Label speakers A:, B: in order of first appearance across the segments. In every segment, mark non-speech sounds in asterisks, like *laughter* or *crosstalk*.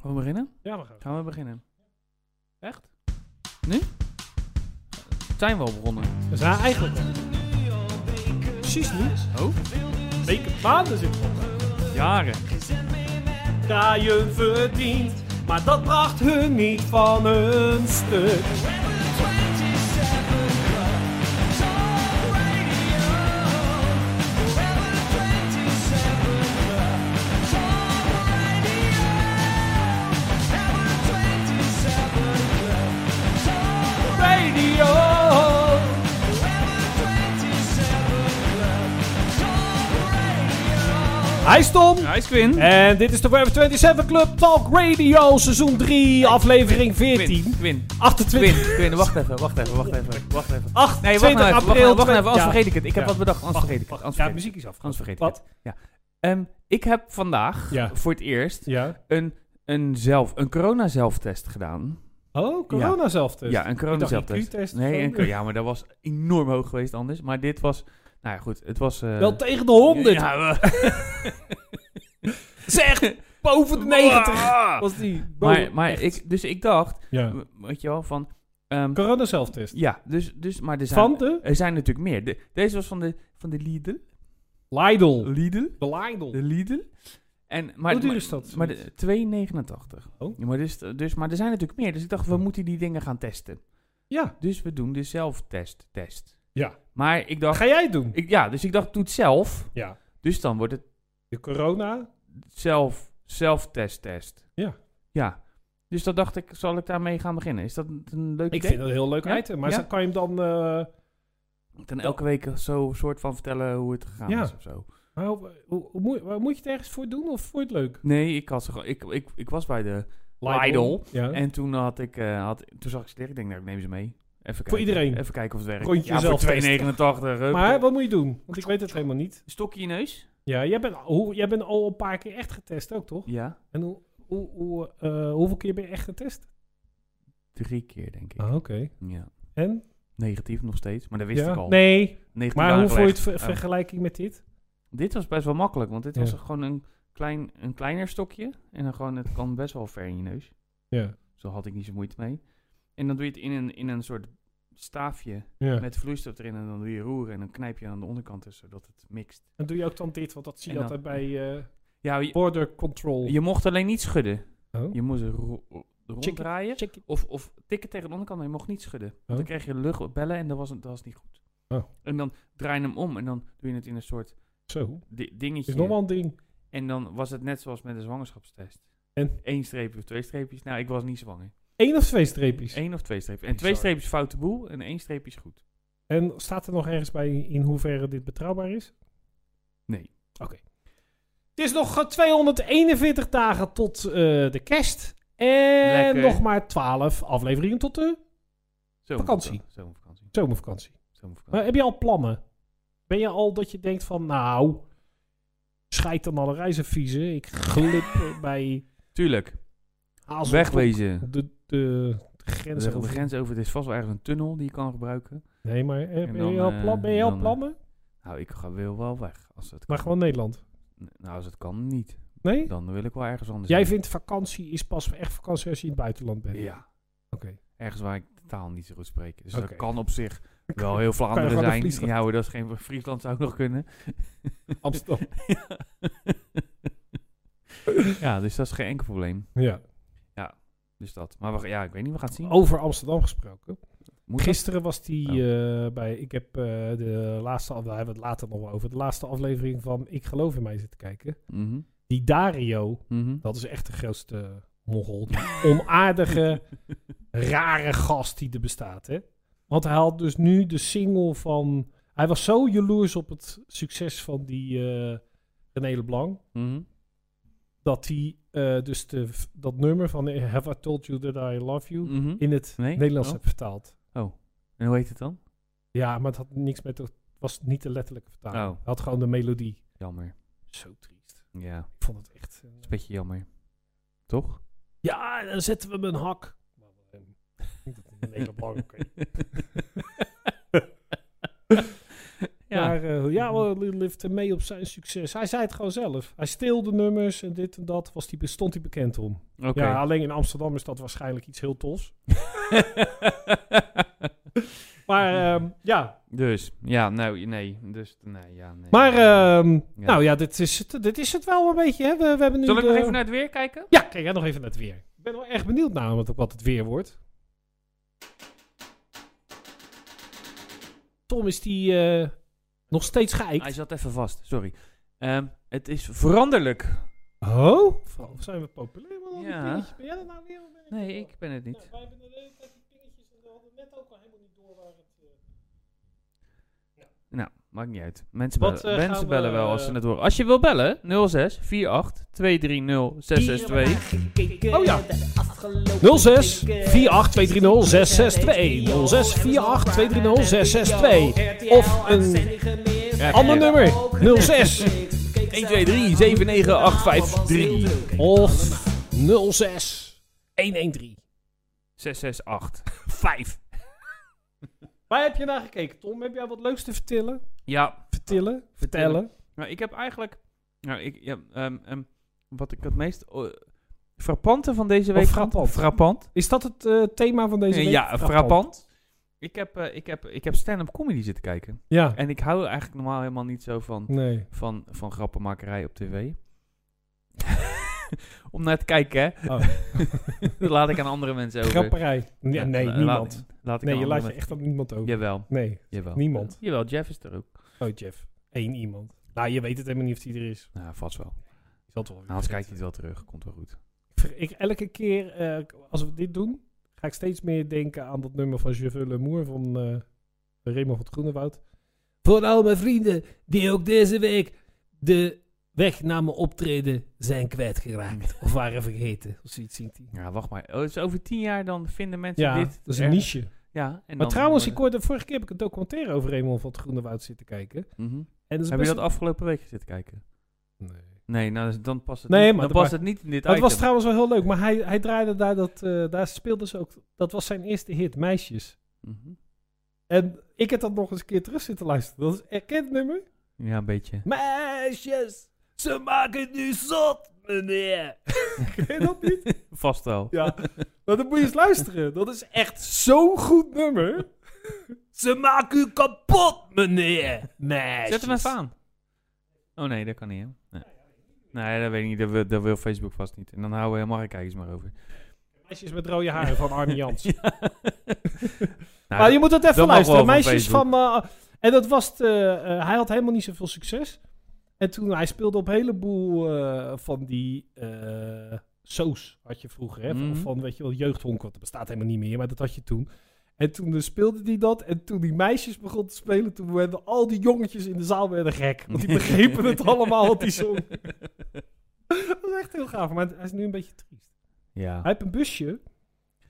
A: Gaan we beginnen?
B: Ja, we gaan.
A: Gaan we beginnen. Echt? Nu? Zijn we al begonnen?
B: We zijn eigenlijk al.
A: Precies nu. Oh?
B: weken maanden zitten op.
A: Jaren.
B: Kraaien verdient, maar dat bracht hun niet van hun stuk. Radio. Hij is Tom.
A: Hij is Quinn.
B: En dit is de Web 27 Club Talk Radio, seizoen 3, aflevering 14.
A: Quinn. Quinn.
B: 28.
A: Quinn. Quinn. Wacht even, wacht even, Oh, wacht even, wacht even.
B: 8,
A: Nee, wacht nou even, wacht,
B: april.
A: nou, wacht nou even, anders
B: ja.
A: vergeet ik het. Ik heb
B: Ja.
A: wat bedacht, anders
B: Wacht,
A: vergeet ik het.
B: wacht.
A: Anders
B: Ja,
A: vergeet ik
B: muziek is af.
A: het. Anders vergeet ik
B: Wat?
A: het. Ja. Ehm, ik heb vandaag
B: Ja.
A: voor het eerst
B: Ja.
A: een, een, zelf, een corona-zelftest gedaan.
B: Oh, corona zelf dus.
A: Ja, een
B: Ik dacht
A: corona-zelftest.
B: IQ-test
A: Nee,
B: of
A: een,
B: zo.
A: cor- ja, maar dat was enorm hoog geweest anders. Maar dit was, nou ja, goed, het was... eh,
B: Wel tegen de 100.
A: Ja, we-
B: *laughs* Zeg, boven de 90.
A: Ah!
B: Was die
A: Maar, maar ik, dus ik dacht,
B: Ja.
A: w- weet je wel, van... ehm,
B: Corona zelftest.
A: ja, dus, dus, maar er zijn,
B: Van de
A: er zijn natuurlijk meer. De- deze was van de, van de Lidl.
B: Lidl.
A: Lidl?
B: De Lidl.
A: De Lidl. En, maar,
B: Hoe duur
A: maar-
B: is dat?
A: Maar de- 2,89.
B: Oh.
A: Ja, Maar, dus, dus, maar er zijn natuurlijk meer, dus ik dacht, we moeten die dingen gaan testen.
B: Ja.
A: Dus we doen de zelftest. Test.
B: Ja.
A: Maar ik
B: Wat
A: dacht,
B: ga jij het doen?
A: ik, ja, dus ik dacht, doe het zelf.
B: Ja.
A: Dus dan wordt het
B: De corona.
A: zelf, zelftest test.
B: Ja.
A: Ja. Dus dat dacht ik, zal ik daarmee gaan beginnen? Is dat een leuk
B: Ik
A: idee?
B: vind dat een heel leuk
A: Ja?
B: item. Maar
A: Ja?
B: zo- kan je hem dan... eh,
A: Dan elke week zo soort van vertellen hoe het gegaan
B: Ja.
A: is of zo.
B: maar hoe, hoe- hoe moet, waar moet je het ergens voor doen? Of vond je het leuk?
A: Nee, ik, had ze, gewoon- ik, ik, ik was bij de... Lidl.
B: Ja.
A: En toen, had ik, eh, had, toen zag ik ze liggen. Ik denk, nou, ik neem ze mee. Even kijken.
B: iedereen?
A: Even kijken of het werkt.
B: Rondje
A: ja, voor
B: zelftest.
A: 2,89. hup.
B: Maar wat moet je doen? Want ik weet het helemaal niet.
A: Stokje in je neus?
B: Ja, jij bent, hoe, jij bent al een paar keer echt getest ook, toch?
A: Ja.
B: En hoe, hoe, hoe, eh, hoeveel keer ben je echt getest?
A: Drie keer, denk ik.
B: oké.
A: Ja.
B: Ah. En?
A: Negatief nog steeds. Maar dat Ah, wist
B: ja?
A: ik al.
B: Nee,
A: Negatief
B: maar hoe vond je het
A: aangelegd.
B: ver-
A: Oh.
B: vergelijking met dit?
A: Dit was best wel makkelijk, want dit
B: Ja.
A: was gewoon een, klein, een kleiner stokje. En dan gewoon, het kan best wel ver in je neus.
B: Ja.
A: Zo had ik niet zo moeite mee. En dan doe je het in een, in een soort staafje
B: ja.
A: met vloeistof erin. En dan doe je roeren en dan knijp je aan de onderkant dus, zodat het mixt.
B: En doe je ook dan dit, want dat zie je
A: En
B: altijd bij eh,
A: Ja, je,
B: border control.
A: je mocht alleen niet schudden.
B: Oh.
A: Je moest ro- ro-
B: Check it,
A: ronddraaien
B: check it.
A: of, of tikken tegen de onderkant, maar je mocht niet schudden. Want dan
B: Oh.
A: kreeg je luchtbellen en dat was, dat was niet goed.
B: Oh.
A: En dan draai je hem om en dan doe je het in een soort
B: Zo,
A: di-
B: is
A: dingetje.
B: nog wel een ding.
A: En dan was het net zoals met een zwangerschapstest.
B: En?
A: Eén streepje of twee streepjes. Nou, ik was niet zwanger.
B: Eén of twee streepjes.
A: Eén of twee streepjes. En twee
B: Bizar.
A: streepjes foute boel en één streepje is goed.
B: En staat er nog ergens bij in hoeverre dit betrouwbaar is?
A: Nee.
B: Het is nog eh, 241 dagen tot eh, de kerst. En
A: Lekker.
B: nog maar 12 afleveringen tot de
A: Zo'n
B: Vakantie.
A: Zo'n vakantie.
B: zomervakantie.
A: Zo'n vakantie.
B: Maar eh, heb je al plannen? Ben je al dat je denkt van, nou, scheid dan alle reisadviezen. Ik glip
A: *laughs*
B: eh, bij
A: Tuurlijk.
B: Hazel.
A: Wegwezen.
B: De, de, de grens.
A: De, de
B: over-
A: grens over. Er is vast wel ergens een tunnel die je kan gebruiken.
B: Nee, maar eh,
A: En
B: ben,
A: dan,
B: je al
A: eh,
B: plan, ben je
A: dan,
B: al
A: eh,
B: plannen?
A: Nou, ik ga, wil wel weg. Als het
B: Maar
A: kan.
B: gewoon Nederland.
A: Nou, als het kan, niet.
B: Nee?
A: Dan wil Dus ik wel ergens anders
B: Jij
A: heen.
B: vindt vakantie is pas echt vakantie als je in het buitenland bent?
A: Ja.
B: Oké.
A: Ergens waar ik de taal niet zo goed spreek. Dus
B: Oké.
A: dat kan op
B: *laughs*
A: zich *laughs* wel heel Vlaanderen
B: gewoon naar
A: zijn.
B: Friesland?
A: Ja hoor, dat is geen... Friesland zou ook nog kunnen.
B: Amsterdam.
A: *laughs* ja, dus dat is geen enkel probleem.
B: ja.
A: Dus dat. Maar we, gaan- ja, ik weet niet, we gaan het zien.
B: Over Amsterdam gesproken.
A: Moet
B: Gisteren was die
A: Oh.
B: eh, bij. Ik heb eh, de laatste. af- Daar hebben we het later nog wel over. De laatste aflevering van Ik Geloof in Mij zitten kijken.
A: dat? Mhm,
B: Die Dario.
A: mhm.
B: Dat is echt de grootste mongol. Die *laughs* onaardige, rare gast die er bestaat. Hè? Want hij had dus nu de single van. Hij was zo jaloers op het succes van die eh René Leblanc.
A: Mhm.
B: dat hij eh, dus de, dat nummer van eh, Have I Told You That I Love You
A: Mhm.
B: in het
A: Nee?
B: Nederlands
A: Oh.
B: heeft vertaald.
A: En hoe heet het dan?
B: Ja, maar het had niks met het was niet de letterlijke vertaling.
A: Oh.
B: Het had gewoon de melodie.
A: Jammer.
B: Zo triest.
A: Ja, dat
B: Ik vond het echt. eh,
A: is een beetje jammer. Toch?
B: ja, dan zetten we hem een hak. Maar, eh, ik denk dat het een hele belangrijke-
A: ja, *laughs* Ja.
B: Maar eh, ja, wel, hij lifte mee op zijn succes. Hij zei het gewoon zelf. Hij stilde nummers en dit en dat. Was die, stond hij bekend om.
A: Oké.
B: Ja, alleen in Amsterdam is dat waarschijnlijk iets heel tofs. Maar ehm, ja,
A: *laughs* dus, ja, nou, nee. Dus, nee, ja, nee.
B: maar ehm,
A: Ja.
B: nou ja, dit is, het, dit is het wel een beetje. Hè? We, we hebben nu
A: Zal ik
B: de-
A: nog even naar het weer kijken?
B: Ja, kijk jij nog even naar het weer. Ik ben wel echt benieuwd namelijk ook wat het weer wordt. Tom is die eh, nog steeds geëikt.
A: Hij zat even vast, sorry. Ehm, het is veranderlijk.
B: Oh? Vooral zijn we populair? man, al die
A: Ja.
B: dingetjes. Ben jij dat nou weer? of ben
A: Nee,
B: het
A: ik ben het
B: wel?
A: niet.
B: Nou, wij hebben de hele tijd die dingetjes en we hadden net ook al helemaal niet door waar het... eh,
A: Nou, maakt niet uit. Mensen,
B: Wat,
A: bellen,
B: eh,
A: mensen
B: gaan we,
A: bellen wel als
B: eh,
A: ze het horen. Als je wil bellen, 06 48 230 662.
B: Oh ja. 06 48 662 06 48 662 Of een ander nummer. 06
A: 1, 2, 3, 7, 9, 8, 5, 3.
B: of 06 113.
A: *laughs* 668. 5.
B: Waar heb je naar gekeken, Tom? Heb jij wat leuks te vertellen?
A: Ja,
B: Vertellen? Vertellen?
A: nou, ik heb eigenlijk... Nou, ik, ja, ehm, ehm, wat ik het meest... eh, frappante van deze week...
B: Of frappant.
A: Frappant.
B: Is dat het eh, thema van deze week? Oh.
A: ja, frappant. Ik heb, eh, ik heb, ik heb stand-up comedy zitten kijken.
B: Ja.
A: En ik hou eigenlijk normaal helemaal niet zo van...
B: Nee.
A: van, van grappenmakerij op tv. *laughs* Om naar te kijken, hè.
B: Oh.
A: *laughs* Dat laat ik aan andere mensen over.
B: Grapperij. Ja, nee,
A: la-
B: niemand.
A: Eh, Laat, laat ik
B: Nee,
A: aan andere
B: je laat je
A: mensen-
B: echt aan niemand over.
A: Jawel,
B: Nee.
A: jawel.
B: Niemand.
A: Jawel, Jeff is er ook.
B: Oh, Jeff. Eén iemand. Nou, je weet het helemaal niet of die er is.
A: Nou, vast wel.
B: Ik zal het wel weer
A: Anders kijkt
B: vergeten.
A: hij het wel terug. Komt wel goed.
B: Ver- Ik, elke keer eh, k- als we dit doen, ga ik steeds meer denken aan dat nummer van Jeveux Lemoer van eh Raymond van het Groenewoud. Voor al mijn vrienden die ook deze week de weg naar mijn optreden zijn kwijtgeraakt. *laughs* of waren vergeten. Of zoiets zingt hij.
A: Ja, wacht maar. Oh, dus over tien jaar dan vinden mensen
B: Ja,
A: dit...
B: dat is een
A: erg-
B: niche.
A: Ja, en dan
B: Maar trouwens, ik
A: worden-
B: hoorde, vorige keer heb ik een documentaire over Raymond van het Groenewoud zitten kijken.
A: Mhm.
B: En dat is
A: Heb je
B: best-
A: dat afgelopen week zitten kijken?
B: Nee.
A: Nee, nou, dus dan past het,
B: Nee,
A: niet,
B: maar
A: dan
B: dat
A: past het niet in dit
B: Dat
A: item.
B: was trouwens wel heel leuk, maar hij, hij draaide daar, dat, eh, daar speelde ze ook, dat was zijn eerste hit, Meisjes.
A: Mhm.
B: En ik heb dat nog eens een keer terug zitten luisteren. Dat is een erkend nummer.
A: Ja, een beetje.
B: Meisjes, ze maken nu zot, meneer. *laughs* Ken je dat niet?
A: Vast wel.
B: Ja. Maar dan moet je eens luisteren. Dat is echt zo'n goed nummer. Ze maken u kapot, meneer. Meisjes.
A: Zet hem even aan. Oh nee, dat kan niet, hè? Nee, nee dat weet ik niet. Dat wil, dat wil Facebook vast niet. En dan houden we helemaal geen kijkers meer over.
B: Meisjes met rode haren van Arnie Jans.
A: Nou,
B: Maar je moet dat even
A: dat mag
B: luisteren.
A: wel van
B: Meisjes van... eh, en dat was... het, eh, eh, hij had helemaal niet zoveel succes. En toen... Hij speelde op een heleboel eh, van die... eh soos had je vroeger. Hè? Van-
A: Mhm.
B: Van, weet je wel, jeugdhonk. want Dat bestaat helemaal niet meer. Maar dat had je toen. En toen eh, speelde hij dat. En toen die meisjes begon te spelen... Toen werden al die jongetjes in de zaal werden gek.
A: *laughs*
B: Want die begrepen het allemaal wat hij zong. dat was echt heel gaaf. Maar hij is nu een beetje triest.
A: ja.
B: Hij heeft een busje.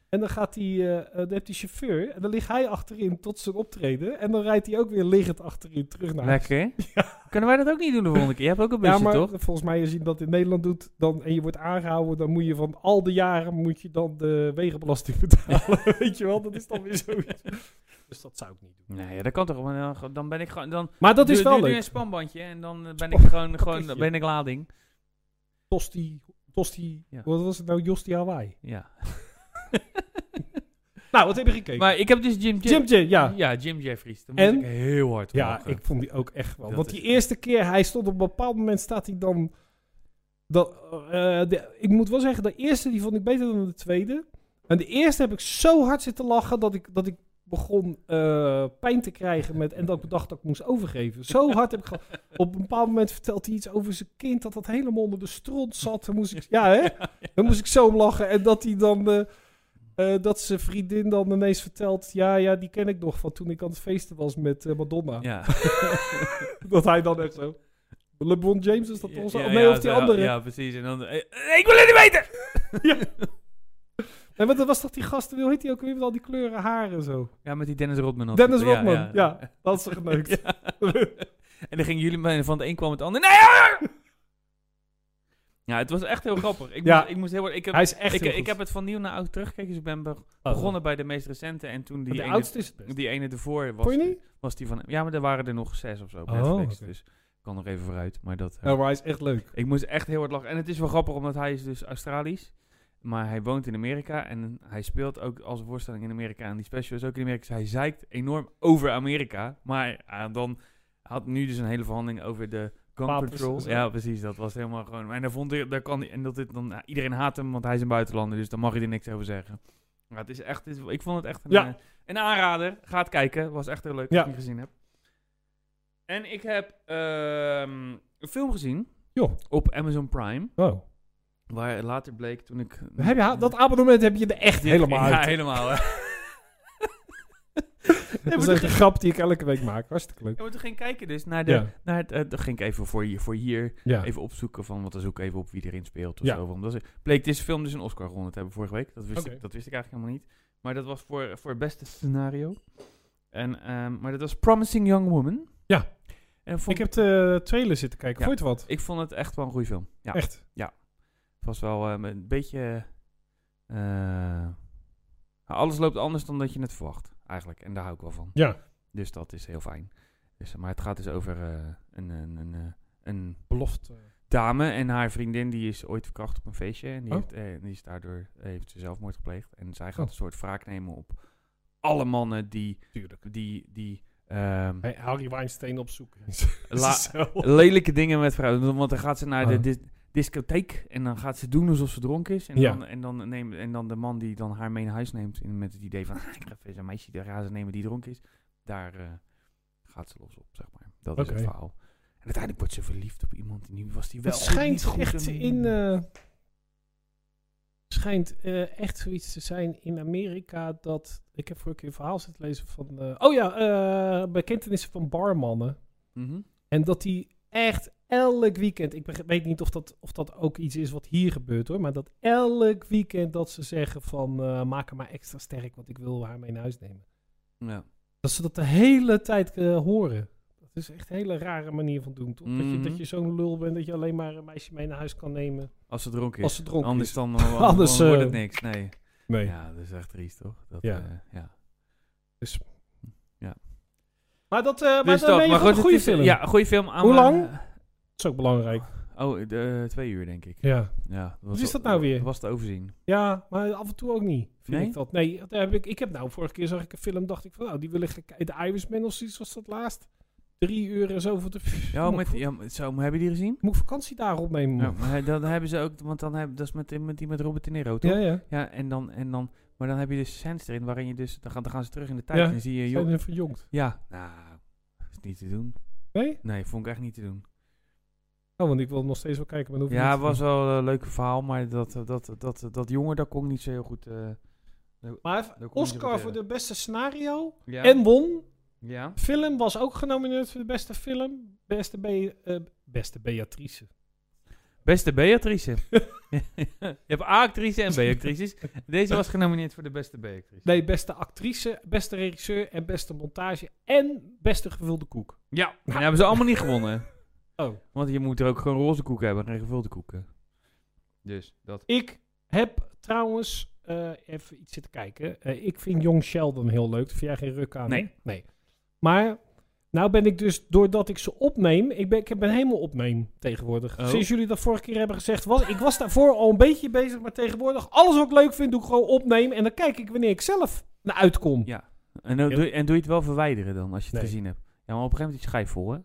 B: En dan, gaat hij, eh, eh, dan heeft hij chauffeur. En dan ligt hij achterin tot zijn optreden. En dan rijdt hij ook weer liggend achterin terug naar huis.
A: Lekker.
B: *laughs*
A: hè? Kunnen wij dat ook niet doen de volgende keer? Je hebt ook een busje,
B: Ja, maar
A: toch?
B: volgens mij als je dat in Nederland doet dan, en je wordt aangehouden... dan moet je van al de jaren moet je dan de wegenbelasting *laughs* betalen. Weet je wel, dat is dan weer zoiets. *laughs* Dus dat zou ik niet doen.
A: Nee, dat kan toch? Maar dan- Dan ben ik gewoon... Dan
B: Maar dat is
A: doe-
B: wel
A: doe nu
B: leuk. Oh,
A: een spanbandje en dan eh, ben ik
B: Span-
A: gewoon... gewoon dan
B: pakketje.
A: ben ik lading.
B: Tosti, tosti
A: Ja.
B: wat was het nou? Josti Hawaii.
A: Ja.
B: Nou, wat heb je gekeken?
A: Maar ik heb dus Jim...
B: Jim Jim, ja.
A: Ja, Jim Jeffries. Daar
B: En?
A: moet ik heel hard om
B: Ja,
A: lachen.
B: ik vond die ook echt wel.
A: Dat
B: Want
A: is-
B: die eerste keer, hij stond op een bepaald moment, staat hij dan. Dat, eh, de- ik moet wel zeggen, de eerste die vond ik beter dan de tweede. En de eerste heb ik zo hard zitten lachen dat ik, dat ik begon eh, pijn te krijgen. Met, en dat ik bedacht dat ik moest overgeven. Zo hard heb ik. ge- Op een bepaald moment vertelt hij iets over zijn kind. Dat dat helemaal onder de stront zat. Dan moest ik, ja, hè? Dan moest ik zo om lachen. En dat hij dan. eh, eh, dat zijn vriendin dan ineens vertelt. Ja, ja, die ken ik nog van toen ik aan het feesten was met eh, Madonna. *laughs*
A: Ja.
B: Dat hij dan echt zo. LeBron James is dat
A: Ja,
B: onze.
A: ja,
B: nee,
A: ja,
B: of die
A: zo-
B: andere.
A: Ja, precies. En dan... eh, eh, Ik wil het niet
B: *laughs*
A: weten!
B: Nee, want dat was toch die gast, hoe heet die ook weer met al die kleuren haren en zo?
A: *laughs* Ja, met die Dennis Rodman. had
B: Dennis
A: het, ja,
B: Rodman, ja. Dat is ze
A: *laughs*
B: geneukt. *laughs*
A: Ja. en dan gingen jullie maar van het een kwam het ander. Nee! hoor! Ja, het was echt heel grappig. Ik,
B: Ja.
A: moest, ik moest heel hard- ik heb,
B: Hij is echt
A: ik,
B: heel
A: ik
B: goed.
A: heb het van nieuw naar oud teruggekeken. Dus ik ben be-
B: Oh.
A: begonnen bij de meest recente. En toen die,
B: de
A: ene,
B: oudste is het best.
A: die ene ervoor was,
B: Vond je niet?
A: was die van... Ja, maar er waren er nog zes of zo op
B: Oh,
A: Netflix.
B: oké.
A: Dus ik kan nog even vooruit. Maar dat... eh,
B: Ja, Oh, maar hij is echt leuk.
A: Ik moest echt heel hard lachen. En het is wel grappig, omdat hij is dus Australisch. Maar hij woont in Amerika en hij speelt ook als een voorstelling in Amerika. En die special is ook in Amerika. Dus hij zeikt enorm over Amerika. Maar ah, dan had nu dus een hele verhandeling over de gun
B: Wapens
A: control.
B: en zo.
A: Ja, precies. Dat was helemaal gewoon... En, daar vond hij, daar kan, hij- en dat dit dan, ah, iedereen haat hem, want hij is een buitenlander. Dus daar mag je er niks over zeggen. Maar het is echt... het is- ik vond het echt een,
B: Ja.
A: eh, een aanrader. Ga het kijken. Was echt heel leuk
B: Ja.
A: als je het gezien hebt. En ik heb ehm, een film gezien
B: Joh.
A: op Amazon Prime.
B: Wow.
A: Waar later bleek toen ik...
B: Heb je, dat abonnement heb je er echt
A: Ja,
B: helemaal
A: Ja,
B: uit.
A: helemaal. Hè.
B: *laughs* dat is echt een grap die ik elke week maak. Hartstikke leuk.
A: Ja, maar toen ging ik kijken dus naar de...
B: Ja.
A: Naar het, eh, dan ging ik even voor hier, voor hier
B: Ja.
A: even opzoeken van... Want dan zoek ik even op wie erin speelt of
B: Ja.
A: zo. Want dat is, bleek deze film dus een Oscar gewonnen te hebben vorige week. Dat wist,
B: Oké.
A: ik, dat wist ik eigenlijk helemaal niet. Maar dat was voor, voor het beste scenario. En, ehm, maar dat was Promising Young Woman.
B: Ja.
A: En vond,
B: Ik
A: ik,
B: heb de trailer zitten kijken.
A: Ja.
B: Vond je het wat?
A: ik vond het echt wel een goede film. Ja.
B: Echt?
A: Het was wel ehm, een beetje. eh, alles loopt anders dan dat je het verwacht, eigenlijk. En daar hou ik wel van.
B: Ja.
A: Dus dat is heel fijn. Dus, maar het gaat dus over eh, een, een, een, eh, een
B: Belofte.
A: dame en haar vriendin. Die is ooit verkracht op een feestje. En die,
B: Oh.
A: heeft, eh, die is daardoor heeft ze zelfmoord gepleegd. En zij gaat
B: Oh.
A: een soort wraak nemen op alle mannen die.
B: Tuurlijk.
A: die, die ehm,
B: Hey, Harry Weinstein opzoeken. *laughs*
A: la-
B: Zo.
A: *laughs* lelijke dingen met vrouwen. Want dan gaat ze naar de
B: Ah.
A: dis- discotheek en dan gaat ze doen alsof ze dronken is. En,
B: Ja.
A: dan, en, dan, neem, en dan de man die dan haar mee naar huis neemt in- met het idee van... "Ah, ik ga even een meisje de razen nemen die dronken is. Daar eh, gaat ze los op, zeg maar. Dat is het
B: Oké.
A: verhaal. En uiteindelijk wordt ze verliefd op iemand die nu was die wel
B: Het schijnt
A: niet goed
B: echt
A: en-
B: in. eh, schijnt eh, echt zoiets te zijn in Amerika dat. Ik heb vorige keer een verhaal zitten lezen van. eh, oh ja, eh, bekentenissen van barmannen.
A: Mhm.
B: En dat die echt elk weekend. Ik beg- weet niet of dat, of dat ook iets is wat hier gebeurt hoor. Maar dat elk weekend dat ze zeggen van. eh, maak hem maar extra sterk, want ik wil haar mee naar huis nemen.
A: Ja.
B: Dat ze dat de hele tijd eh, horen. Dat is echt een hele rare manier van doen. Toch? Dat je,
A: Mhm.
B: dat je zo'n lul bent dat je alleen maar een meisje mee naar huis kan nemen.
A: Als ze dronken is.
B: Als ze dronken
A: Anders
B: is. *laughs*
A: dan,
B: Anders,
A: anders, dan wordt
B: eh,
A: het niks. Nee.
B: Nee.
A: Ja, dat is echt triest, toch? Dat,
B: Ja.
A: eh, ja.
B: Maar dat, eh maar
A: Dus
B: dan ben je
A: maar
B: gewoon
A: goed,
B: een goede
A: het is-
B: film.
A: Ja, een goede film.
B: Hoe
A: aanrader.
B: lang? Dat is ook belangrijk.
A: Oh, de, twee uur denk ik.
B: Ja.
A: Ja, dat was
B: Wat is
A: wel-
B: dat nou weer?
A: Was te overzien.
B: ja, maar af en toe ook niet. Vind
A: Nee?
B: ik dat. Nee, dat heb ik, ik heb nou vorige keer zag ik een film, dacht ik van nou, die wil ik gaan kijken. De Irishman of zoiets was dat laatst. Drie uur en zo voor de...
A: Ja,
B: moet,
A: met,
B: ik-
A: ja maar- zo, maar hebben jullie die gezien?
B: moet ik vakantie daar opnemen?
A: Ja,
B: man?
A: maar hij- dan hebben ze ook, want dan heb, dat is met, met die met Robert De Niro, toch?
B: ja.
A: Ja,
B: ja.
A: en, dan, en dan, maar dan heb je dus scènes erin waarin je dus, dan gaan, dan gaan ze terug in de tijd
B: Ja,
A: en dan zie je,
B: Zijn
A: joh,
B: er verjongd?
A: ja, nou, is niet te doen.
B: Nee?
A: Nee, vond ik echt niet te doen.
B: Oh, want ik wil nog steeds wel kijken, maar dan hoef ik
A: Ja,
B: niet
A: het
B: te
A: was
B: doen.
A: wel een leuk verhaal, maar dat, dat, dat, dat, dat jongen, daar kon ik niet zo heel goed... eh,
B: Maar
A: kon je niet
B: Oscar
A: op
B: voor
A: tegen.
B: de beste scenario.
A: ja.
B: En won.
A: Ja.
B: Film was ook genomineerd voor de beste film. Beste, Be- eh, beste Beatrice.
A: Beste
B: *laughs*
A: B-actrice. je hebt A-actrice en B-actrices. Deze was genomineerd voor de beste B-actrice.
B: Nee, beste actrice, beste regisseur en beste montage en beste gevulde koek.
A: Ja, en die hebben ze allemaal niet gewonnen.
B: Oh.
A: Want je moet er ook gewoon roze koeken hebben, geen gevulde koeken. Dus dat.
B: Ik heb trouwens eh, even iets zitten kijken. Eh, ik vind Jong Sheldon heel leuk. Daar vind jij geen ruk aan? hè?
A: Nee.
B: nee. Maar nou ben ik dus, doordat ik ze opneem, ik ben, ik ben helemaal opneem tegenwoordig.
A: Oh.
B: Sinds jullie dat vorige keer hebben gezegd, was, ik was daarvoor al een beetje bezig, maar tegenwoordig alles wat ik leuk vind, doe ik gewoon opnemen en dan kijk ik wanneer ik zelf naar uitkom.
A: Ja. En, dan
B: Ja.
A: doe, je- en doe je het wel verwijderen dan, als je het
B: Nee.
A: gezien hebt? Ja, maar op een gegeven moment is je schijf vol, hè?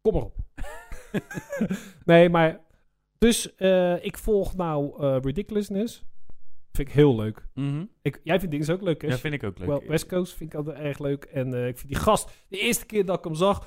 B: Kom maar op. *laughs* nee, maar. Dus eh, ik volg nou eh, Ridiculousness. Vind ik heel leuk.
A: Mhm.
B: Ik, jij vindt dingen dus ook leuk, hè?
A: Ja, vind ik ook leuk.
B: Wel, West Coast vind ik altijd erg leuk. En eh, ik vind die gast, de eerste keer dat ik hem zag,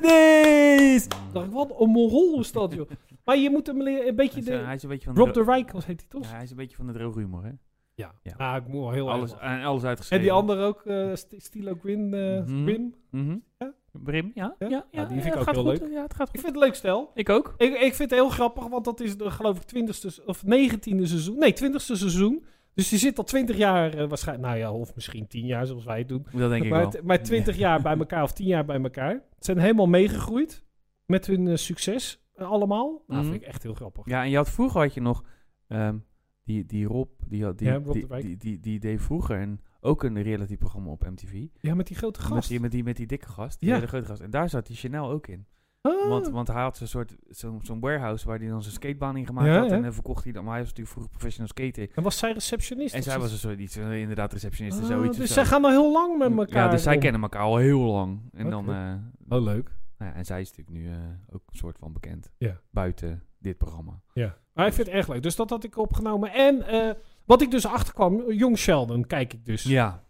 B: Ridiculousness! Dacht ik, wat een morol is
A: *laughs*
B: dat, joh. maar je moet hem leren, een
A: hij,
B: beetje
A: is, eh,
B: de...
A: hij is een beetje van
B: Rob
A: de
B: de Rijk, was heet hij toch?
A: ja, hij is een beetje van de droge humor, hè?
B: Ja.
A: Ja.
B: Ah, ik moet wel heel
A: Alles,
B: erg lachen.
A: en alles
B: En
A: uitgeschreven.
B: die andere ook, eh, St- Stilo Grin, eh,
A: Mhm.
B: Grin.
A: Mhm.
B: Ja?
A: Brim, ja?
B: Ja?
A: Ja, ja,
B: Ja, die vind
A: ja,
B: ik ook
A: gaat
B: heel
A: goed.
B: leuk.
A: Ja, het gaat
B: Ik
A: goed.
B: vind het leuk stel.
A: Ik ook.
B: Ik, ik vind het heel grappig, want dat is de, geloof ik, twintigste of negentiende seizoen. Nee, twintigste seizoen. Dus die zit al twintig jaar eh, waarschijnlijk, nou ja, of misschien tien jaar zoals wij het doen.
A: Dat denk ik
B: maar,
A: wel.
B: t-
A: *laughs*
B: maar twintig jaar bij elkaar of tien jaar bij elkaar. Ze zijn helemaal meegegroeid met hun eh, succes. Eh, allemaal. Nou,
A: Mhm.
B: vind ik echt heel grappig.
A: Ja, en je had vroeger had je nog ehm, die, die Rob, die, had, die,
B: Ja, Rob
A: die,
B: de Wijk.
A: die, die, die deed vroeger een, ook een reality-programma op MTV.
B: Ja, met die grote
A: Met
B: gast.
A: die, met, die, met die dikke gast, die
B: Ja.
A: hele grote gast. En daar zat die Chanel ook in.
B: Ah.
A: Want, want hij had zo'n soort zo'n zo'n warehouse waar hij dan zijn skatebaan in gemaakt
B: Ja,
A: had.
B: ja.
A: En dan verkocht hij dan. Maar hij was natuurlijk vroeger professional skater.
B: En was zij receptionist?
A: En
B: of
A: zij
B: zo?
A: was een soort iets, eh, inderdaad receptionist en
B: Ah,
A: zoiets.
B: Dus
A: of
B: zij
A: zo.
B: gaan al heel lang met elkaar.
A: Ja, dus zij
B: om.
A: kennen elkaar al heel lang. En dan.
B: Oké.
A: eh,
B: Oh, leuk.
A: nou ja, en zij is natuurlijk nu eh, ook een soort van bekend.
B: Ja.
A: Buiten dit programma.
B: Ja. Maar ik vind het erg leuk. Dus dat had ik opgenomen. En eh, wat ik dus achterkwam, Jong Sheldon kijk ik dus.
A: Ja.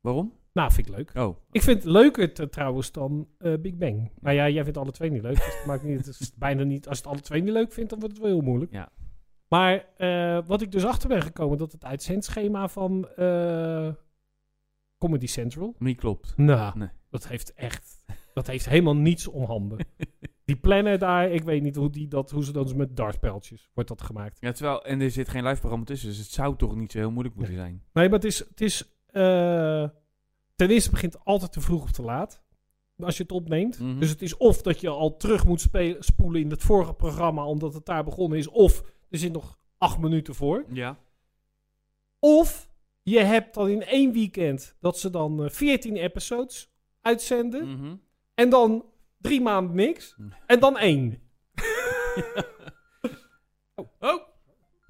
A: Waarom?
B: Nou, vind ik leuk.
A: Oh.
B: Ik vind het leuker te- trouwens dan eh, Big Bang. Nou ja, jij vindt alle twee niet leuk. Dus het maakt niet, het is *laughs* bijna niet. Als je het alle twee niet leuk vindt, dan wordt het wel heel moeilijk.
A: Ja.
B: Maar eh, wat ik dus achter ben gekomen, dat het uitzendschema van eh, Comedy Central.
A: Niet klopt.
B: Nou,
A: Nee.
B: dat heeft echt. Dat heeft helemaal niets om
A: *laughs*
B: handen. Die plannen daar, ik weet niet hoe, die dat, hoe ze dat doen met dartpijltjes. Wordt dat gemaakt?
A: Ja, terwijl, en er zit geen live programma tussen, dus het zou toch niet zo heel moeilijk moeten zijn.
B: Nee, maar het is. Het is eh, ten eerste begint het altijd te vroeg of te laat. Als je het opneemt.
A: Mhm.
B: Dus het is of dat je al terug moet spe- spoelen in het vorige programma. omdat het daar begonnen is. Of er zit nog acht minuten voor.
A: Ja.
B: Of je hebt dan in één weekend. dat ze dan eh, 14 episodes uitzenden.
A: Mhm.
B: En dan drie maanden niks.
A: Hm.
B: En dan één.
A: Oh!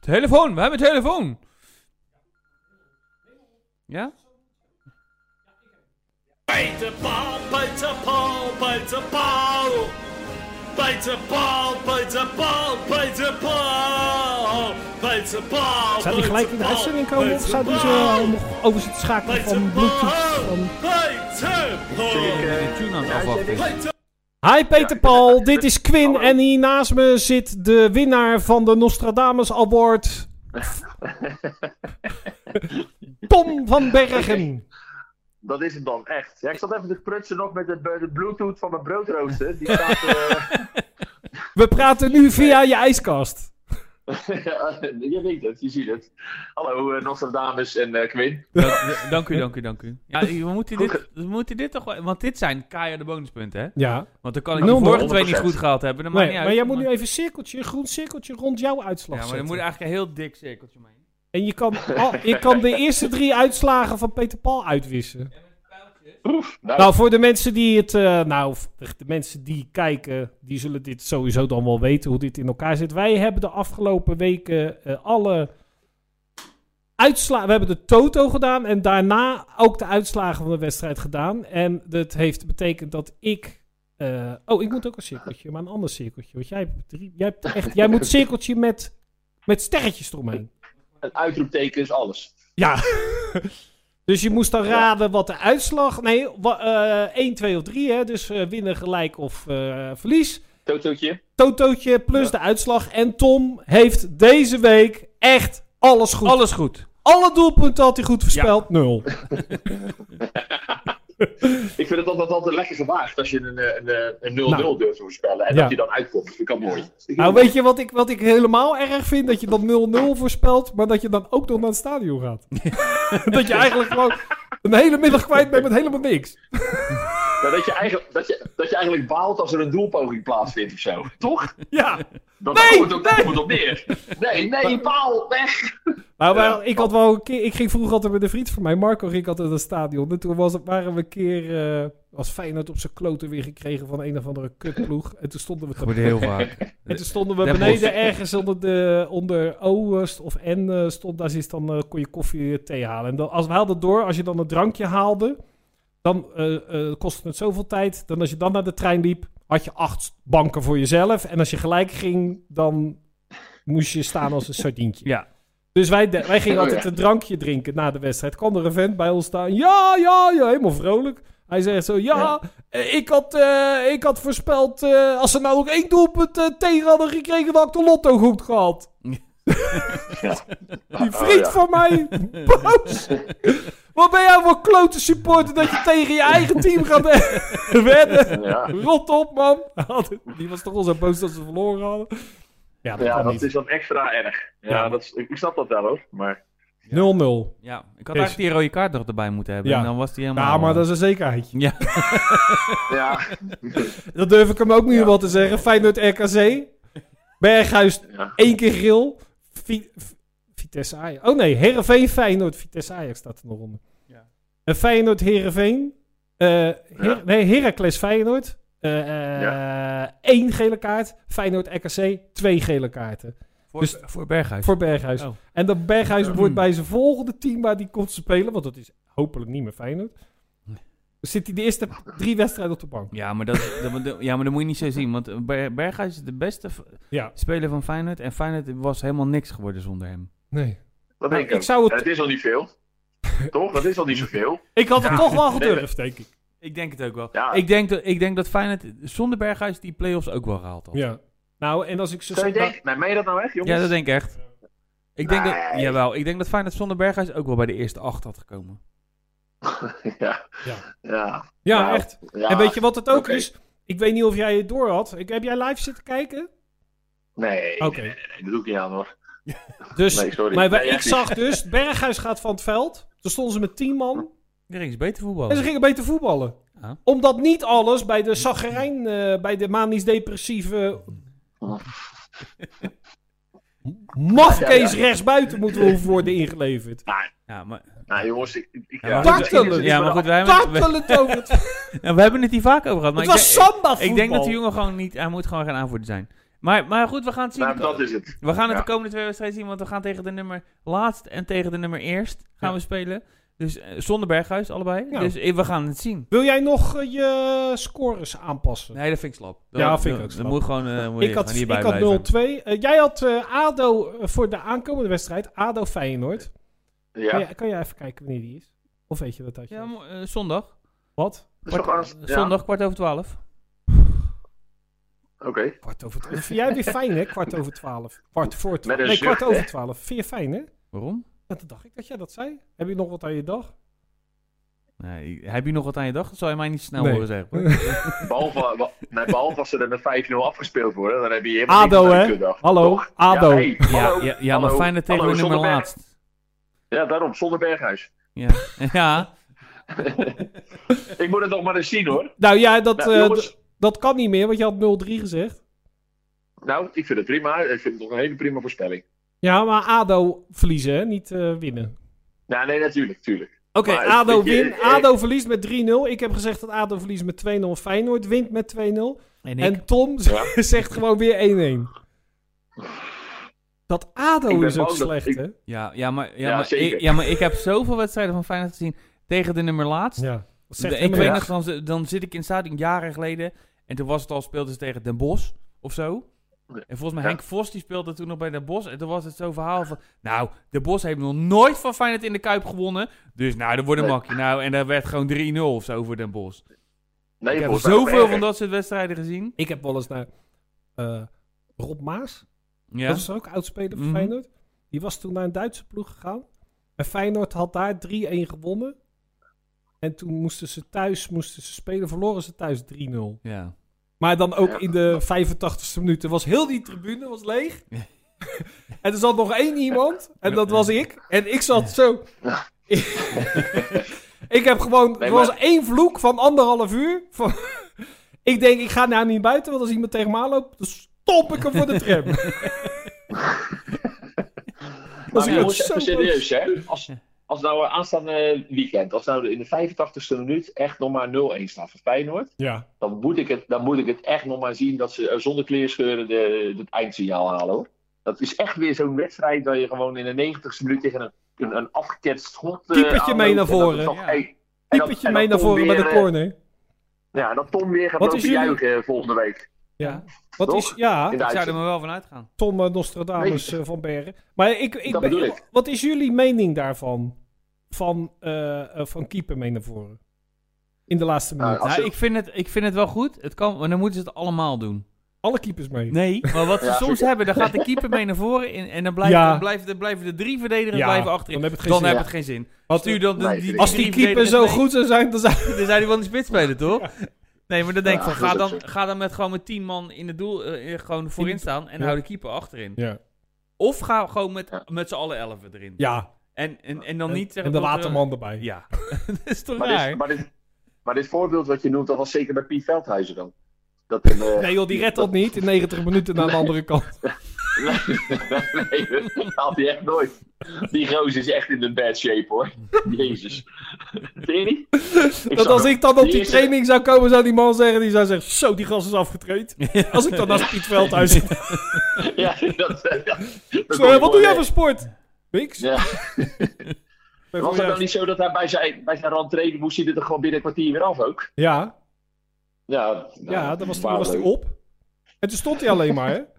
A: Telefoon, we hebben een telefoon! Ja?
C: Buitenbal, buitenbal, buitenbal. Buitenbal, buitenbal, buitenbal. Buitenbal.
B: Zou die gelijk in de
C: buitenbal,
B: uitzending komen? Of zouden ze
C: buitenbal,
B: eh, nog over zitten schakelen van Bluetooth? Van...
C: Buitenbal.
A: de tune aan het afwachten. is.
B: Hi Peter Paul, dit is Quinn en hier naast me zit de winnaar van de Nostradamus Award. Tom van Bergen.
D: Dat is het dan, echt. Ja, ik zat even te prutsen nog met de, de bluetooth van mijn
B: *laughs*
D: broodrooster. Die staat... eh, *laughs*
B: We praten nu via je ijskast.
D: ja, je weet het, je ziet het. Hallo eh, Nostradamus en eh Quinn.
A: Dank, dank u, dank u, dank u. Ja, we moeten dit, we moeten dit toch wel... Want dit zijn keiharde bonuspunten, hè?
B: Ja,
A: Want dan kan ik
B: Nul,
A: de vorige
D: nul.
A: twee niet goed gehaald hebben. Dat maakt
B: nee,
A: niet
B: maar
A: uit.
B: jij moet nu even een cirkeltje, een groen cirkeltje rond jouw uitslag
A: Ja, maar er
B: zetten.
A: moet eigenlijk een heel dik cirkeltje mee.
B: En je kan, al- je kan de eerste drie uitslagen van Peter Paul uitwissen.
D: Oef, nou,
B: Nou, voor de mensen die het. eh, nou, v- de mensen die kijken, die zullen dit sowieso dan wel weten hoe dit in elkaar zit. Wij hebben de afgelopen weken eh, alle uitslagen. We hebben de Toto gedaan en daarna ook de uitslagen van de wedstrijd gedaan. En dat heeft betekend dat ik. eh, oh, ik moet ook een cirkeltje, maar een ander cirkeltje. Want jij hebt drie. Jij, hebt echt, jij moet een cirkeltje met, met sterretjes eromheen.
D: een uitroepteken is alles.
B: Ja. dus je moest dan raden wat de uitslag. Nee, wa- eh 1, 2 of 3. Hè? Dus eh, winnen, gelijk of eh, verlies.
D: Totootje?
B: Totootje plus
D: Ja.
B: de uitslag. En Tom heeft deze week echt alles goed.
A: Alles goed.
B: Alle doelpunten had hij goed voorspeld. Nul.
D: Ik vind het altijd, altijd lekker gewaagd als je een, eh, een, eh, een 0-0
B: Nou.
D: durft te voorspellen. En
B: Ja.
D: dat je dan uitkomt. Vind ik al mooi.
B: Nou, weet je wat ik, wat ik helemaal erg vind? Dat je dan 0-0 voorspelt, maar dat je dan ook nog naar het stadion gaat. dat je eigenlijk gewoon een hele middag kwijt bent met helemaal niks.
D: Nou, dat, je eigenlijk, dat, je, dat je eigenlijk baalt als er een doelpoging plaatsvindt of zo. Toch?
B: Ja.
D: Dat
B: Nee,
D: daar komt ook, daar komt het op neer. Nee, nee, paal, weg.
B: Nou, wel,
D: Ja.
B: ik had wel een keer. Ik ging vroeger altijd met een vriend van mij, Marco, ging ik altijd naar het stadion. En toen was, het- waren we een keer. eh was Feyenoord op zijn kloten weer gekregen van een of andere kutploeg. En toen stonden we,
A: Dat wordt *laughs* heel vaak.
B: en toen stonden we
A: Den
B: beneden
A: Bosch.
B: ergens onder, de, onder O eh, st- of N eh, stond. Daar zit dan, eh, kon je koffie eh, thee halen. En dan, als we haalden door, als je dan een drankje haalde, dan eh, eh, kostte het zoveel tijd. Dan als je dan naar de trein liep, had je acht banken voor jezelf. En als je gelijk ging, dan moest je staan als een sardientje.
A: Ja.
B: Dus wij, de- wij gingen
D: Oh,
B: altijd
D: ja.
B: een drankje drinken na de wedstrijd. Kwam er een vent bij ons staan. Ja, ja, ja, helemaal vrolijk. Hij zegt zo, ja,
D: Ja.
B: eh, Ik, had, eh, ik had voorspeld... eh, als ze nou ook één doelpunt eh, tegen hadden gekregen... dan had ik de lotto goed
D: *laughs*
B: gehad. Die vriend
D: Oh, ja.
B: van
D: *laughs*
B: mij, boos. Wat ben jij voor klote supporter... dat je tegen je eigen team gaat eh, *laughs* wedden?
D: Ja.
B: Rot op, man. *laughs* Die was toch al zo boos dat ze verloren hadden. Ja, dat
D: Ja,
B: kan
D: dat
B: niet.
D: is dan extra erg. Ja,
B: Ja.
D: Dat is, ik ik snap dat wel hoor. Maar
B: 0-0.
A: Ja, ik had eigenlijk die rode kaart nog erbij moeten hebben.
B: Ja.
A: En dan was die helemaal...
B: Ja, maar dat is een zekerheidje.
A: Ja.
D: ja,
B: Dat durf ik hem ook nu
D: Ja.
B: wel te zeggen. Feyenoord RKC. Berghuis
D: Ja.
B: één keer grill. Vi- V- Vitesse Ajax. Oh nee, Herenveen Feyenoord. Vitesse Ajax staat er nog onder.
A: Ja.
B: En Feyenoord Herenveen.
D: Ja.
B: Nee, Heracles Feyenoord. Eh, eh, Één gele kaart. Feyenoord RKC. Twee gele kaarten.
A: Voor,
B: Dus-
A: voor Berghuis.
B: Voor Berghuis.
A: Oh.
B: En dat Berghuis
A: Ja.
D: Mm.
B: wordt bij zijn volgende team waar die komt spelen. Want dat is hopelijk niet meer Feyenoord. Zit hij de eerste drie wedstrijden op de bank.
A: Ja, maar dat, *laughs* dat- dat- ja, maar dat moet je niet zo zien. Want Ber- Berghuis is de beste v-
B: Ja.
A: speler van Feyenoord. En Feyenoord was helemaal niks geworden zonder hem.
B: Nee.
D: Dat
B: Nou,
D: denk ik.
B: ik zou het-
D: het... En het is al niet veel. Toch? Dat is al niet zoveel.
B: Ik had het
D: Ja.
B: toch wel gedurfd, denk ik.
A: Ik denk het ook wel.
D: Ja.
A: Ik, denk dat, ik denk dat Feyenoord zonder Berghuis die play-offs ook wel gehaald had.
B: Ja. Nou, en als ik zo...
D: Zou je denken? Nee, meen je dat nou echt, jongens?
A: Ja, dat denk ik echt. Ik denk dat,
D: Nee.
A: jawel, ik denk dat Feyenoord zonder Berghuis ook wel bij de eerste acht had gekomen.
D: *laughs* ja.
B: Ja.
D: Ja. ja.
B: Ja,
D: Nou,
B: echt. En weet je wat het ook
D: oké.
B: is? Ik weet niet of jij het door had. Ik, heb jij live zitten kijken?
D: Nee,
B: Oké.
D: nee, nee, nee, dat doe ik niet aan hoor.
B: Dus,
D: Nee, sorry.
B: Maar wij-
D: Nee,
B: ik
D: echt
B: zag dus, Berghuis gaat van het veld. Toen stonden ze met tien man.
A: Er is beter voetbal.
B: En ze gingen beter voetballen.
A: Oh. Ja.
B: Omdat niet alles bij de zaggerijn, eh, bij de manisch-depressieve... Mafkees
D: Ja,
B: rechtsbuiten moeten we hoeven worden ingeleverd.
A: Ja, maar,
D: Nou jongens, ik... ik- ik
A: ja, maar
B: dat
A: goed,
B: wil
A: we-
B: het.
A: ja, maar goed, wij hebben, we,
B: Tartelend over het...
A: nou, we hebben het hier vaak over gehad. Maar
B: Het
A: ik
B: was
A: denk-
B: samba voetbal.
A: Ik denk dat die jongen gewoon niet... Hij moet gewoon geen aanvoerder zijn. Maar, maar goed, we gaan het zien.
D: *laughs* Nou, dat is het.
A: We gaan het
D: Ja.
A: de komende twee wedstrijden zien, want we gaan tegen de nummer laatst en tegen de nummer eerst gaan
B: Ja.
A: we spelen. Dus eh, zonder Berghuis allebei.
B: Ja.
A: Dus eh, we gaan het zien.
B: Wil jij nog eh, je scores aanpassen?
A: Nee, dat vind ik slap. Dat,
B: Ja, vind ik
A: dat-
B: ook
A: Dat
B: slap.
A: moet gewoon eh, moet
B: ik had,
A: gewoon
B: ik
A: hierbij
B: had 0-2.
A: blijven.
B: Eh, jij had eh, ADO voor de aankomende wedstrijd. ADO Feyenoord.
D: Ja.
B: Kan, jij, kan jij even kijken wanneer die is? Of weet je dat dat je...
A: Ja, mo- eh, zondag.
B: Wat?
D: Dat is toch alles? Ja.
A: Zondag, kwart over twaalf.
D: Oké.
B: Kwart over twaalf. Vind jij weer fijn, hè? Kwart over twaalf. Kwart voor twaalf.
D: Met een
B: Nee, kwart
D: zucht, hè?
B: over twaalf. Vind je fijn, hè?
A: Waarom?
B: Dat dacht ik dat jij dat zei. Heb je nog wat aan je dag?
A: Nee, heb je nog wat aan je dag? Dat zal je mij niet snel
B: Nee.
A: horen zeggen. *laughs* hoor.
D: Behalve, wa- nee, behalve als ze er met 5-0 afgespeeld worden, dan heb je helemaal
B: ADO,
D: niks aan je
B: hè?
D: kutdag,
B: Hallo,
D: toch?
B: ADO.
D: Ja, hey, hallo,
A: ja, ja, ja maar
D: hallo,
A: fijn dat tegen
D: hallo,
A: de nummer
D: zonder Berg-
A: laatst.
D: Ja, daarom, zonder Berghuis.
A: Ja. *laughs* ja.
D: Ik moet het nog maar eens zien hoor.
B: Nou ja, dat,
D: Nou,
B: eh,
D: jongens.
B: d- dat kan niet meer, want je had 0-3 gezegd.
D: Nou, ik vind het prima. Ik vind het nog een hele prima voorspelling.
B: Ja, maar ADO verliezen, hè? Niet eh, winnen.
D: Nou, nee, natuurlijk, natuurlijk.
B: Oké,
D: Maar,
B: ADO,
D: weet je,
B: win,
D: eh,
B: ADO verliest met 3-0. Ik heb gezegd dat ADO verliest met 2-0. Feyenoord wint met 2-0.
A: En ik?
B: En Tom *laughs*
D: Ja.
B: zegt gewoon weer 1-1. Dat
D: Ik
B: ADO
D: ben
B: is ook
D: bang dat
B: slecht,
D: ik-
B: hè?
A: Ja, ja, maar, ja,
D: Ja,
A: maar,
D: zeker.
A: ik, ja, maar ik heb zoveel wedstrijden van Feyenoord gezien tegen de nummer laatst.
B: Ja. Dat zegt
A: De- ik
B: helemaal
A: weet
B: niks.
A: nog, dan, dan zit ik in het stadion jaren geleden. En toen was het al, speelden ze tegen Den Bosch of zo. En volgens mij
D: Ja.
A: Henk Vos die speelde toen nog bij Den Bosch. En toen was het zo'n verhaal van... Nou, Den Bosch heeft nog nooit van Feyenoord in de Kuip gewonnen. Dus nou, dat wordt een
D: Nee.
A: makkie. Nou, en daar werd gewoon 3-0 of zo voor Den Bosch.
D: Nee,
A: Ik heb
D: volgens mij nog
A: zoveel van
D: erger.
A: dat soort wedstrijden gezien.
B: Ik heb wel eens naar eh, Rob Maas,
A: Ja,
B: dat is ook oudspeler van
A: Mhm.
B: Feyenoord. Die was toen naar een Duitse ploeg gegaan. En Feyenoord had daar 3-1 gewonnen. En toen moesten ze thuis moesten ze spelen, verloren ze thuis 3-0.
A: ja.
B: Maar dan ook
D: Ja.
B: in de 85ste minuut. Er was heel die tribune was leeg. *laughs* en er zat nog één iemand. En dat was ik. En ik zat zo.
D: *laughs*
B: ik heb gewoon.
D: Nee,
B: Er was
D: maar-
B: één vloek van anderhalf uur. Van *laughs* ik denk, ik ga nou niet buiten. Want als iemand tegen me aanloopt, dan stop ik hem voor de
D: *laughs*
B: tram. *laughs*
D: Maar
B: ik
D: jongens,
B: zo
D: even
B: boos.
D: serieus hè. Als, als nou eh, aanstaande weekend, als nou in de 85ste minuut echt nog maar 0-1 staat voor Feyenoord.
B: ja.
D: dan moet ik het, dan moet ik het echt nog maar zien dat ze eh, zonder kleerscheuren de, het eindsignaal halen hoor. Dat is echt weer zo'n wedstrijd waar je gewoon in de 90ste minuut tegen een, een, een afgeketst hond. eh,
B: Keepertje
D: aanloopt
B: mee
D: en
B: naar
D: dat
B: voren.
D: het nog-
A: Ja.
D: hey, en dat-
B: Typetje
D: en
B: mee naar
D: dat Tom
B: voren bij
D: weer,
B: de
D: eh,
B: corner.
D: Ja, dat Tom weer gaat
B: Wat
D: lopen
B: is jullie-
D: juichen eh, volgende week.
B: Ja. Wat
D: toch?
B: is,
A: Ik
B: ja.
D: in de
A: zou er
D: uitzending.
A: maar wel van uitgaan.
B: Tom eh, Nostradamus
D: Nee.
B: eh, van Bergen. Maar ik, ik,
D: Dat
B: ben-
D: bedoel ik.
B: wat is jullie mening daarvan? Van, eh, eh, van keeper mee naar voren? In de laatste minuut.
D: Als
A: Nou,
D: ze-
A: ik vind het, ik vind het wel goed. Het kan, maar dan moeten ze het allemaal doen.
B: Alle keepers mee.
A: Nee, maar wat ze
D: Ja,
A: soms
D: zeker.
A: hebben, dan gaat de keeper mee naar voren in, en dan blijven,
B: Ja.
A: dan blijven, dan blijven de drie verdedigers
B: Ja,
A: blijven achterin.
B: dan heb het geen
A: dan
B: zin.
A: heb
D: Ja.
A: het geen zin.
B: Als,
A: Stuur dan de,
D: Nee,
A: die,
D: vind ik
B: als
A: drie
B: die keeper zo
A: verdedigers mee,
B: goed zou zijn, dan zou...
A: dan zou hij wel in de spits spelen, toch? Nee, maar dan denk ik
D: Ja,
A: van, ga
D: dat is
A: dan,
D: ook
A: ga dan met gewoon met tien man in het doel, eh, eh, gewoon voorin staan en
B: Ja.
A: hou de keeper achterin.
B: Ja.
A: Of ga gewoon met,
D: Ja.
A: met z'n allen elf erin.
B: ja.
A: En, en, en dan niet
B: en
A: zeggen
B: de
A: dat we-
B: waterman erbij.
A: Ja, dat is toch
D: Maar
A: raar?
D: dit, maar, dit, maar dit voorbeeld wat je noemt, dat was zeker bij Piet Veldhuizen dan. Dat een, eh,
B: Nee joh, die redt dat niet in 90 minuten naar de andere kant.
D: *laughs* nee, dat haalt hij echt nooit. Die roos is echt in de bad shape hoor. Jezus. Zie je niet? Ik
B: Dat
D: zag
B: als
D: hem.
B: ik dan op
D: Die
B: die
D: is-
B: training zou komen, zou die man zeggen, die zou zeggen, zo, die gast is
A: *laughs*
B: afgetraind. Als ik dan naast Piet Veldhuis
D: *laughs*
B: zit.
D: Ja, dat, eh, dat, dat
B: Zo, wat doe jij voor sport? Niks.
D: Ja.
B: Ben
D: Was het
B: gewoon
D: dan niet zo dat hij bij zijn, bij zijn rentree moest hij er toch gewoon binnen een kwartier weer af ook?
B: Ja,
D: Ja, nou,
B: ja, dat was, toen was
D: hij
B: hij op. En toen stond hij alleen maar. Hè?
D: *laughs*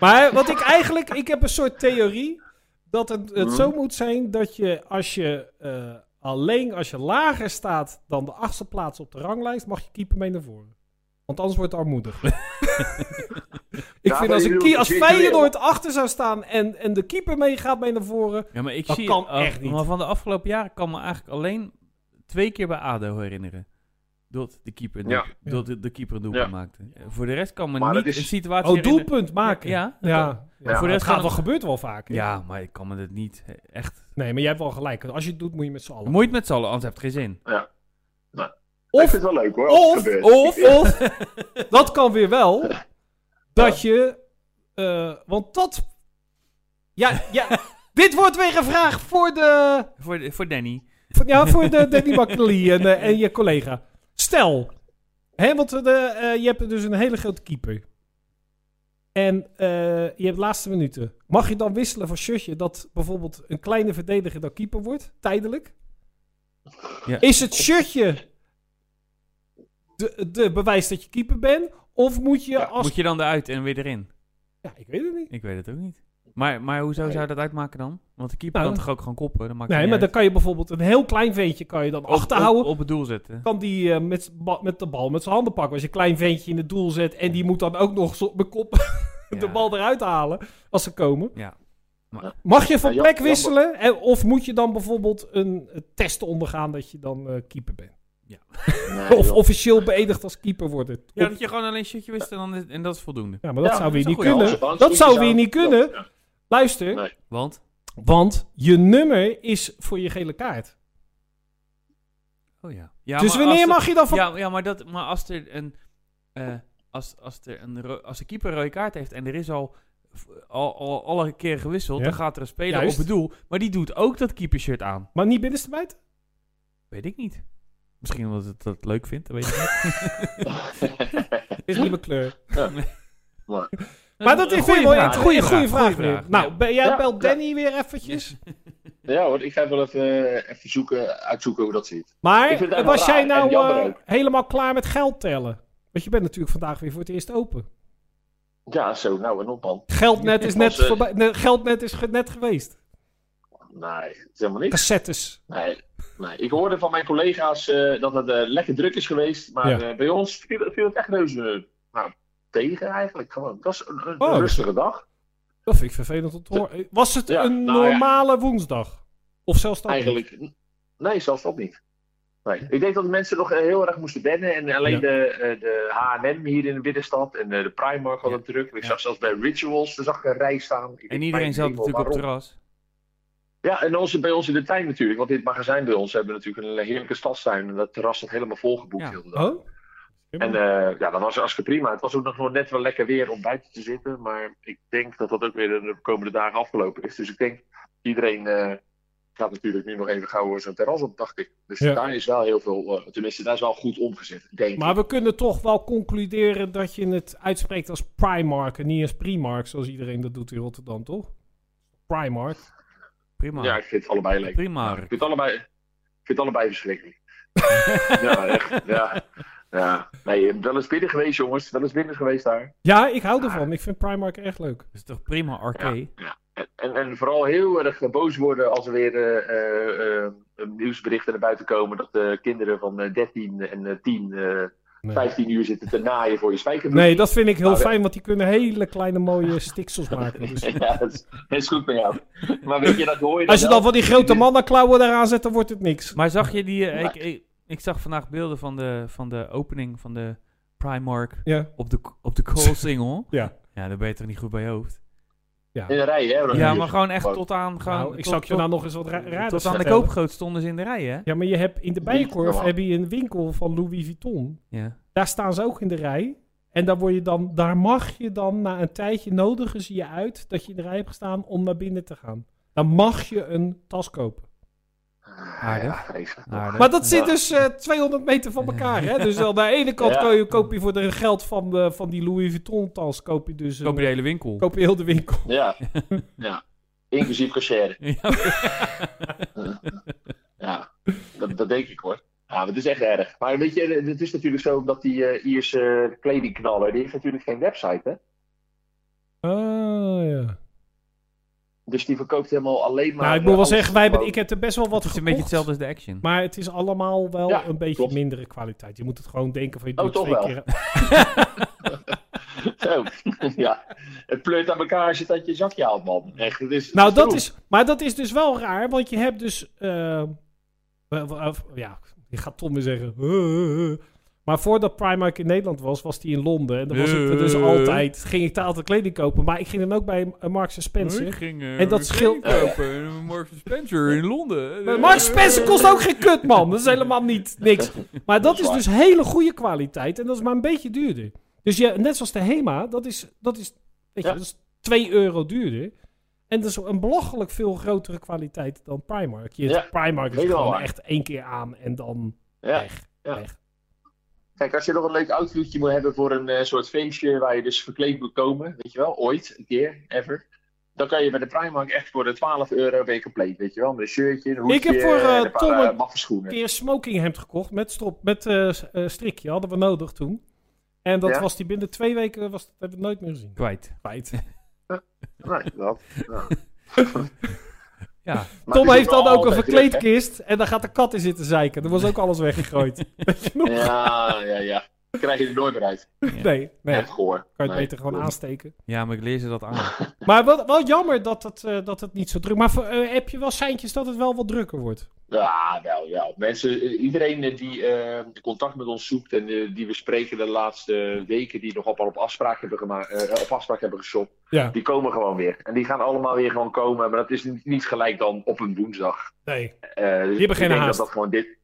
B: Maar wat ik eigenlijk, ik heb een soort theorie dat het,
D: Mhm.
B: het zo moet zijn dat je als je eh, alleen als je lager staat dan de achtste plaats op de ranglijst, mag je keeper mee naar voren. Want anders wordt het armoedig. *laughs* ik
D: Ja,
B: vind
D: maar
B: als,
D: je
B: een
D: bedoelt
B: kie- als
D: virtueel.
B: Feyenoord achter zou staan en, en de keeper meegaat mee naar voren.
A: Ja, maar ik
B: Dat
A: zie
B: kan
A: al-
B: echt niet.
A: Maar van de afgelopen jaren kan me eigenlijk alleen twee keer bij ADO herinneren. Dat de keeper een,
D: Ja.
A: doel- dat de, de keeper een doelpunt
D: Ja.
A: maakte. Eh, Voor de rest kan me
D: Maar
A: niet
D: dat is-
A: een situatie
B: Oh,
A: herinneren-
B: doelpunt maken. Ja,
A: Ja,
B: ja.
D: Ja,
A: voor de
B: dat
A: rest
B: gaat
A: kan
B: wel,
A: het-
B: gebeurt wel vaak. hè?
A: ja, maar ik kan me dat niet eh, echt...
B: Nee, maar jij hebt wel gelijk. Als je het doet, moet je met z'n allen.
A: Moeit met z'n allen, anders heb het geen zin.
D: Nou, Ik
B: Of
D: vind het wel leuk hoor. als het
B: Of,
D: gebeurt.
B: of,
D: *laughs*
B: of, dat kan weer wel, dat je, eh, want dat, ja, ja, dit wordt weer een vraag voor de,
A: Voor, de- voor Danny.
B: voor, ja, voor de Danny Makkely en, eh, en je collega. Stel, hè, want de, eh, je hebt dus een hele grote keeper. En eh, je hebt laatste minuten. Mag je dan wisselen van shirtje dat bijvoorbeeld een kleine verdediger dan keeper wordt, tijdelijk?
A: Ja.
B: Is het shirtje de, de bewijs dat je keeper bent? Of moet je als...
A: Moet je dan eruit en weer erin?
B: Ja, ik weet het niet.
A: Ik weet het ook niet. Maar, maar hoezo zou je dat uitmaken dan? Want de keeper
B: Nou,
A: kan toch ook gewoon koppen? Dat maakt
B: Nee,
A: niet
B: maar dan
A: uit.
B: kan je bijvoorbeeld een heel klein ventje kan je dan
A: Op-
B: achterhouden.
A: Op, op het doel zetten.
B: kan die eh, met, z'n ba- met de bal met zijn handen pakken. Als je een klein ventje in het doel zet en die moet dan ook nog zo- met kop *laughs* *laughs* de
A: Ja.
B: bal eruit halen als ze komen.
A: Ja.
B: Mag je van
D: Ja, Jan-
B: plek
D: Jan-
B: wisselen en, of moet je dan bijvoorbeeld een eh, test ondergaan dat je dan eh, keeper bent?
D: Nee,
B: of
D: joh.
B: officieel beëdigd als keeper worden. Op-
A: Ja, dat je gewoon alleen een shirtje wist en, dan is- en dat is voldoende.
B: Ja, maar dat
D: Ja,
B: zou weer
A: dat
B: niet
A: is een goeie.
B: kunnen.
D: Als- als
B: dat
D: je
B: zou
D: zou-
B: weer niet kunnen.
D: Ja.
B: Luister,
D: Nee.
A: Want?
B: want je nummer is voor je gele kaart.
A: Oh ja. ja
B: dus
A: maar
B: wanneer
A: als de-
B: mag je dan van...
A: Ja, ja maar, dat, maar als er een. eh, als, als, er een ro- als de keeper een rode kaart heeft en er is al. f- Al, al alle keer gewisseld,
B: Ja.
A: dan gaat er een speler
B: Juist.
A: op het doel. Maar die doet ook dat keepershirt aan.
B: Maar niet binnenstebuiten?
A: Weet ik niet. Misschien omdat het dat leuk vindt. Dat weet
D: *laughs*
A: ik niet.
B: Is niet mijn kleur. *laughs*
A: Een-
B: Maar dat
A: een
B: is weer
A: goeie
B: wel
A: vraag,
B: een goede vraag.
A: goeie
B: weer.
A: vraag,
B: Nou,
A: ja.
B: ben- jij
D: Ja,
B: belt
D: ja.
B: Danny weer eventjes.
D: *laughs* Ja hoor, ik ga wel even, eh, even zoeken, uitzoeken hoe dat zit. Ik vind het
B: Maar
D: eigenlijk
B: was
D: wel
B: jij
D: raar
B: nou
D: en jammer
B: eh,
D: ook.
B: helemaal klaar met geld tellen? Want je bent natuurlijk vandaag weer voor het eerst open.
D: Ja, zo, nou en op man.
B: Geldnet is net,
D: Was, eh,
B: voorbij, ne- geldnet is ge- net geweest.
D: Nee, het is helemaal niks.
B: Cassettes.
D: Nee, nee. Ik hoorde van mijn collega's eh, dat het eh, lekker druk is geweest. Maar
B: Ja.
D: eh, bij ons viel, viel het echt reuze eh, nou, tegen eigenlijk. Gewoon. Het was een, een
B: Oh.
D: rustige dag.
B: Dat vind ik vervelend om te horen. Was het
D: Ja,
B: een
D: nou ja.
B: normale woensdag? Of zelfs dat? niet?
D: Eigenlijk. Nee, zelfs dat niet. Nee. Ik denk dat de mensen nog eh, heel erg moesten wennen. En alleen
B: Ja.
D: de, eh, de H&M hier in de binnenstad en eh, de Primark hadden het druk. Ik
A: Ja.
D: zag zelfs bij Rituals, daar zag ik een rij staan. Ik
A: En
D: denk,
A: iedereen
D: mijn
A: zat
D: hemel,
A: natuurlijk op het
D: waarom?
A: terras.
D: Ja, en onze, bij ons in de tuin natuurlijk. Want dit magazijn bij ons hebben we natuurlijk een heerlijke stadstuin. En dat terras zat helemaal volgeboekt
A: Ja.
D: heel de dag.
B: Oh?
D: En eh, ja, dat was hartstikke prima. Het was ook nog wel net wel lekker weer om buiten te zitten. Maar ik denk dat dat ook weer de komende dagen afgelopen is. Dus ik denk, iedereen eh, gaat natuurlijk nu nog even gauw eh, zo'n terras op, dacht ik. Dus
B: Ja.
D: daar is wel heel veel, eh, tenminste, daar is wel goed omgezet, denk
B: maar
D: ik.
B: we kunnen toch wel concluderen dat je het uitspreekt als Primark en niet als Primark, zoals iedereen dat doet in Rotterdam, toch? Primark.
A: Prima.
D: Ja, ik vind het allebei leuk.
A: Prima.
D: Ik vind het allebei, ik vind het allebei verschrikkelijk. ja, echt. Ja. Ja. Nee, wel eens binnen geweest, jongens. Wel eens binnen geweest daar.
B: Ja, ik hou ervan. Ik vind Primark echt leuk.
A: Dat is toch prima arcade?
D: En, en, en vooral heel erg eh, boos worden als er weer eh, eh, eh, nieuwsberichten naar buiten komen dat eh, kinderen van eh, 13 en eh, 10, eh,
B: Nee.
D: 15 uur zitten te naaien voor je spijkerbroek.
B: Nee, dat vind ik heel
D: Nou, dat-
B: fijn, want die kunnen hele kleine mooie
D: *laughs*
B: stiksels maken. Dus
D: Ja, dat is, dat is goed bij jou. Maar weet je, dat hoor je
B: als je dan
D: wel.
B: van die grote mannenklauwen eraan zet, dan wordt het niks.
A: Maar zag je die... eh,
D: Maar-
A: ik, ik, ik zag vandaag beelden van de, van de opening van de Primark
B: Ja,
A: op de, op de
B: *laughs*
A: Cool Single.
B: ja.
A: Ja, dan ben je toch niet goed bij je hoofd?
D: in de rij, hè? Ronald?
A: Ja, maar gewoon echt
D: Wow.
A: tot aan... Gewoon,
B: Nou, ik
A: tot-
B: zou ik je
A: tot-
B: nou nog eens wat ra raar
A: Tot aan de
B: vertellen.
A: koopgoot stonden ze in de rij, hè?
B: Ja, maar je hebt in de Bijenkorf
D: Ja.
B: heb je een winkel van Louis Vuitton.
A: Ja.
B: Daar staan ze ook in de rij. En daar, word je dan, daar mag je dan na een tijdje nodigen ze je uit dat je in de rij hebt gestaan om naar binnen te gaan. Dan mag je een tas kopen.
D: Ah,
A: Aardig.
D: ja, vreselijk.
A: Aardig.
B: Maar dat zit dus eh, 200 meter van elkaar. Hè? Dus aan de ene kant
D: Ja.
B: ko- koop, je voor de geld van, de, van die Louis Vuitton tas koop je dus een,
A: Koop je de hele winkel. *laughs*
B: koop je heel de winkel.
D: Ja, ja. inclusief cashier. Ja, dat, dat denk ik hoor. Ja, maar het is echt erg. Maar weet je, het is natuurlijk zo dat die eh, Ierse kledingknaller, die heeft natuurlijk geen website hè.
B: Ah, ja.
D: Dus die verkoopt helemaal alleen maar...
B: nou, ik moet wel
D: alles
B: zeggen, wij hebben,
D: gewoon-
B: ik heb er best wel wat
A: Het is een beetje
B: gekocht.
A: hetzelfde als de action.
B: Maar het is allemaal wel
D: Ja,
B: een beetje
D: klopt.
B: mindere kwaliteit. Je moet het gewoon denken van je
D: Oh,
B: doet
D: toch
B: twee
D: wel.
B: keer.
D: Zo, *laughs* ja. Het pleurt aan elkaar als je het uit je zakje haalt, man. Echt, het is...
B: Nou, dat
D: troef.
B: is, maar dat is dus wel raar, want je hebt dus. eh, wel- wel- of- ja, je gaat Tom weer zeggen. *laughs* "Huh, huh, huh." Maar voordat Primark in Nederland was, was die in Londen. En dan was ik er dus
A: Eh.
B: altijd. Ging ik daar altijd kleding kopen. Maar ik ging dan ook bij eh, Marks Spencer. En dat scheelt-
A: kopen. Mark Spencer in Londen.
B: Maar Marks Eh, Spencer kost ook geen kut, man. Dat is helemaal niet niks. Maar dat,
D: Dat is
B: is
D: waar.
B: dus hele goede kwaliteit. En dat is maar een beetje duurder. Dus ja, net zoals de HEMA, dat is, dat is, weet je,
D: Ja.
B: dat is 2 euro duurder. En dat is een belachelijk veel grotere kwaliteit dan Primark. Je,
D: Ja,
B: Primark is
D: helemaal
B: gewoon
D: waar.
B: echt één keer aan en dan
D: Ja.
B: weg.
D: ja.
B: weg.
D: Kijk, als je nog een leuk outfitje moet hebben voor een eh, soort feestje waar je dus verkleed moet komen, weet je wel, ooit, een keer, ever. Dan kan je bij de Primark echt voor de 12 euro weer compleet, weet je wel. Met een shirtje, een hoedje,
B: Ik heb voor, eh,
D: en een paar
B: Tom
D: eh,
B: een
D: maffe schoenen.
B: Een keer smokinghemd gekocht met, strop, met eh, s- eh, strikje. Hadden we nodig toen. En dat
D: Ja.
B: was die binnen twee weken, was, dat hebben we nooit meer gezien.
A: Kwijt.
B: Feit.
D: Nee, dat.
B: *laughs*
D: ja.
A: Ja.
D: Maar
B: Tom
D: het is
B: heeft dan
D: wel
B: ook een
D: altijd druk, hè?
B: verkleedkist en daar gaat de kat in zitten zeiken. Er was ook alles
A: *laughs*
B: weggegooid. Weet je nog?
D: Ja, ja, ja. Dan krijg je er nooit meer uit.
B: Nee, nee.
D: Echt gehoor.
B: Kan je het
D: Nee.
B: beter gewoon aansteken.
A: ja, maar ik leer ze dat aan.
B: Maar wel, wel jammer dat het, eh, dat het niet zo druk... Maar voor- eh, heb je wel seintjes dat het wel wat drukker wordt?
D: Ja, wel, wel. Mensen, eh, iedereen eh, die eh, contact met ons zoekt en eh, die we spreken de laatste weken, die nog op, op, afspraak hebben gemaakt, eh, op afspraak hebben geshopt,
B: Ja.
D: die komen gewoon weer. En die gaan allemaal weer gewoon komen, maar dat is niet, niet gelijk dan op een woensdag.
B: Nee.
D: Eh, dus
B: geen
D: ik denk
B: haast.
D: Dat, dat, gewoon dit,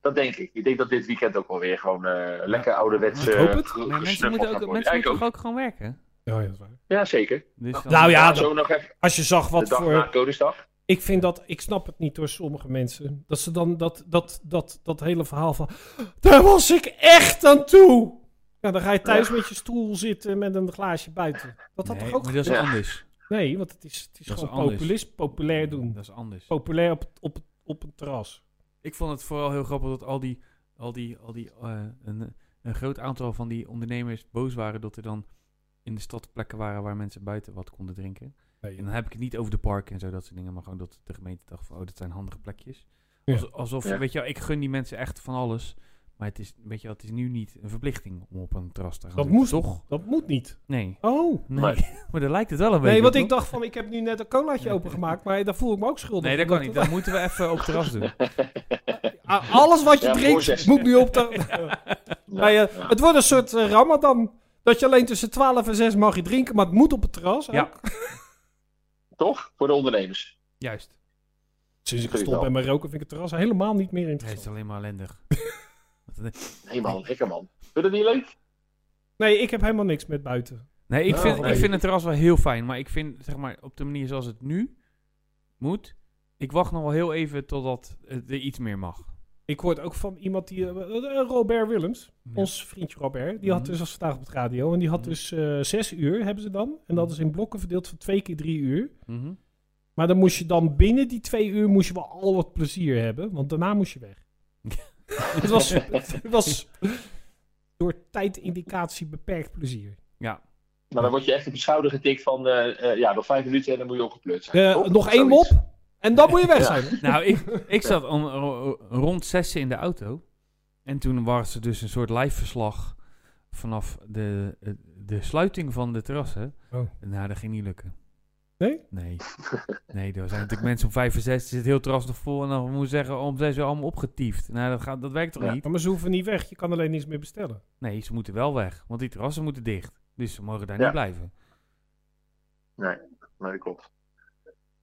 D: dat denk ik. Ik denk dat dit weekend ook wel weer gewoon eh, lekker ouderwets
B: Ik
D: eh,
B: hoop het.
D: ge-
A: Maar mensen
D: gesnuffeld
A: moeten,
D: gaat
A: ook,
D: worden.
A: mensen
D: Ja, ik
A: moeten toch
D: ook.
A: ook gewoon werken?
B: Ja, ja, dat is waar.
D: Ja, zeker.
A: Dus dan-
B: Nou ja, dat-
D: Zo nog even
B: als je zag
D: de
B: wat
D: dag na
B: voor...
D: Koningsdag.
B: Ik vind dat... Ik snap het niet door sommige mensen. Dat ze dan dat, dat, dat, dat hele verhaal van... Daar was ik echt aan toe! Ja, dan ga je thuis met je stoel zitten met een glaasje buiten. Dat had
A: Nee,
B: toch ook...
A: maar dat is
D: Ja.
A: anders.
B: Nee, want het is, het is
A: Dat is
B: gewoon
A: anders.
B: populist. Populair doen.
A: Dat is anders.
B: Populair op, het- op, het- op een terras.
A: Ik vond het vooral heel grappig dat al die, al die, al die eh, een, een groot aantal van die ondernemers boos waren dat er dan in de stad plekken waren waar mensen buiten wat konden drinken. En dan heb ik het niet over de parken en zo, dat soort dingen, maar gewoon dat de gemeente dacht van, oh, dat zijn handige plekjes.
B: Ja.
A: Als- alsof,
D: Ja.
A: weet je wel, ik gun die mensen echt van alles, maar het is, weet je wel, het is nu niet een verplichting om op een terras te gaan
B: Dat
A: zitten,
B: moet.
A: toch?
B: Dat moet niet.
A: Nee.
B: Oh.
A: Nee,
D: Maar-
A: *laughs* maar daar lijkt het wel een beetje
B: Nee, want
A: op,
B: ik
A: toch?
B: dacht van, ik heb nu net een colaatje opengemaakt, maar daar voel ik me ook schuldig.
A: Nee, dat
B: voor.
A: kan niet. Dat moeten we even op het terras doen.
B: *laughs* A- Ah, Alles wat je
D: Ja,
B: drinkt
D: voorzes.
B: moet nu op de...
D: Nou
B: Maar, eh, Het wordt een soort eh, ramadan. Dat je alleen tussen 12 en 6 mag je drinken, maar het moet op het terras.
A: Ja.
B: ook.
D: Toch? Voor de ondernemers.
A: Juist.
B: Sinds ik
D: Vind ik
B: gestopt
D: wel.
B: ben met roken vind ik het terras helemaal niet meer
A: Nee, het is
B: interessant.
A: alleen maar ellendig. Wat een-
D: Nee man, lekker man. Vind je dat niet leuk?
B: Nee, ik heb helemaal niks met buiten.
A: Nee, ik
D: Ja,
A: vind,
D: nee.
A: ik vind het terras wel heel fijn. Maar ik vind, zeg maar, op de manier zoals het nu moet... Ik wacht nog wel heel even totdat het er iets meer mag.
B: Ik hoorde ook van iemand die... eh, eh, Robert Willems, ons vriendje Robert, die had
A: Mhm.
B: dus als vandaag op het radio. En die had
A: Mhm.
B: dus eh, zes uur, hebben ze dan. En dat is in blokken verdeeld van twee keer drie uur.
A: Mhm.
B: Maar dan moest je dan binnen die twee uur moest je wel al wat plezier hebben, want daarna moest je
A: *laughs*
B: weg. het, was, het was door tijdindicatie beperkt plezier.
A: Ja.
D: Maar Nou, dan word je echt op je schouder getikt van, eh, eh, ja, nog vijf minuten en dan moet je opgepleurd zijn.
B: Eh,
D: Toch?
B: nog één mop
D: Oh, Zoiets.
B: en dan moet je weg
D: Ja.
B: zijn.
A: Nou, ik, ik zat om, ro- rond zessen in de auto. En toen was er dus een soort live verslag vanaf de, de sluiting van de terrassen.
B: Oh.
A: Nou, dat ging niet lukken.
B: Nee?
A: Nee. Nee, er zijn natuurlijk mensen om vijf en zes, zit heel terras nog vol. En dan moet je zeggen, oh, om zes uur allemaal opgetiefd. Nou, dat, gaat, dat werkt toch
D: Ja.
A: niet?
B: Maar ze hoeven niet weg, je kan alleen niks meer bestellen.
A: Nee, ze moeten wel weg, want die terrassen moeten dicht. Dus ze mogen daar
D: Ja.
A: niet blijven.
D: Nee, dat klopt.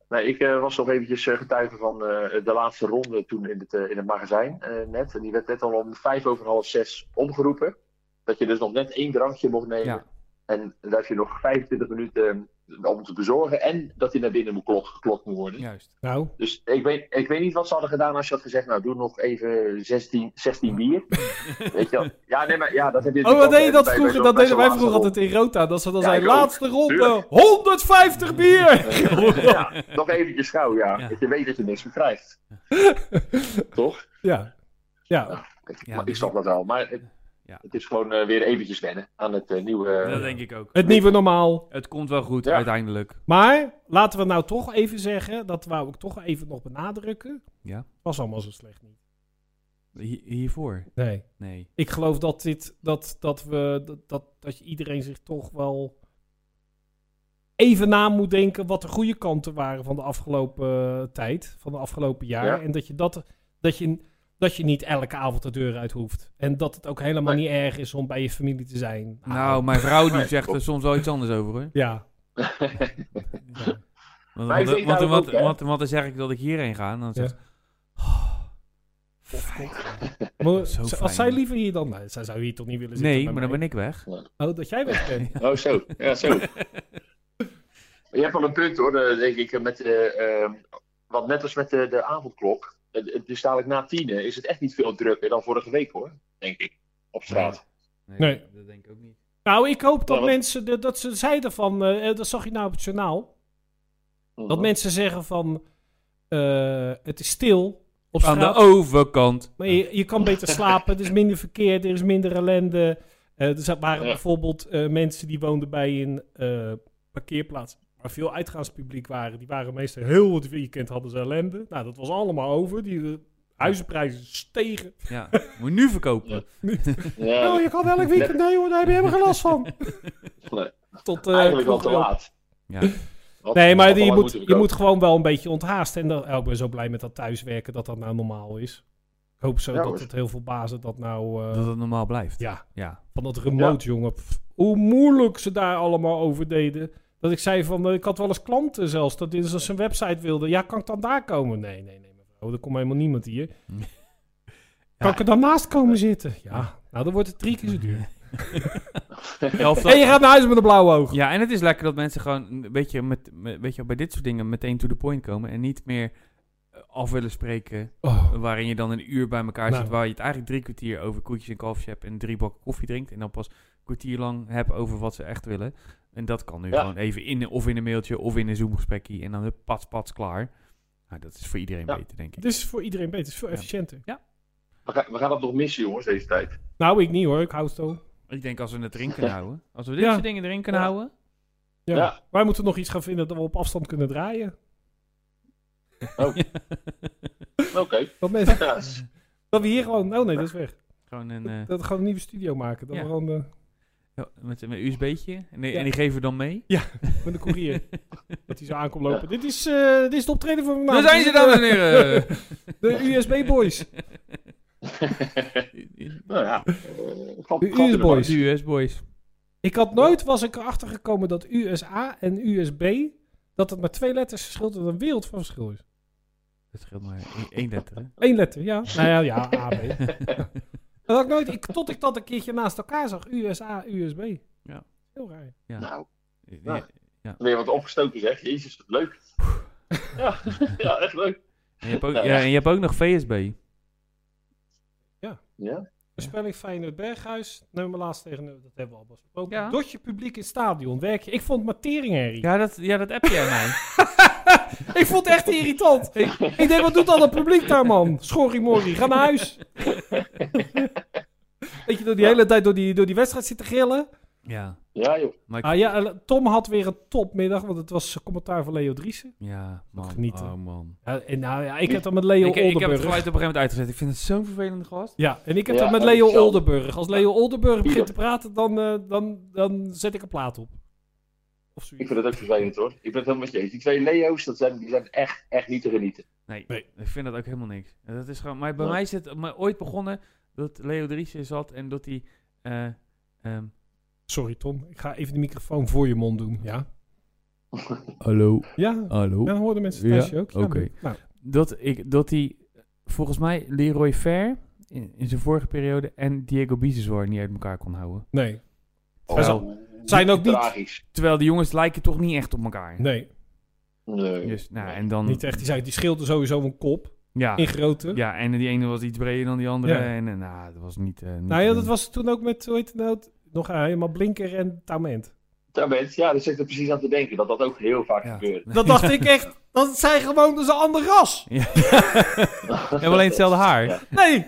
D: Nee, ik eh, was nog eventjes eh, getuige van eh, de laatste ronde toen in het, eh, in het magazijn eh, net. En die werd net al om vijf over half zes omgeroepen. dat je dus nog net één drankje mocht nemen.
A: Ja.
D: En dat je nog 25 minuten eh, om te bezorgen. En dat hij naar binnen moet klok- geklokt moet worden.
A: Juist.
B: Nou,
D: Dus ik weet, ik weet niet wat ze hadden gedaan als je had gezegd, nou doe nog even 16,
B: *laughs*
D: 16 bier. weet je wel. Ja, nee, maar ja, dat heb
B: Oh,
D: je
B: wat
D: natuurlijk
B: deed je dat
D: altijd bij- bij
B: vroeger?
D: zo'n-
B: Dat
D: bij
B: deden
D: zo'n
B: wij vroeger
D: laatste
B: altijd in Rota. Dat ze dan
D: Ja,
B: zijn
D: ik ook.
B: laatste ronde,
D: Tuurlijk.
B: 150 eh,
D: *laughs*
B: bier!
D: ronde. ja, nog eventjes gauw, ja.
A: Ja.
D: Dat Je weet dat je niks meer krijgt. Toch?
B: Ja, ja.
D: Ik,
A: Ja,
D: maar ik
A: dus
D: snap dat wel. Maar het,
A: Ja.
D: het is gewoon eh, weer eventjes wennen aan het eh, nieuwe...
A: dat denk ik ook.
B: het nieuwe normaal.
A: Het komt wel goed
D: Ja.
A: uiteindelijk.
B: Maar laten we nou toch even zeggen, dat wou ik toch even nog benadrukken.
A: Ja.
B: Was allemaal zo slecht niet.
A: Hi- hiervoor?
B: Nee.
A: Nee.
B: Ik geloof dat dit, dat, dat we, dat, dat, dat je iedereen zich toch wel even na moet denken wat de goede kanten waren van de afgelopen eh, tijd, van de afgelopen jaar.
D: Ja.
B: En dat je dat, dat je, dat je niet elke avond de deur uit hoeft. En dat het ook helemaal
D: Nee.
B: niet erg is om bij je familie te zijn.
A: Nou, mijn vrouw die
D: Nee,
A: zegt er
D: klopt.
A: soms wel iets anders over hoor.
B: Ja.
A: Ja. Want,
D: Maar ik
A: want, want,
D: weet namelijk
A: want,
D: ook, hè.
A: want- want dan zeg ik dat ik hierheen ga en dan zegt Oh, ze,
B: Maar
A: *laughs* Zo
B: z-
A: fijn.
B: als zij liever hier dan... Nee, zij zou hier toch niet willen zitten
A: nee, maar dan ben ik weg.
B: Oh, dat jij weg
A: *laughs*
B: bent.
D: *laughs* Oh, zo. Ja, zo. je hebt wel een punt hoor, eh, denk ik. Met, eh, ehm, want net als met de, de avondklok, eh, eh, dus dadelijk na tienen, is het echt niet veel drukker dan vorige week hoor, denk ik. Op straat.
B: Nee.
A: dat denk ik ook niet.
B: Nou, ik hoop dat
D: Ja, wat-
B: mensen... de- Dat ze zeiden van... eh, dat zag je nou op het journaal. Dat
D: Mhm.
B: mensen zeggen van... eh, het is stil op
A: Aan de
B: straat.
A: overkant.
B: Maar je, je kan
D: *laughs*
B: beter slapen. Het is minder verkeerd. Er is minder ellende. Eh, er za- waren
D: Ja.
B: bijvoorbeeld eh, mensen die woonden bij een eh, parkeerplaats... waar veel uitgaanspubliek waren. Die waren meestal heel het weekend hadden ze ellende. Nou, dat was allemaal over. Die eh, huizenprijzen stegen.
A: Ja, moet je nu verkopen.
D: Ja,
B: Oh, je kan elk weekend. Nee hoor, daar heb je helemaal geen last van.
D: *laughs* nee,
B: Tot, eh,
D: eigenlijk wel
B: vroeg
D: te
B: wel.
D: laat.
A: Ja.
D: Had-
B: Nee,
D: had
B: maar die-
D: al
B: je,
D: lang
B: moet,
D: moeten
B: je moet
D: verkopen.
B: gewoon wel een beetje onthaasten. En dan, oh, ik ben zo blij met dat thuiswerken dat dat nou normaal is. Ik hoop zo
D: Ja,
B: dat
D: hoor.
B: het heel veel bazen dat nou... eh,
A: Dat het normaal blijft.
B: ja,
A: Ja.
B: van dat remote, jongen. Pff, hoe moeilijk ze daar allemaal over deden. Dat ik zei van, eh, ik had wel eens klanten zelfs, dat dit als een website wilde. Ja, kan ik dan daar komen? Nee, nee, nee, mevrouw, er komt helemaal
A: *laughs*
B: niemand hier.
A: Ja.
B: Kan ik er dan naast komen zitten? Ja, nou dan wordt het drie keer zo
A: *laughs*
B: duur.
A: Elf-
B: En je gaat naar huis met een blauwe oog.
A: Ja, en het is lekker dat mensen gewoon een beetje met, met- weet je, bij dit soort dingen meteen to the point komen en niet meer eh, af willen spreken
B: Oh.
A: waarin je dan een uur bij elkaar
B: Nou.
A: zit waar je het eigenlijk drie kwartier over koekjes en kalfjes hebt en drie bakken koffie drinkt en dan pas een kwartier lang hebt over wat ze echt willen. En dat kan nu
D: Ja.
A: gewoon even in, of in een mailtje of in een Zoom gesprekje en dan hup, pats, pats, klaar. Nou, dat is voor iedereen
D: Ja.
A: beter, denk ik.
B: Het is voor iedereen beter, het is veel
A: Ja.
B: efficiënter.
D: We gaan, we gaan dat nog missen, jongens, deze tijd.
B: Nou, ik niet hoor, ik hou het zo.
A: Ik denk als we het erin kunnen houden, als we dit
B: Ja.
A: soort dingen erin kunnen
D: Ja.
A: houden,
B: Ja.
D: Ja.
B: Wij moeten nog iets gaan vinden dat we op afstand kunnen draaien.
D: Oké.
B: Dat, mensen,
D: *laughs*
B: *laughs*
D: Ja, s-
B: dat we hier gewoon... Oh nee, dat is weg.
A: gewoon
B: Dat,
A: een, eh,
B: dat we gewoon een nieuwe studio maken. Dat
A: Ja.
B: we gewoon eh,
A: ja, met, met een USB'tje en, die-
B: Ja.
A: en die geven we dan mee.
B: met een courier.
A: *laughs*
B: dat hij zo aankomt lopen. Dit, is, eh, dit is de optreden van vandaag.
A: Daar zijn ze,
D: *laughs*
A: dames en heren!
B: *laughs* De USB Boys.
D: *laughs* nou ja. eh, gat-
B: U-
D: gat in de
B: Boys.
D: markt.
A: US Boys.
B: Ik had nooit, was ik erachter gekomen dat USA en USB, dat het maar twee letters verschilt en een wereld van verschil is.
A: Dat scheelt maar één- één letter, hè?
B: Eén letter,
A: *laughs*
B: ja. Nou ja, ja, AB. *laughs* dat had ik nooit, ik, tot ik dat een keertje naast elkaar zag. USA, USB.
A: Ja.
B: Heel raar.
D: Nou,
A: Ja.
D: weer wat opgestoken zeg. Jezus, wat leuk. Ja, ja, echt leuk.
A: En je hebt ook,
D: Nou,
A: ja,
D: ja.
A: en je hebt ook nog VSB.
D: Ja.
B: Voorspelling Feyenoord Berghuis. Nummer laatst tegen nummer, dat hebben we al besproken.
A: Ja.
B: Dodge je publiek in het stadion. Werk je. Ik vond het maar teringherrie.
A: Ja, dat, ja, dat app jij mij.
B: Ik vond het echt irritant. Ik, ik denk, wat doet al dat publiek daar, man? Schorrimorrie, ga naar
A: *laughs*
B: huis. Weet je, door die hele tijd door die, door die wedstrijd zitten gillen.
A: *laughs* Ja.
D: Ja, joh.
A: Maar ik-
B: Ah ja, eh, Tom had weer een topmiddag, want het was eh, commentaar van Leo Driessen.
A: ja, man.
B: genieten.
A: Oh, man.
B: Ja, en nou ja, ik heb dat met Leo
A: Ik, ik heb het
B: Oldenburg.
A: geluid op een gegeven moment uitgezet. Ik vind het zo'n vervelende gast.
B: ja, en ik heb
D: Ja,
B: dat met
D: dat
B: Leo
D: is zo.
B: Oldenburg. Als Leo Oldenburg begint
D: Ieder.
B: te praten, dan, eh, dan, dan zet ik een plaat op. Of
D: Ik
B: zoiets.
D: vind het ook vervelend hoor. Ik ben het helemaal met je eens. Die twee Leo's, dat zijn, die zijn echt, echt niet te genieten.
A: Nee,
B: Nee.
A: ik vind dat ook helemaal niks. En Dat is gewoon, maar bij
D: Nee.
A: mij is het maar ooit begonnen dat Leo Driessen zat en dat hij... eh, ehm,
B: Sorry, Tom. Ik ga even de microfoon voor je mond doen. Ja,
A: Oh, hallo,
B: ja.
A: hallo.
B: ja hoorden mensen
A: Oh. Ja,
B: thuis je ook. Ja,
A: oké.
B: Nou,
A: Dat, ik, dat hij, volgens mij, Leroy Fair in, in zijn vorige periode en Diego Biseswar niet uit elkaar kon houden.
B: Nee,
D: Oh,
B: Hij zal-
D: *laughs*
B: zijn ook niet-
D: Tragisch.
A: Terwijl de jongens lijken toch niet echt op elkaar.
B: nee.
D: Nee.
A: Dus, nou, en dan,
B: Niet echt. Die, zei, die scheelde sowieso een kop
A: ja,
B: in grootte.
A: ja, en die ene was iets breder dan die andere.
B: Ja.
A: En, eh, nou, dat was niet... eh, niet
B: Nou
A: te
B: ja,
A: doen.
B: dat was toen ook met, hoe heet het nou, nog eh, helemaal Blinker en
A: *laughs*
B: Tament.
D: Daar ben ja, daar zit ik er precies aan te denken. Dat dat ook heel vaak
A: Ja.
D: gebeurt.
B: Dat dacht ik echt, dat zijn gewoon, dat is een ander ras.
A: We hebben alleen hetzelfde haar.
D: Ja.
B: Nee,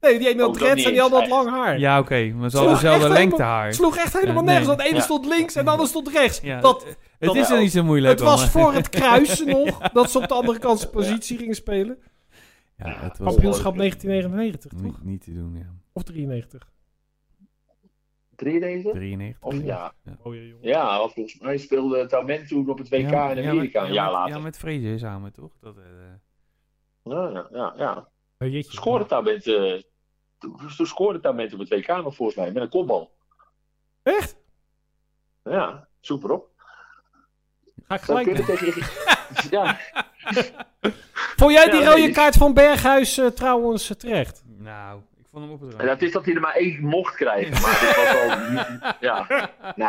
B: nee die ene
D: Ook
B: had
D: dat
B: dreads
D: niet
B: en die
D: eens,
B: andere had lang haar.
A: Ja, oké. maar ze
B: Sloeg
A: hadden dezelfde
B: echt
A: lengte
B: helemaal-
A: haar.
B: sloeg echt helemaal
A: Ja,
B: nergens,
A: nee.
B: want de ene
D: Ja.
B: stond links en de andere stond rechts.
A: Ja,
B: dat,
A: het is
D: dat-
A: er niet zo moeilijk eh,
B: het was
A: allemaal.
B: voor het *laughs* kruisen nog, dat ze op de andere kant zijn positie gingen spelen.
A: *laughs* Ja, het was
B: Kampioenschap 1999, toch?
A: niet, niet te doen, ja.
B: Of 93.
D: Drie deze?
A: 93.
D: Of ja.
B: Mooie jongen.
D: Ja, want volgens mij speelde Taumen toen op het WK
A: Ja,
D: in
A: ja,
D: Amerika
A: met-
D: een
A: ja,
D: jaar
A: met-
D: later.
A: Ja, met Fraser samen, toch? Dat, eh,
D: Ja, ja, ja. ja.
B: Oh, jeetje.
D: Scoorde Taument, eh, toen, toen scoorde Taument op het WK nog volgens mij met een kopbal.
B: Echt?
D: Ja, super op.
B: Ga ik
D: Zou
B: gelijk.
D: kunnen tegen... *laughs* ja,
B: Vond jij die
D: Ja,
B: rode
D: nee, die-
B: kaart van Berghuis eh, trouwens eh, terecht?
A: nou, ik vond hem
D: en
A: opgedragen.
D: dat is dat hij er maar één mocht krijgen. Maar dit was al... Ja.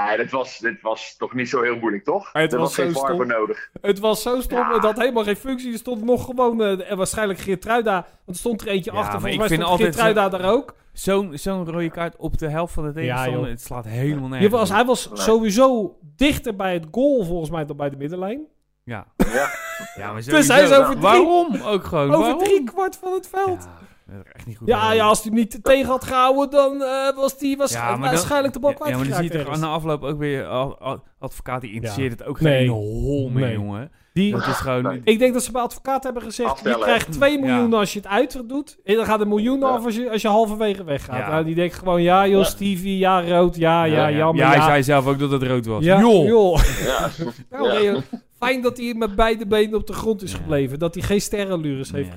D: Nee, dit was, dit was toch niet zo heel moeilijk, toch?
B: Maar het
D: er
B: was
D: was, geen
B: zo
D: VAR voor
B: stom.
D: nodig.
B: Het was zo stom,
D: Ja.
B: het had helemaal geen functie. Er stond nog gewoon, eh, en waarschijnlijk Geertruida, want er stond er eentje
A: Ja,
B: achter.
A: maar
B: Volgens
A: ik
B: mij
A: vind
B: stond
A: altijd
B: Geertruida daar ook.
A: Zo'n zo'n rode kaart op de helft van de tegenstander,
B: joh.
A: het slaat helemaal
B: Je
A: nergens.
B: was,
A: op.
B: hij was
D: Nee.
B: sowieso dichter bij het goal, volgens mij, dan bij de middenlijn.
A: Ja.
D: Ja.
A: ja, maar
B: *laughs* Dus hij is
A: sowieso.
B: over drie-
A: Waarom ook gewoon?
B: Over
A: waarom?
B: drie kwart van het veld.
A: Ja, dat is echt niet goed.
B: Ja, ja, als hij hem niet tegen had gehouden, dan eh, was hij was
A: Ja, maar dan-
B: waarschijnlijk de bal
A: Ja, maar dan
B: kwijtgeraakt.
A: zie je toch
B: ergens.
A: aan de afloop ook weer al- al- advocaat die interesseert het ook
B: Nee.
A: geen hol meer,
B: Nee.
A: jongen.
B: Die,
A: Dat is gewoon...
D: Nee.
B: ik denk dat ze bij advocaat hebben gezegd, je
D: Aftellen.
B: krijgt 2
A: Ja.
B: miljoen als je het uit doet. En dan gaat een miljoen
D: Ja.
B: af als je, als je halverwege weggaat.
A: Ja.
B: Nou, die denkt gewoon, ja joh,
D: Ja.
B: Stevie, ja rood, ja, ja, jammer,
A: Ja,
B: ja.
A: hij zei zelf ook dat het rood was.
B: Ja,
A: Joh.
B: joh.
D: Ja.
B: *laughs* Nou, nee, joh. Fijn dat hij met beide benen op de grond is
A: Ja.
B: gebleven. Dat hij geen sterrenlures heeft.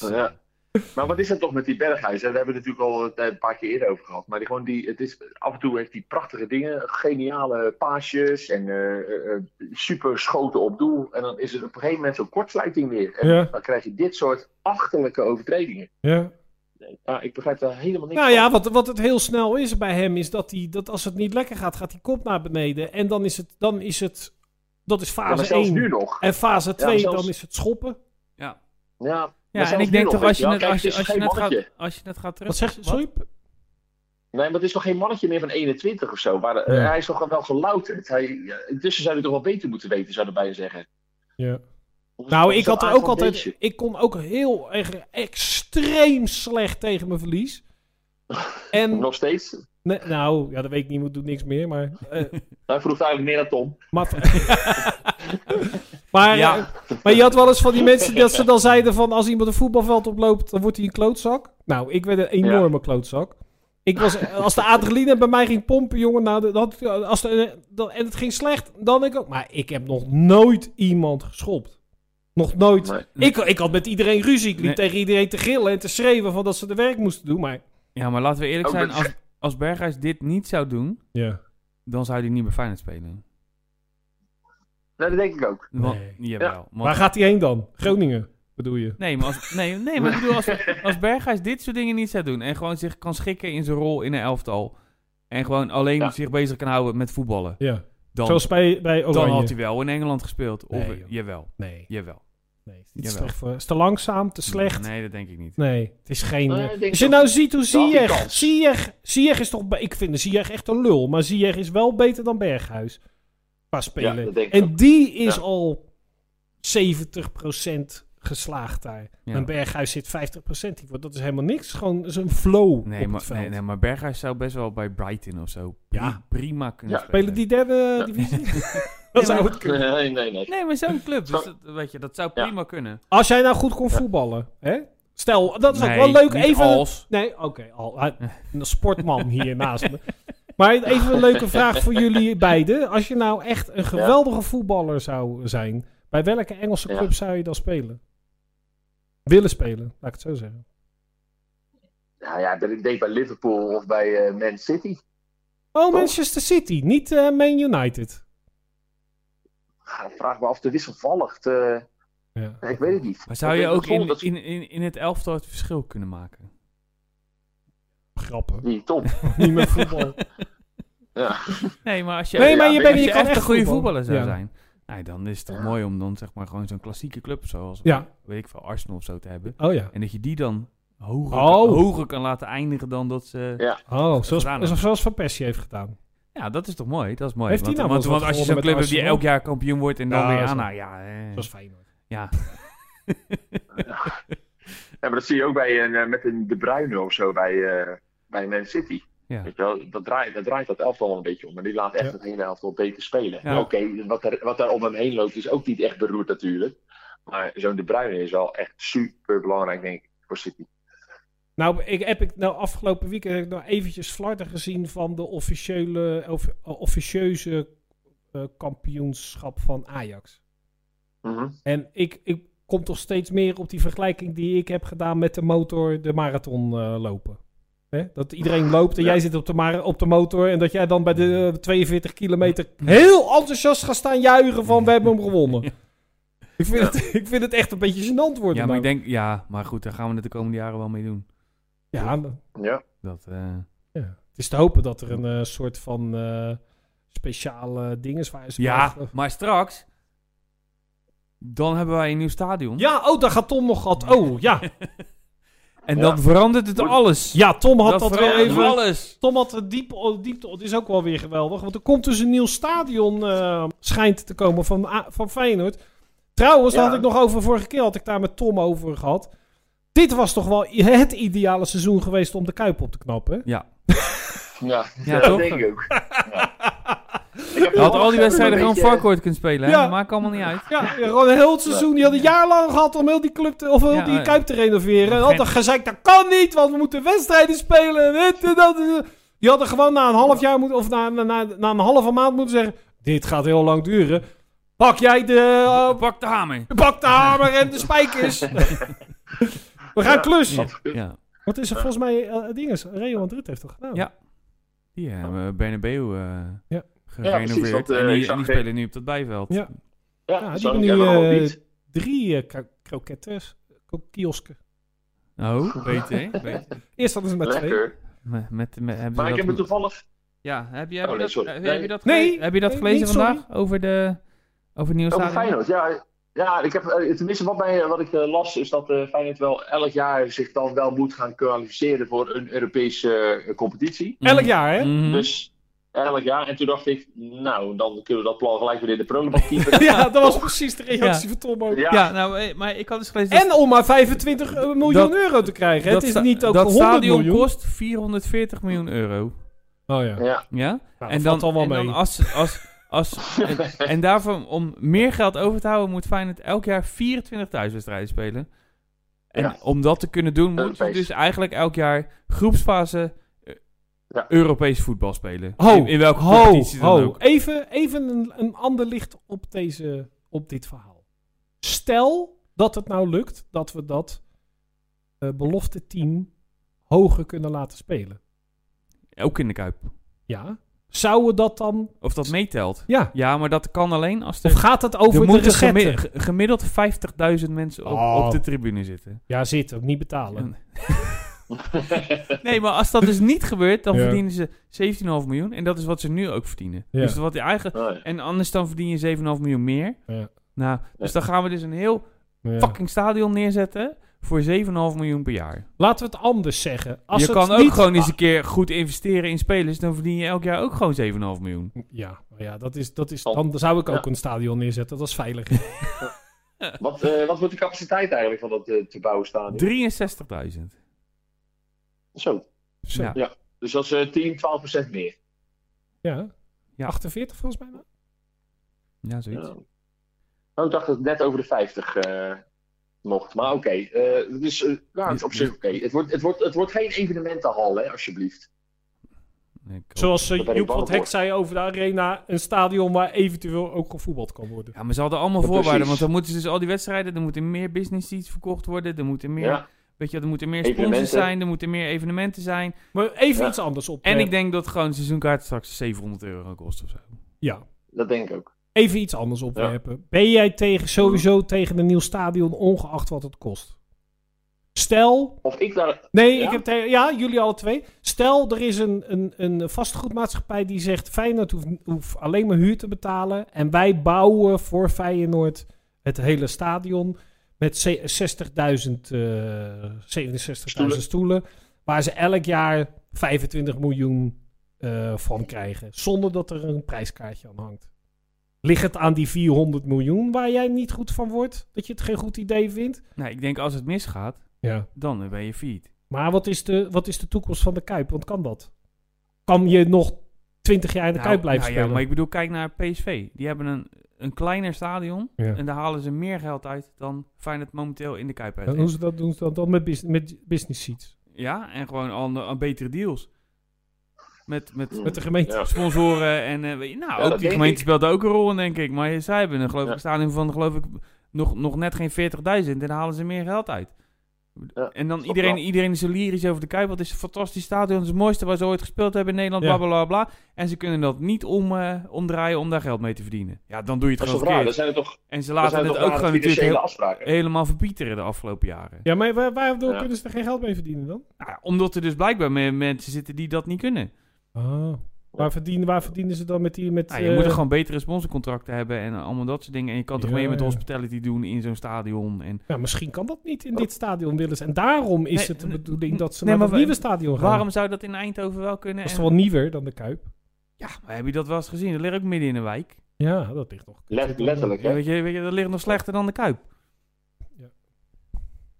A: Ja.
D: Ja. Maar wat is dat toch met die Berghuis? hè? Daar hebben we natuurlijk al het, eh, een paar keer eerder over gehad. Maar die, gewoon die, het is, af en toe heeft hij prachtige dingen. Geniale paasjes en eh, eh, eh, super schoten op doel. En dan is het op een gegeven moment zo'n kortsluiting weer. En
B: Ja.
D: dan krijg je dit soort achterlijke overtredingen. Ja, ik begrijp daar helemaal niks
B: Nou
D: van.
B: ja, wat, wat het heel snel is bij hem, is dat, hij, dat als het niet lekker gaat, gaat die kop naar beneden. En dan is het, dan is het dat is
D: Ja, maar
B: fase
D: zelfs
B: 1.
D: nu nog.
B: En fase 2,
D: zelfs-
B: dan is het schoppen.
D: Ja, maar
A: Ja,
D: zelfs
A: en ik
D: nu
A: denk
D: nog,
A: toch
D: weet
A: als je
D: wel.
A: net-
D: Kijk,
A: als
D: het
A: je-
D: is
A: als je
D: geen
A: net gaat-
D: mannetje.
A: als je net gaat terug...
B: Wat zeg je?
A: Wat?
B: Sorry?
D: Nee, maar het is toch geen mannetje meer van 21 of zo. Waar, eh,
B: Ja.
D: Hij is toch wel gelouterd. Hij, ja, intussen zou hij toch wel beter moeten weten, zouden wij zeggen.
B: Ja.
D: Of is
B: Nou,
D: het
B: ik had
D: zo'n
B: er
D: aard
B: ook
D: van
B: altijd.
D: beestje?
B: Ik kon ook heel erg extreem slecht tegen mijn
D: *laughs*
B: verlies. En.
D: Nog steeds.
B: nee, nou, ja, dat weet ik niet, moet doet niks meer. Maar. eh,
D: Hij vroeg eigenlijk meer naar Tom.
B: maar, *laughs* maar,
A: Ja.
B: eh, maar je had wel eens van die mensen dat ze dan zeiden: van als iemand een voetbalveld oploopt, dan wordt hij een klootzak. Nou, ik werd een enorme klootzak. Ik was, eh, als de adrenaline bij mij ging pompen, jongen, nou, dat, als de, dat, en het ging slecht, dan ik ook. Maar ik heb nog nooit iemand geschopt. Nog nooit.
D: Nee.
B: Ik, ik had met iedereen ruzie. Ik liep
A: Nee.
B: tegen iedereen te gillen en te schreeuwen van dat ze de werk moesten doen. Maar
A: Ja, maar laten we eerlijk
D: Ook
A: zijn.
D: met-
A: Als, als Berghuis dit niet zou doen,
B: ja.
A: dan zou hij niet bij Feyenoord spelen.
D: Nee, dat denk ik ook.
A: Want,
B: Nee.
A: Jawel. want-
B: waar gaat hij heen dan? Groningen, bedoel je?
A: nee, maar, als, nee, nee, maar ik bedoel, als,
D: *laughs*
A: als Berghuis dit soort dingen niet zou doen en gewoon zich kan schikken in zijn rol in een elftal en gewoon alleen
D: Ja.
A: zich bezig kan houden met voetballen,
B: Ja.
A: dan,
B: Zoals bij, bij Oranje.
A: dan had hij wel in Engeland gespeeld. Of, eh,
B: Nee, joh.
A: jawel,
B: Nee,
A: jawel.
B: nee. Het is,
A: Jawel.
B: slecht voor, is te langzaam, te slecht. Nee,
A: Nee, dat denk ik niet.
B: het is geen...
D: Nee,
B: eh,
D: ik denk
B: als je
D: dat-
B: nou ziet hoe
D: dat had hij
B: Ziyech...
D: kans.
B: Ziyech, Ziyech is toch... be- Ik vind Ziyech echt een lul. Maar Ziyech is wel beter dan Berghuis. Qua spelen.
D: dat denk ik
B: en
D: ook.
B: die is
D: Ja.
B: al 70% geslaagd daar.
A: Ja.
B: En Berghuis zit 50%. Die wordt- Dat is helemaal niks. Gewoon zo'n flow
A: Nee,
B: op
A: maar,
B: het veld.
A: nee, nee, maar Berghuis zou best wel bij Brighton of zo pri-
B: Ja.
A: prima kunnen
D: Ja.
A: spelen.
B: Spelen die derde
A: *laughs*
B: divisie? dat zou het kunnen.
D: Nee, nee, nee.
A: Nee, maar zo'n club,
D: Zo-
A: dus dat, weet je, dat zou
D: Ja.
A: prima kunnen.
B: Als jij nou goed kon voetballen, hè? Stel, dat is
A: Nee,
B: ook wel leuk.
A: niet
B: Even
A: als.
B: Nee, oké. al- hij- een sportman hier *laughs* naast me. Maar even een leuke vraag voor jullie beiden. Als je nou echt een geweldige voetballer zou zijn, bij welke Engelse
D: Ja.
B: club zou je dan spelen? Willen spelen, laat ik het zo zeggen.
D: Nou ja, dat ik denk bij Liverpool of bij eh, Man City.
B: Oh, Manchester City, niet eh, Man United.
D: Ah, ik vraag me af, te wisselvallig. te-
B: Ja.
D: Ik weet het niet.
A: Maar zou
D: Ik
A: je
D: denk
A: ook
D: dat Zwolle
A: in,
D: dat-
A: in, in, in het elftal het verschil kunnen maken?
B: grappen.
D: Die
A: *laughs*
D: Tom.
B: Niet meer voetbal.
D: Ja.
A: Nee, maar als je,
B: Nee, maar
D: ja,
B: je,
D: ik-
B: bent,
A: als
B: je,
A: je
B: kan
A: echt
B: echt
A: een goede
B: voetballen.
A: voetballer zou
B: Ja.
A: zijn, nee, dan is het toch
D: Ja.
A: mooi om dan zeg maar gewoon zo'n klassieke club zoals,
B: Ja.
A: weet ik veel, Arsenal of zo te hebben.
B: Oh ja.
A: En dat je die dan hoger,
B: Oh.
A: hoger kan laten eindigen dan dat ze...
D: Ja.
B: Oh,
A: gedaan hebben.
B: zoals, zoals Van Persie heeft gedaan.
A: Ja, dat is toch mooi? Dat is mooi.
B: Heeft
A: want
B: hij nou
A: want,
B: wel eens
A: want als
B: wat
A: je
B: gewonnen
A: zo'n
B: met
A: club hebt die
B: Arsenal?
A: elk jaar kampioen wordt en dan
B: Ja,
A: weer
B: zo.
A: aan... nou Ja, eh,
B: Zoals Feyenoord.
A: ja.
D: Ja, maar dat zie je ook bij een, eh, met een De Bruyne of zo bij, eh, bij Man City.
A: Ja.
D: Weet je wel, dat, draait, dat draait dat elftal wel een beetje om. En die laat echt
B: Ja.
D: het hele elftal beter spelen.
A: Ja.
D: Oké, wat, er, wat daar om hem heen loopt is ook niet echt beroerd natuurlijk. Maar zo'n De Bruyne is wel echt super belangrijk, denk ik, voor City.
B: Nou, ik, heb ik nou afgelopen weekend heb ik nou eventjes flarden gezien van de officiële, of, officieuze eh, kampioenschap van Ajax.
D: Mhm.
B: En ik, ik kom toch steeds meer op die vergelijking die ik heb gedaan met de motor, de marathon eh, lopen. Hè? Dat iedereen loopt en
D: Ja.
B: jij zit op de, mara- op de motor en dat jij dan bij de eh, 42 kilometer heel enthousiast gaat staan juichen van we hebben hem
A: *laughs*
B: gewonnen. Ik, vind het, ik vind het echt een beetje gênant worden.
A: ja, maar
B: nou.
A: ik denk... Ja, maar goed, daar gaan we het de komende jaren wel mee doen.
B: ja, maar-
D: Ja.
A: Dat, eh,
B: Het is te hopen dat er een eh, soort van eh, speciale ding is waar ze
A: ja,
B: mogen-
A: maar straks... Dan hebben wij een nieuw stadion.
B: Ja, oh, daar gaat Tom nog had. Oh, ja.
A: En dan verandert het alles.
B: Ja, Tom had
A: dat
B: dat, weer
A: verandert
B: even.
A: alles.
B: Tom had het diep, oh, diepte. Het is ook wel weer geweldig. Want er komt dus een nieuw stadion. eh, schijnt te komen van, A- van Feyenoord. Trouwens, daar
D: Ja.
B: had ik nog over. Vorige keer had ik daar met Tom over gehad. Dit was toch wel i- het ideale seizoen geweest om de kuip op te knappen. hè?
D: Ja,
A: Ja,
D: dat
A: toch?
D: denk ik
A: *laughs*
D: ook.
A: Je had al die wedstrijden gewoon
D: varkort.
A: Farcourt kunnen spelen. hè?
B: Ja.
A: Dat maakt allemaal niet uit.
B: Ja, gewoon een heel het seizoen. Die had een jaar lang gehad om heel die club te, of heel
A: Ja,
B: die
A: ja.
B: kuip te renoveren. En had
A: Geen-
B: dan gezegd, dat kan niet, want we moeten wedstrijden spelen. En dit en dat. en dat. Die hadden gewoon na een half jaar moeten, of na, na, na, na een halve maand moeten zeggen, dit gaat heel lang duren. Pak jij de, eh,
A: Oh, Pak de hamer.
B: pak de hamer en de spijkers. we gaan klussen.
A: Ja.
B: Wat is er volgens mij, eh, dinges, Real Madrid heeft dat gedaan.
A: Ja. Die hebben Bernabeu eh
B: Ja.
A: gerenoveerd.
D: precies, want, eh,
A: en
D: ik
A: die,
D: zag
A: en die
D: geen-
A: spelen nu op dat bijveld.
B: Ja.
D: Ja,
B: Ja,
D: dat
B: die
D: zag
B: hebben
D: ik
B: nu
D: helemaal
B: eh,
D: niet.
B: drie eh, kro- krokettes, ko- kiosken.
A: Oh, beter. hè? beter.
B: Eerst hadden ze maar twee.
D: Lekker.
A: Met, met, met- hebben ze
D: Maar ik
A: dat
D: heb het
A: ge-
D: toevallig...
A: Ja, heb je, heb
D: Oh,
A: je
D: nee,
A: dat,
D: sorry.
A: heb,
D: Nee.
A: je dat
B: Nee,
A: gelezen, heb je dat
B: nee,
A: gelezen
B: niet,
A: vandaag over de over het nieuwe
D: Over
A: stadion?
D: Feyenoord, ja. Ja, ik heb, eh, tenminste wat, mij, wat ik eh, las is dat eh, Feyenoord wel elk jaar zich dan wel moet gaan kwalificeren voor een Europese eh, competitie.
A: Mhm.
B: Elk jaar, hè?
A: Mhm.
D: Dus elk jaar. En toen dacht ik, nou, dan kunnen we dat plan gelijk weer in de prullenbak
B: *laughs*
D: kiepen.
B: Ja, dat was precies de reactie van Tom ook.
D: *laughs* ja,
A: Ja, nou, eh, maar ik had dus gelezen dat-
B: En om maar 25 miljoen
A: Dat-
B: euro te krijgen. hè?
A: dat
B: het is
A: sta-
B: niet ook
A: dat
B: 100
A: stadion
B: miljoen.
A: kost 440 miljoen euro.
B: Oh ja.
D: ja.
A: Ja?
B: Nou,
A: en dan,
B: dat valt allemaal
A: en dan
B: mee.
A: als, als,
D: *laughs*
A: als, en, en daarvan, om meer geld over te houden, moet Feyenoord elk jaar 24 thuiswedstrijden spelen. En
D: Ja.
A: om dat te kunnen doen, moet je
D: Europees.
A: dus eigenlijk elk jaar groepsfase eh,
D: Ja.
A: Europees voetbal spelen.
B: Ho,
A: in, in welke
B: Ho,
A: competitie dan
B: ho.
A: ook.
B: Even, even een, een ander licht op, deze, op dit verhaal. Stel dat het nou lukt dat we dat eh, belofte team hoger kunnen laten spelen.
A: Ook in de Kuip.
B: Ja. Zouden dat dan...
A: Of dat meetelt.
B: Ja.
A: Ja, maar dat kan alleen als
B: Of
A: er,
B: gaat het
A: er
B: over de
A: moeten gemi-
B: recepten?
A: ge- gemiddeld 50.000 mensen op,
B: Oh.
A: op de tribune zitten.
B: Ja, zit. Ook niet betalen.
D: *laughs*
A: Nee, maar als dat dus niet gebeurt, dan
B: Ja.
A: verdienen ze 17,5 miljoen. En dat is wat ze nu ook verdienen.
B: Ja.
A: Dus wat die eigen,
D: Nee.
A: en anders dan verdien je 7,5 miljoen meer.
B: Ja.
A: Nou, dus
D: Ja.
A: dan gaan we dus een heel
B: Ja.
A: fucking stadion neerzetten voor 7,5 miljoen per jaar.
B: Laten we het anders zeggen. Als
A: je
B: het
A: kan ook
B: niet-
A: gewoon eens een keer goed investeren in spelers. Dan verdien je elk jaar ook gewoon 7,5 miljoen.
B: Ah, Ja, maar ja dat is, dat is,
D: Top.
B: dan zou ik ook
D: Ja.
B: een stadion neerzetten. Dat is veiliger.
D: Wat, eh, wat wordt de capaciteit eigenlijk van dat eh, te bouwen staan?
A: 63.000.
D: Zo.
B: Zo.
A: Ja.
D: Dus dat is eh, 10, 12 procent meer.
B: Ja.
A: Ja.
B: 48 volgens mij. nou?
A: Ja,
D: Ja.
A: zoiets.
D: Oh, ik dacht dat het net over de 50 eh, mocht. Maar oké. eh, dus eh, nou, het is op zich oké. Het, wordt, het, wordt, het wordt geen evenementenhal, hè, alsjeblieft.
A: Nee, ik hoop-
B: Zoals
D: Daar
B: uh,
D: ben ik
B: Joep
D: bang
B: van het Hek
D: voor.
B: zei over de arena. Een stadion waar eventueel ook gevoetbald kan worden.
A: Ja, maar ze hadden allemaal
D: Ja,
A: voorwaarden.
D: precies.
A: Want dan moeten ze dus al die wedstrijden... Er moeten meer business seats verkocht worden. Er moeten meer,
D: Ja.
A: weet je, er moeten meer sponsors
D: Evenementen.
A: zijn. Er moeten meer evenementen zijn.
B: Maar even
D: Ja.
B: iets anders op.
A: En
B: eh,
A: ik denk dat gewoon een seizoenkaart straks 700 euro gaat kosten of zo.
B: Ja.
D: Dat denk ik ook.
B: Even iets anders opwerpen. Ben jij tegen, sowieso tegen een nieuw stadion, ongeacht wat het kost? Stel,
D: Of ik daar...
B: Nee,
D: Ja?
B: Ik heb tegen- ja, jullie alle twee. Stel, er is een, een, een vastgoedmaatschappij die zegt... Feyenoord hoeft, hoeft alleen maar huur te betalen... en wij bouwen voor Feyenoord het hele stadion... met ze- 60.000, eh 67.000
D: Stoelen.
B: stoelen... waar ze elk jaar 25 miljoen eh, van krijgen... zonder dat er een prijskaartje aan hangt. Ligt het aan die 400 miljoen waar jij niet goed van wordt? Dat je het geen goed idee vindt?
A: Nou, ik denk als het misgaat,
B: Ja.
A: dan ben je failliet.
B: Maar wat is, de, wat is de toekomst van de Kuip? Want kan dat? Kan je nog 20 jaar in de
A: Nou,
B: Kuip blijven
A: nou Ja,
B: spelen?
A: maar ik bedoel, kijk naar PSV. Die hebben een, een kleiner stadion
B: Ja.
A: en daar halen ze meer geld uit dan Feyenoord momenteel in de Kuip
B: En
A: uit.
B: hoe ze dat doen ze dat dan met, bus- met business seats?
A: Ja, en gewoon aan, aan betere deals. Met, met
B: Met de gemeente?
D: Ja.
A: sponsoren en eh, weet je- nou,
D: Ja, dat
A: ook die
D: denk
A: gemeente
D: ik.
A: speelt daar ook een rol in, denk ik. Maar zij hebben een geloof ik,
D: Ja.
A: een stadion van geloof ik nog, nog net geen 40.000 en daar halen ze meer geld uit.
D: Ja,
A: en dan
D: is
A: iedereen,
D: wel.
A: iedereen is er lyrisch over de Kuip. Wat is een fantastisch stadion. Het is het mooiste waar ze ooit gespeeld hebben in Nederland.
B: Ja.
A: Bla, bla, bla, bla. En ze kunnen dat niet om, eh, omdraaien om daar geld mee te verdienen. Ja, dan doe je het
D: Dat is toch
A: gewoon
D: raar?
A: verkeerd.
D: Dan zijn er toch,
A: En ze
D: dan
A: laten
D: zijn er
A: het
D: toch
A: ook
D: rare
A: gewoon
D: financiële
A: natuurlijk heel-
D: afspraken?
A: helemaal verpieteren de afgelopen jaren.
B: Ja, maar waar, waardoor
D: Ja.
B: kunnen ze er geen geld mee verdienen dan?
A: Nou, omdat er dus blijkbaar me- mensen zitten die dat niet kunnen.
B: Ah. Waar, verdienen, waar verdienen ze dan met die... Met,
A: Ja, Nou, je
B: eh,
A: moet er gewoon betere sponsorcontracten hebben en allemaal dat soort dingen. En je kan toch
B: Ja,
A: meer met
B: ja.
A: hospitality doen in zo'n stadion. En
B: ja, misschien kan dat niet in dit stadion willen ze. En daarom is
A: Nee,
B: het de
A: nee,
B: bedoeling dat ze
A: nee,
B: naar
A: maar wa-
B: het nieuwe stadion gaan.
A: waarom zou dat in Eindhoven wel kunnen?
B: Dat is
A: En-
B: toch wel nieuwer dan de Kuip?
A: Ja, maar heb je dat wel eens gezien? Dat ligt ook midden in de wijk.
B: Ja, dat ligt nog.
D: Let- letterlijk, hè?
A: Weet je, weet je, dat ligt nog slechter dan de Kuip.
B: Ja.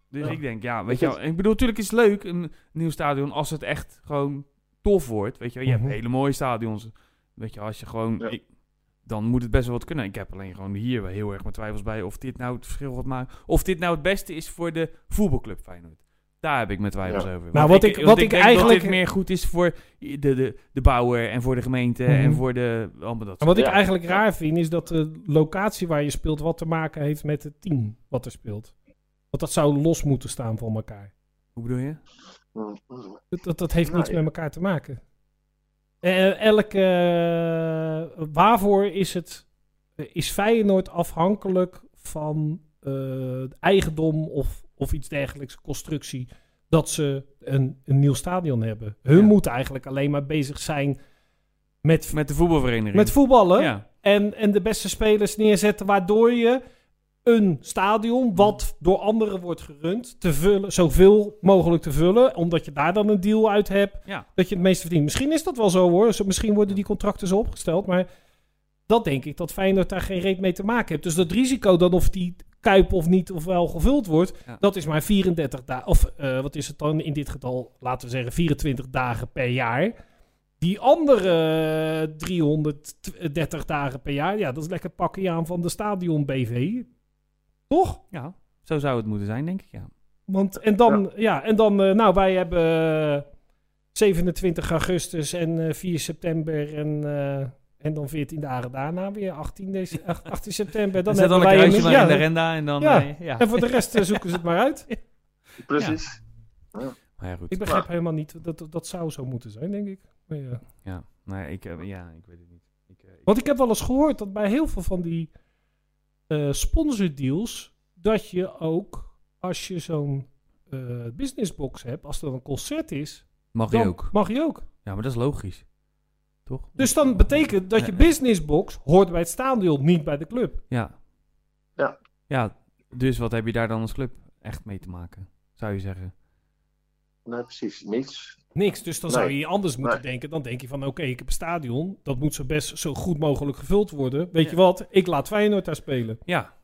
A: Dus
B: Ja.
A: ik denk, ja, weet
D: Ik
A: je
D: vind-
A: wel. Ik bedoel, natuurlijk is het leuk, een nieuw stadion, als het echt gewoon tof wordt. Weet je wel, je
B: Mhm.
A: hebt hele mooie stadions. Weet je, als je gewoon...
D: Ja.
A: ik- dan moet het best wel wat kunnen. Ik heb alleen gewoon hier wel heel erg mijn twijfels bij of dit nou het verschil gaat maken. Of dit nou het beste is voor de voetbalclub Feyenoord. Daar heb ik mijn twijfels
D: Ja.
A: over. Want
B: Nou, wat ik-
A: want
B: wat ik
A: denk
B: eigenlijk-
A: dat dit meer goed is voor de, de, de bouwer en voor de gemeente
B: Mhm.
A: en voor de... Allemaal dat
B: En wat ik
D: Ja.
B: eigenlijk raar vind, is dat de locatie waar je speelt wat te maken heeft met het team wat er speelt. Want dat zou los moeten staan van elkaar.
A: Hoe bedoel je?
D: Mm, mm.
B: Dat, dat, dat heeft
D: Nou,
B: niets
D: ja.
B: met elkaar te maken. Eh, elke, eh, waarvoor is, het, eh, is Feyenoord afhankelijk van eh, eigendom of, of iets dergelijks, constructie, dat ze een, een nieuw stadion hebben? Hun
A: Ja.
B: moeten eigenlijk alleen maar bezig zijn met,
A: Met de voetbalvereniging.
B: met voetballen.
A: Ja.
B: En, en de beste spelers neerzetten, waardoor je een stadion, wat door anderen wordt gerund, te vullen, zoveel mogelijk te vullen. Omdat je daar dan een deal uit hebt,
A: Ja.
B: dat je het meeste verdient. Misschien is dat wel zo hoor. Zo- Misschien worden die contracten zo opgesteld. Maar dat denk ik, dat Feyenoord daar geen reet mee te maken heeft. Dus dat risico dan of die kuip of niet of wel gevuld wordt,
A: Ja.
B: dat is maar 34 dagen. Of eh, wat is het dan in dit geval, laten we zeggen 24 dagen per jaar. Die andere eh, 330 dagen per jaar, ja, dat is lekker pakje aan van de stadion BV. Toch?
A: Ja, zo zou het moeten zijn, denk ik, ja.
B: Want, en dan, ja. en dan, eh, nou, wij hebben eh, 27 augustus en eh, 4 september en, eh, en dan 14 dagen daarna weer 18, dece- 18 september.
A: Dan
B: Dan
A: *laughs* zet
B: hebben
A: dan een
B: wij
A: kruisje maar
B: ja,
A: in de renda en dan...
B: Ja.
A: eh, ja.
B: En voor de rest eh, zoeken ze het maar
A: *laughs*
B: uit.
D: Precies.
A: Maar ja, goed.
B: Ik begrijp helemaal niet, dat, dat, dat zou zo moeten zijn, denk ik. Maar ja.
A: Ja, nee, ik, eh, ja, ik weet het niet. Ik, eh, ik-
B: Want ik heb wel eens gehoord dat bij heel veel van die eh, sponsordeals, dat je ook, als je zo'n eh, businessbox hebt, als er een concert is,
A: Mag je
B: dan
A: ook.
B: mag je ook.
A: Ja, maar dat is logisch. Toch?
B: Dus dan betekent dat je
A: Ja.
B: businessbox hoort bij het stadion, niet bij de club.
A: Ja.
D: Ja.
A: Ja, dus wat heb je daar dan als club echt mee te maken? Zou je zeggen.
D: Nee, precies. Niets.
B: Niks. Dus dan
D: Nee.
B: zou je anders moeten
D: Nee.
B: denken. Dan denk je van, oké, ik heb een stadion. Dat moet zo best zo goed mogelijk gevuld worden. Weet
A: Ja.
B: je wat? Ik laat Feyenoord daar spelen.
A: Ja.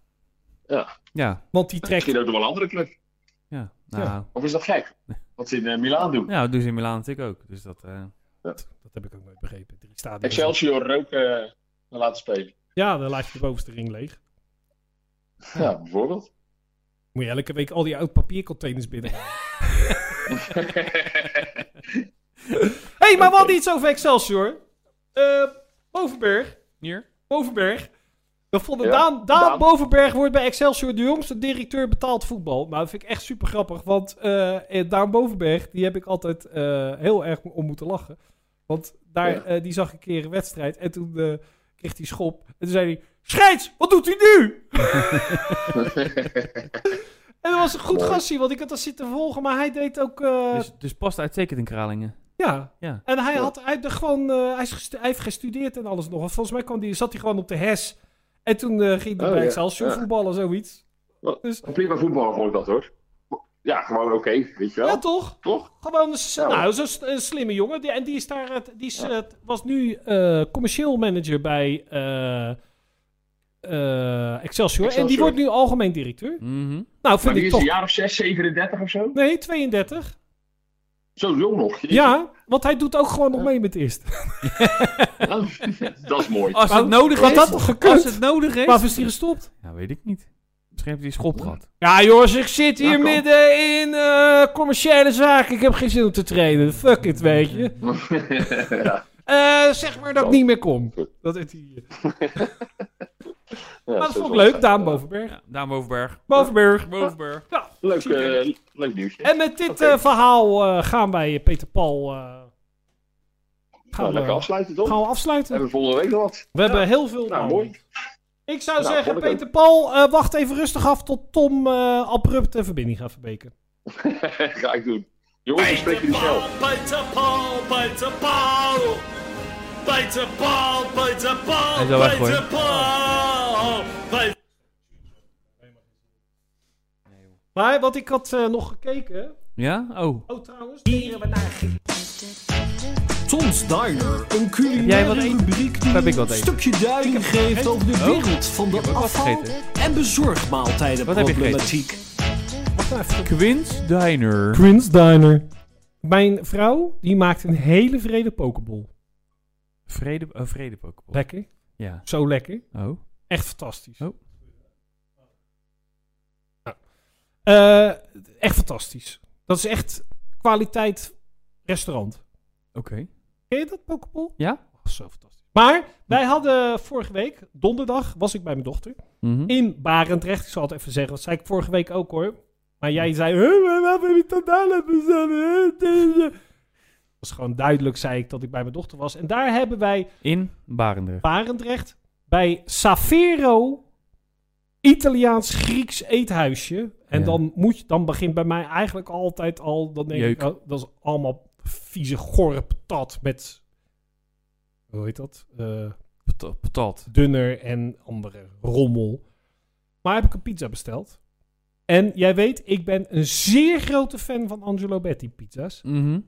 D: Ja.
A: Ja.
B: Want die trekt...
D: Misschien ook nog wel een andere club.
A: Ja. Nou,
D: Of is dat gek? Wat ze in eh, Milaan doen.
A: nou, dat doen ze in Milaan natuurlijk ook. Dus dat... eh,
B: Dat heb ik ook nooit begrepen. Drie stadions.
D: Excelsior rook eh, laten spelen.
B: Ja, dan laat je de bovenste ring leeg.
D: Ja,
A: *laughs*
D: bijvoorbeeld.
B: Moet je elke week al die oud papiercontainers binnen. Hé, hey, maar wat iets over Excelsior. Eh Bovenberg.
A: Hier?
B: Bovenberg. We vonden
D: Ja,
B: Daan, Daan,
D: Daan.
B: Bovenberg wordt bij Excelsior de jongste directeur betaald voetbal. Nou, dat vind ik echt super grappig. Want eh, eh, Daan Bovenberg, die heb ik altijd eh, heel erg om moeten lachen. Want daar,
D: Ja.
B: eh, die zag ik een keer een wedstrijd. En toen eh, kreeg hij
D: *laughs*
B: schop. En toen zei hij, scheids, wat doet hij nu? En dat was een goed
D: Mooi.
B: gastje, want ik had dat zitten volgen. Maar hij deed ook... eh,
A: Dus, dus past uitstekend in Kralingen.
B: ja.
A: Ja.
B: En hij, had, hij, had gewoon, eh, hij, is gestu- hij heeft gestudeerd en alles nog. Want volgens mij kwam die, zat hij gewoon op de HES. En toen eh, ging hij
D: Oh,
B: bij
D: ja.
B: Excelsior
D: Ja.
B: voetballen, zoiets.
D: Een Prima voetballer vond ik dat hoor. Ja, gewoon oké, weet je wel.
B: Ja, toch?
D: toch?
B: Gewoon een, s-
D: Ja,
B: nou, zo'n s- een slimme jongen. Die, en die, is daar, eh, die is, eh, was nu eh, commercieel manager bij eh, eh, Excelsior. En die
D: Excelsior.
B: wordt nu algemeen directeur.
A: Mhm.
B: Nou, vind
D: Maar die
B: ik
D: is
B: toch...
D: een jaar of 6, 37 of zo.
B: Nee, 32.
D: Zo jong nog.
B: Ja, want hij doet ook gewoon nog mee met eerst.
D: Nou, *laughs* dat is mooi.
B: *laughs*
A: Als
B: Maar
A: het nodig
B: Had
A: is.
B: dat toch
A: als
B: gekund?
A: het nodig is.
B: Waarvoor is die gestopt?
A: Ja, weet ik niet. Misschien heeft hij een schop gehad.
B: Ja, jongens, ik zit hier
D: Ja, kan.
B: midden in eh, commerciële zaken. Ik heb geen zin om te trainen. Fuck it, weet je.
D: *laughs* ja.
B: Eh, zeg maar dat ik
D: Kan.
B: niet meer kom. Dat, is die, maar dat vond ik leuk, Daan Bovenberg.
A: Ja, Daan Bovenberg.
B: Bovenberg.
A: Bovenberg.
D: Leuk, eh, leuk nieuwtje.
B: En met dit
D: Oké.
B: eh, verhaal eh, gaan wij eh, Peter Paul eh,
D: nou,
B: gaan,
D: lekker
B: we,
D: afsluiten toch?
B: gaan we afsluiten.
D: Hebben we volgende week nog wat. *laughs*
B: We hebben heel veel.
D: Nou,
B: plannen.
D: mooi.
B: Ik zou
D: Nou,
B: zeggen,
D: vond ik ook.
B: Peter Paul, eh, wacht even rustig af tot Tom eh, abrupt de verbinding gaat verbeken.
D: Ga ik doen. Jongens, ik spreek jullie snel.
C: Peter Paul, Peter Paul. Peter Paul, Peter Paul,
A: Hij is al weg, hoor.
C: Peter Paul. Peter
B: Maar wat ik had eh, nog gekeken.
A: Ja? Oh.
B: Oh, trouwens. Hier we naar
E: Tom's Diner, een
A: jij wat
E: culinaire
A: eten?
E: rubriek die
A: Heb ik wat
E: een
A: eten? Oh.
E: stukje duiding geeft over de wereld van de
A: wat
E: afval-
A: gegeten.
E: en
A: Wat heb je
E: bezorgmaaltijdenproblematiek.
A: nou Quint Diner.
B: Prince Diner. Mijn vrouw, die maakt een hele vrede pokeball.
A: Vrede, oh, vrede Pokeball.
B: Lekker.
A: Ja.
B: Zo lekker.
A: Oh.
B: Echt fantastisch.
A: Oh.
B: Nou, eh, echt fantastisch. Dat is echt kwaliteit restaurant.
A: Oké.
B: Ken je dat, Pokeball?
A: Ja?
B: Oh, zo fantastisch. Maar wij hadden vorige week, donderdag, was ik bij mijn dochter.
A: Mhm.
B: In Barendrecht, ik zal het even zeggen. Dat zei ik vorige week ook hoor. Maar jij zei, "Huh, maar waarom heb je dat daar laten staan? Huh, dit, eh." Het was gewoon duidelijk, zei ik, dat ik bij mijn dochter was. En daar hebben wij
A: In Barendrecht.
B: Barendrecht bij Savero Italiaans-Grieks eethuisje. En
A: Ja.
B: dan, moet je, dan begint bij mij eigenlijk altijd al, dan denk
A: Jeuk.
B: ik, oh, dat is allemaal vieze gorp tat met, hoe heet dat? Eh,
A: Patat. patat.
B: dunner en andere rommel. Maar heb ik een pizza besteld. En jij weet, ik ben een zeer grote fan van Angelo Betti pizza's.
A: Mhm.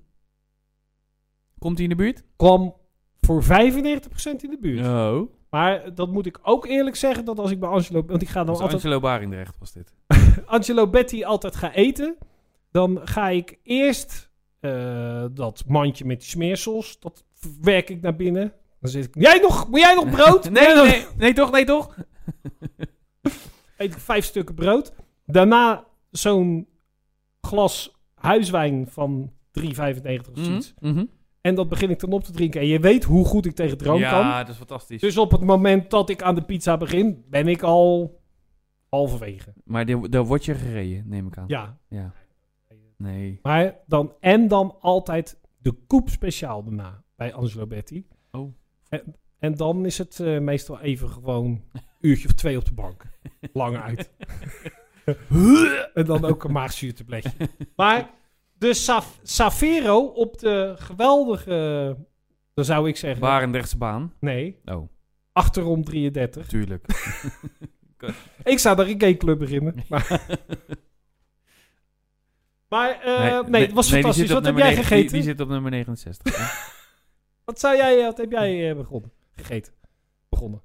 A: Komt hij in de buurt?
B: Kwam voor 95% in de buurt.
A: Oh.
B: Maar dat moet ik ook eerlijk zeggen, dat als ik bij Angelo... Want ik ga dan
A: Dat is
B: altijd
A: Angelo Barendrecht was dit.
B: Angelo Betti altijd ga eten... Dan ga ik eerst eh, dat mandje met die smeersels, dat werk ik naar binnen. Dan zit ik, jij nog, moet jij nog
A: *laughs*
B: brood?
A: Nee, Mhm, nee, nee, toch, nee, toch?
B: eet ik vijf stukken brood. Daarna zo'n glas huiswijn van 3,95 of
A: Mhm.
B: zoiets.
A: Mhm.
B: En dat begin ik dan op te drinken. En je weet hoe goed ik tegen drank
A: Ja,
B: kan.
A: dat is fantastisch.
B: Dus op het moment dat ik aan de pizza begin, ben ik al halverwege.
A: Maar die- daar word je gereden, neem ik aan.
B: Ja,
A: Ja. Nee.
B: maar dan en dan altijd de koep speciaal daarna bij Angelo Betti.
A: Oh.
B: En, en dan is het eh, meestal even gewoon een uurtje of twee op de bank. Lang
A: *laughs*
B: uit. en dan ook een maagzuurtabletje. Maar de Saf- Savero op de geweldige, dan zou ik zeggen,
A: Barendrechtse baan.
B: nee,
A: Oh,
B: achterom 33.
A: tuurlijk.
B: Ik zou daar een gayclub beginnen. Maar, maar eh, nee, het was
A: die
B: fantastisch.
A: zit op
B: Wat heb
A: nummer
B: jij
A: negen- Die,
B: gegeten?
A: die zit op nummer 69. hè?
B: Wat zou jij, wat heb jij eh, begonnen? Gegeten. Begonnen.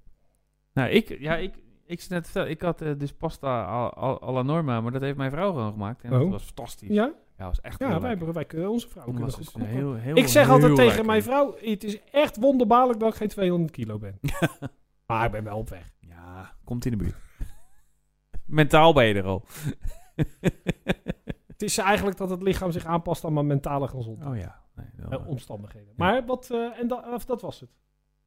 A: nou, ik, ja, ik, ik zit net verteld, ik had eh, dus pasta al- al- alla norma, maar dat heeft mijn vrouw gewoon gemaakt. En dat
B: Oh.
A: was fantastisch. Ja,
B: Ja?
A: dat was echt
B: Ja,
A: heel
B: wij,
A: lekker.
B: wij kunnen onze vrouw
A: Dat
B: kunnen
A: was
B: goed
A: dus
B: koken.
A: heel, heel,
B: Ik zeg altijd
A: heel
B: tegen
A: lekker.
B: mijn vrouw, het is echt wonderbaarlijk dat ik geen 200 kilo ben.
A: *laughs*
B: maar ik ben wel op weg.
A: Ja, komt in de buurt. *laughs* Mentaal ben je er al.
B: Het is eigenlijk dat het lichaam zich aanpast aan mijn mentale gezondheid.
A: Oh ja. Nee, wel,
B: eh,
A: eh.
B: omstandigheden. Maar wat, eh, en da- of dat was het.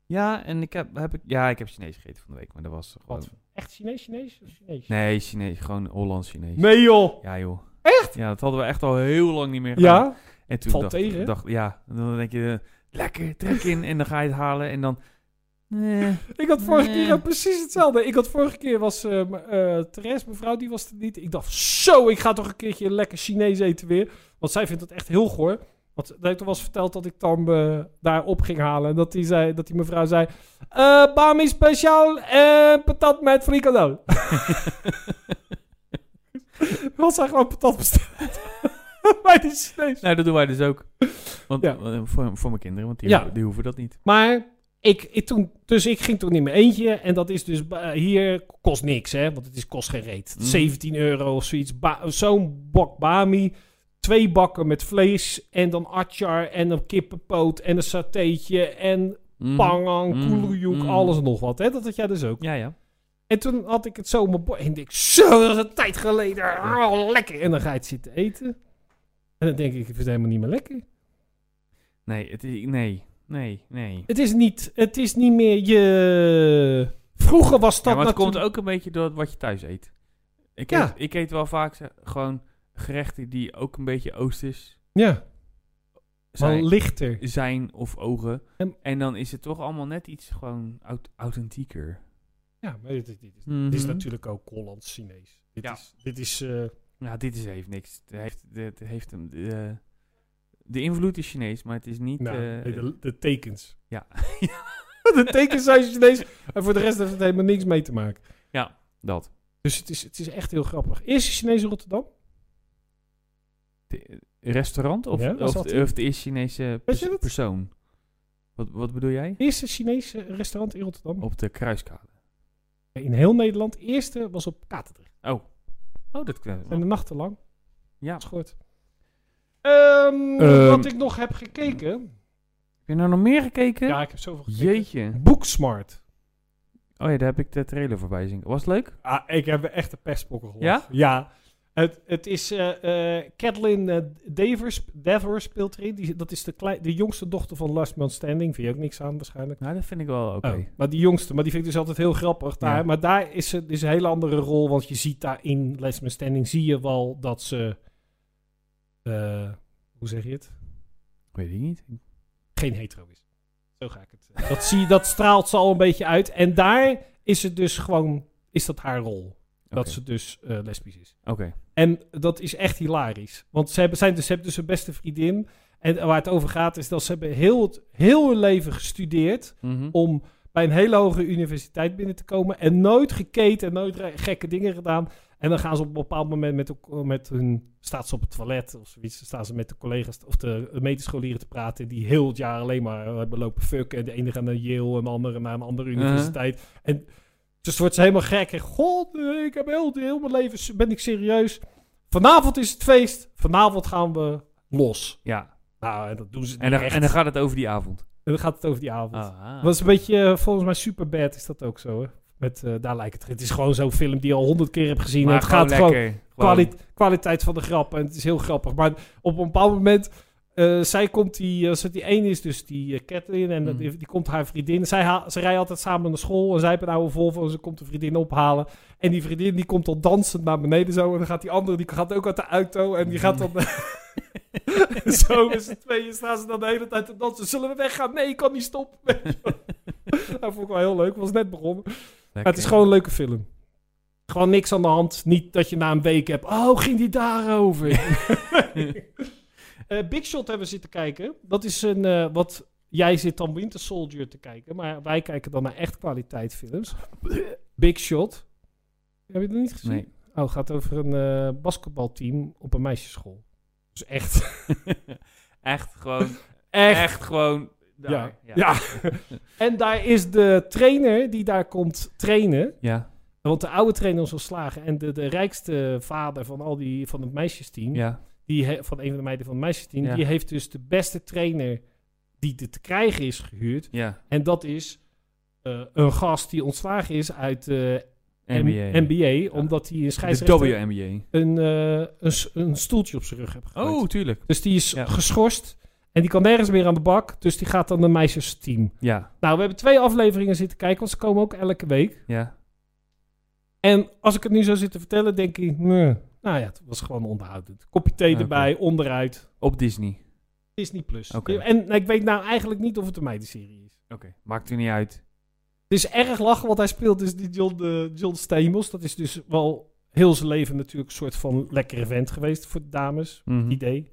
A: ja, en ik heb, heb ik, ja, ik heb Chinees gegeten van de week, maar dat was gewoon...
B: Wat? Echt Chinees, Chinees? of Chinees?
A: Oh. Nee, Chinees, gewoon Hollands Chinees.
B: Nee, joh.
A: Ja joh. Echt? Ja, dat hadden we echt al heel lang niet meer gedaan.
B: Ja?
A: En toen
B: Valt
A: dacht,
B: tegen, hè?
A: dacht- ja, en dan denk je, eh, lekker, trek in. En dan ga je het halen. En dan Nee.
B: Ik had vorige
A: Nee.
B: keer ook precies hetzelfde. Ik had vorige keer was eh m- eh, Therese, mevrouw, die was er niet. Ik dacht, zo, ik ga toch een keertje lekker Chinees eten weer. Want zij vindt dat echt heel goor. Want dat heeft toch wel eens verteld dat ik dan eh, daar op ging halen. En dat die, zei, dat die mevrouw zei, eh bami speciaal en patat met frikandel. *laughs* Want zij gewoon patat besteld. *laughs* Bij die Chinees.
A: Nou, dat doen wij dus ook. Want,
B: Ja.
A: eh, voor, voor mijn kinderen, want die,
B: Ja.
A: ho- die hoeven dat niet.
B: Maar ik, ik toen, dus ik ging toen in mijn eentje. En dat is dus eh, hier kost niks, hè? Want het is kost geen reet.
A: Mm.
B: 17 euro of zoiets. Ba- Zo'n bak bami. Twee bakken met vlees. En dan atjar. En een kippenpoot. En een satéetje. En
A: Mhm.
B: pangang.
A: Mm.
B: koeloejoek.
A: Mm.
B: Alles en nog wat, hè? Dat had jij dus ook.
A: Ja, ja.
B: En toen had ik het zo op mijn bord. En ik denk, zo, dat is een tijd geleden. Oh, lekker. En dan ga je het zitten eten. En dan denk ik, het is helemaal niet meer lekker.
A: Nee, het is, nee, nee, nee.
B: Het is niet, het is niet meer je. Vroeger was dat
A: ja, maar het
B: natuurlijk-
A: komt ook een beetje door wat je thuis eet. Ik,
B: Ja.
A: eet, ik eet wel vaak ze- gewoon gerechten die ook een beetje oosters
B: Ja, maar
A: zijn,
B: lichter.
A: zijn of ogen.
B: En-
A: En dan is het toch allemaal net iets gewoon aut- authentieker.
B: Ja, maar dit, dit- dit- dit is
A: Mhm.
B: natuurlijk ook Hollands-Chinees. Dit
A: Ja.
B: is. Dit is eh,
A: Ja, dit is, heeft niks. Het heeft, het heeft een, de, de invloed is Chinees, maar het is niet...
B: nou,
A: eh,
B: nee, *laughs* de, de tekens.
A: ja.
B: de tekens zijn Chinees. En voor de rest heeft het helemaal niks mee te maken.
A: dat.
B: Dus het is, het is echt heel grappig. Eerste Chinees in Rotterdam.
A: De- eh, restaurant of,
B: Ja, was
A: of,
B: dat die?
A: of de eerste Chinese pers-
B: je dat?
A: persoon? Wat, wat bedoel jij?
B: Eerste Chinees eh, restaurant in Rotterdam.
A: Op de kruiskade.
B: In heel Nederland. Eerste was op Katendrecht.
A: Oh. Oh, dat kan.
B: En de nachten lang.
A: Ja.
B: Dat is goed. Ehm,
A: Ehm.
B: wat ik nog heb gekeken.
A: Heb je nou nog meer gekeken?
B: Ja, ik heb zoveel gekeken.
A: Jeetje.
B: Booksmart.
A: Oh ja, daar heb ik de trailer voorbij zien. Was het leuk?
B: Ah, ik heb echt een pestpokken gehoord.
A: Ja?
B: Ja. Het, het is eh eh Kathleen eh, Davers, Davers speelt erin. Die, dat is de, klei- de jongste dochter van Last Man Standing. Vind je ook niks aan waarschijnlijk.
A: Nou, dat vind ik wel oké.
B: Oh, maar die jongste, maar die vind ik dus altijd heel grappig. Daar.
A: Ja.
B: Maar daar is het is een hele andere rol. Want je ziet daar in Last Man Standing, zie je wel dat ze... eh, hoe zeg je het?
A: Weet ik niet.
B: geen hetero is. Zo ga ik het. eh, Dat, zie, dat straalt ze al een beetje uit. En daar is het dus gewoon, is dat haar rol. Dat
A: Oké.
B: ze dus eh, lesbisch is.
A: Oké.
B: En dat is echt hilarisch. Want ze hebben, zijn dus, ze hebben dus hun beste vriendin. En waar het over gaat is dat ze hebben heel, het- heel hun leven gestudeerd
A: Mhm.
B: om bij een hele hoge universiteit binnen te komen. En nooit gekeken en nooit re- gekke dingen gedaan. En dan gaan ze op een bepaald moment met, elk- met hun... Staat ze op het toilet of zoiets. Dan staan ze met de collega's of de medescholieren te praten... die heel het jaar alleen maar eh, hebben lopen fucken. En de ene gaat naar Yale en de andere naar een andere
A: Uh-huh.
B: universiteit. En dus wordt ze helemaal gek. En god, eh, ik heb heel, heel mijn leven... s- ben ik serieus. Vanavond is het feest. Vanavond gaan we los.
A: Ja.
B: Nou, en dat doen ze
A: En dan,
B: echt.
A: en dan gaat het over die avond.
B: En dan gaat het over die avond.
A: Ah.
B: Was een beetje, eh, volgens mij, Superbad is dat ook zo, hè? Met, eh, daar lijkt het. Het is gewoon zo'n film die je al honderd keer hebt gezien. en het gaat gewoon
A: lekker.
B: kwali- kwaliteit van de grap. En het is heel grappig. Maar op een bepaald moment, eh, zij komt die, als het die ene is dus die eh, Kathleen, en dat-
A: Mhm.
B: die, die komt haar vriendin. Zij ha- ze rijden altijd samen naar school en zij hebben een oude Volvo en ze komt de vriendin ophalen. En die vriendin die komt al dansend naar beneden zo. En dan gaat die andere, die gaat ook uit de auto en die gaat dan... *laughs* zo met z'n tweeën staan ze dan de hele tijd te dansen. Zullen we weggaan? Nee, ik kan niet stoppen. *laughs* Weet je wel. dat vond ik wel heel leuk. was net begonnen. Maar
A: Lekker.
B: het is gewoon een leuke film. Gewoon niks aan de hand. Niet dat je na een week hebt. Oh, ging die
A: *laughs*
B: daarover? Eh, Big Shot hebben we zitten kijken. Dat is een. eh, wat jij zit dan Winter Soldier te kijken. Maar wij kijken dan naar echt kwaliteit films. Big Shot. Heb je dat niet gezien?
A: Nee. *laughs*
B: Oh, het gaat over een eh, basketbalteam op een meisjesschool. Dus
A: *laughs*
B: echt.
A: echt gewoon.
B: Echt.
A: Echt, gewoon. daar.
B: Ja. Ja.
A: Ja.
B: en daar is de trainer die daar komt trainen.
A: Ja.
B: Want de oude trainer is ontslagen. En de, de rijkste vader van al die van het meisjesteam.
A: ja.
B: die he- van een van de meiden van het meisjesteam,
A: Ja.
B: die heeft dus de beste trainer die er te krijgen is gehuurd.
A: ja.
B: En dat is eh, een gast die ontslagen is uit eh, de
A: NBA.
B: NBA, omdat hij een
A: De
B: scheidsrechter
A: WNBA.
B: een, eh, een, s- een stoeltje op zijn rug heeft gegooid.
A: Oh, tuurlijk.
B: Dus die is
A: Ja.
B: geschorst en die kan nergens meer aan de bak, dus die gaat dan een meisjesteam.
A: Ja.
B: Nou, we hebben twee afleveringen zitten kijken, want ze komen ook elke week.
A: Ja.
B: En als ik het nu zo zit te vertellen, denk ik, nee. nou ja, het was gewoon onderhoudend. Kopje thee
A: Oké.
B: erbij, onderuit.
A: Op Disney.
B: Disney Plus.
A: Oké.
B: nou En ik weet nou eigenlijk niet of het een meidenserie is.
A: Oké. Maakt u niet uit.
B: Het is erg lachen, want hij speelt dus die John, eh, John Stamos. Dat is dus wel heel zijn leven natuurlijk een soort van lekkere vent geweest voor de dames.
A: Mhm.
B: Idee.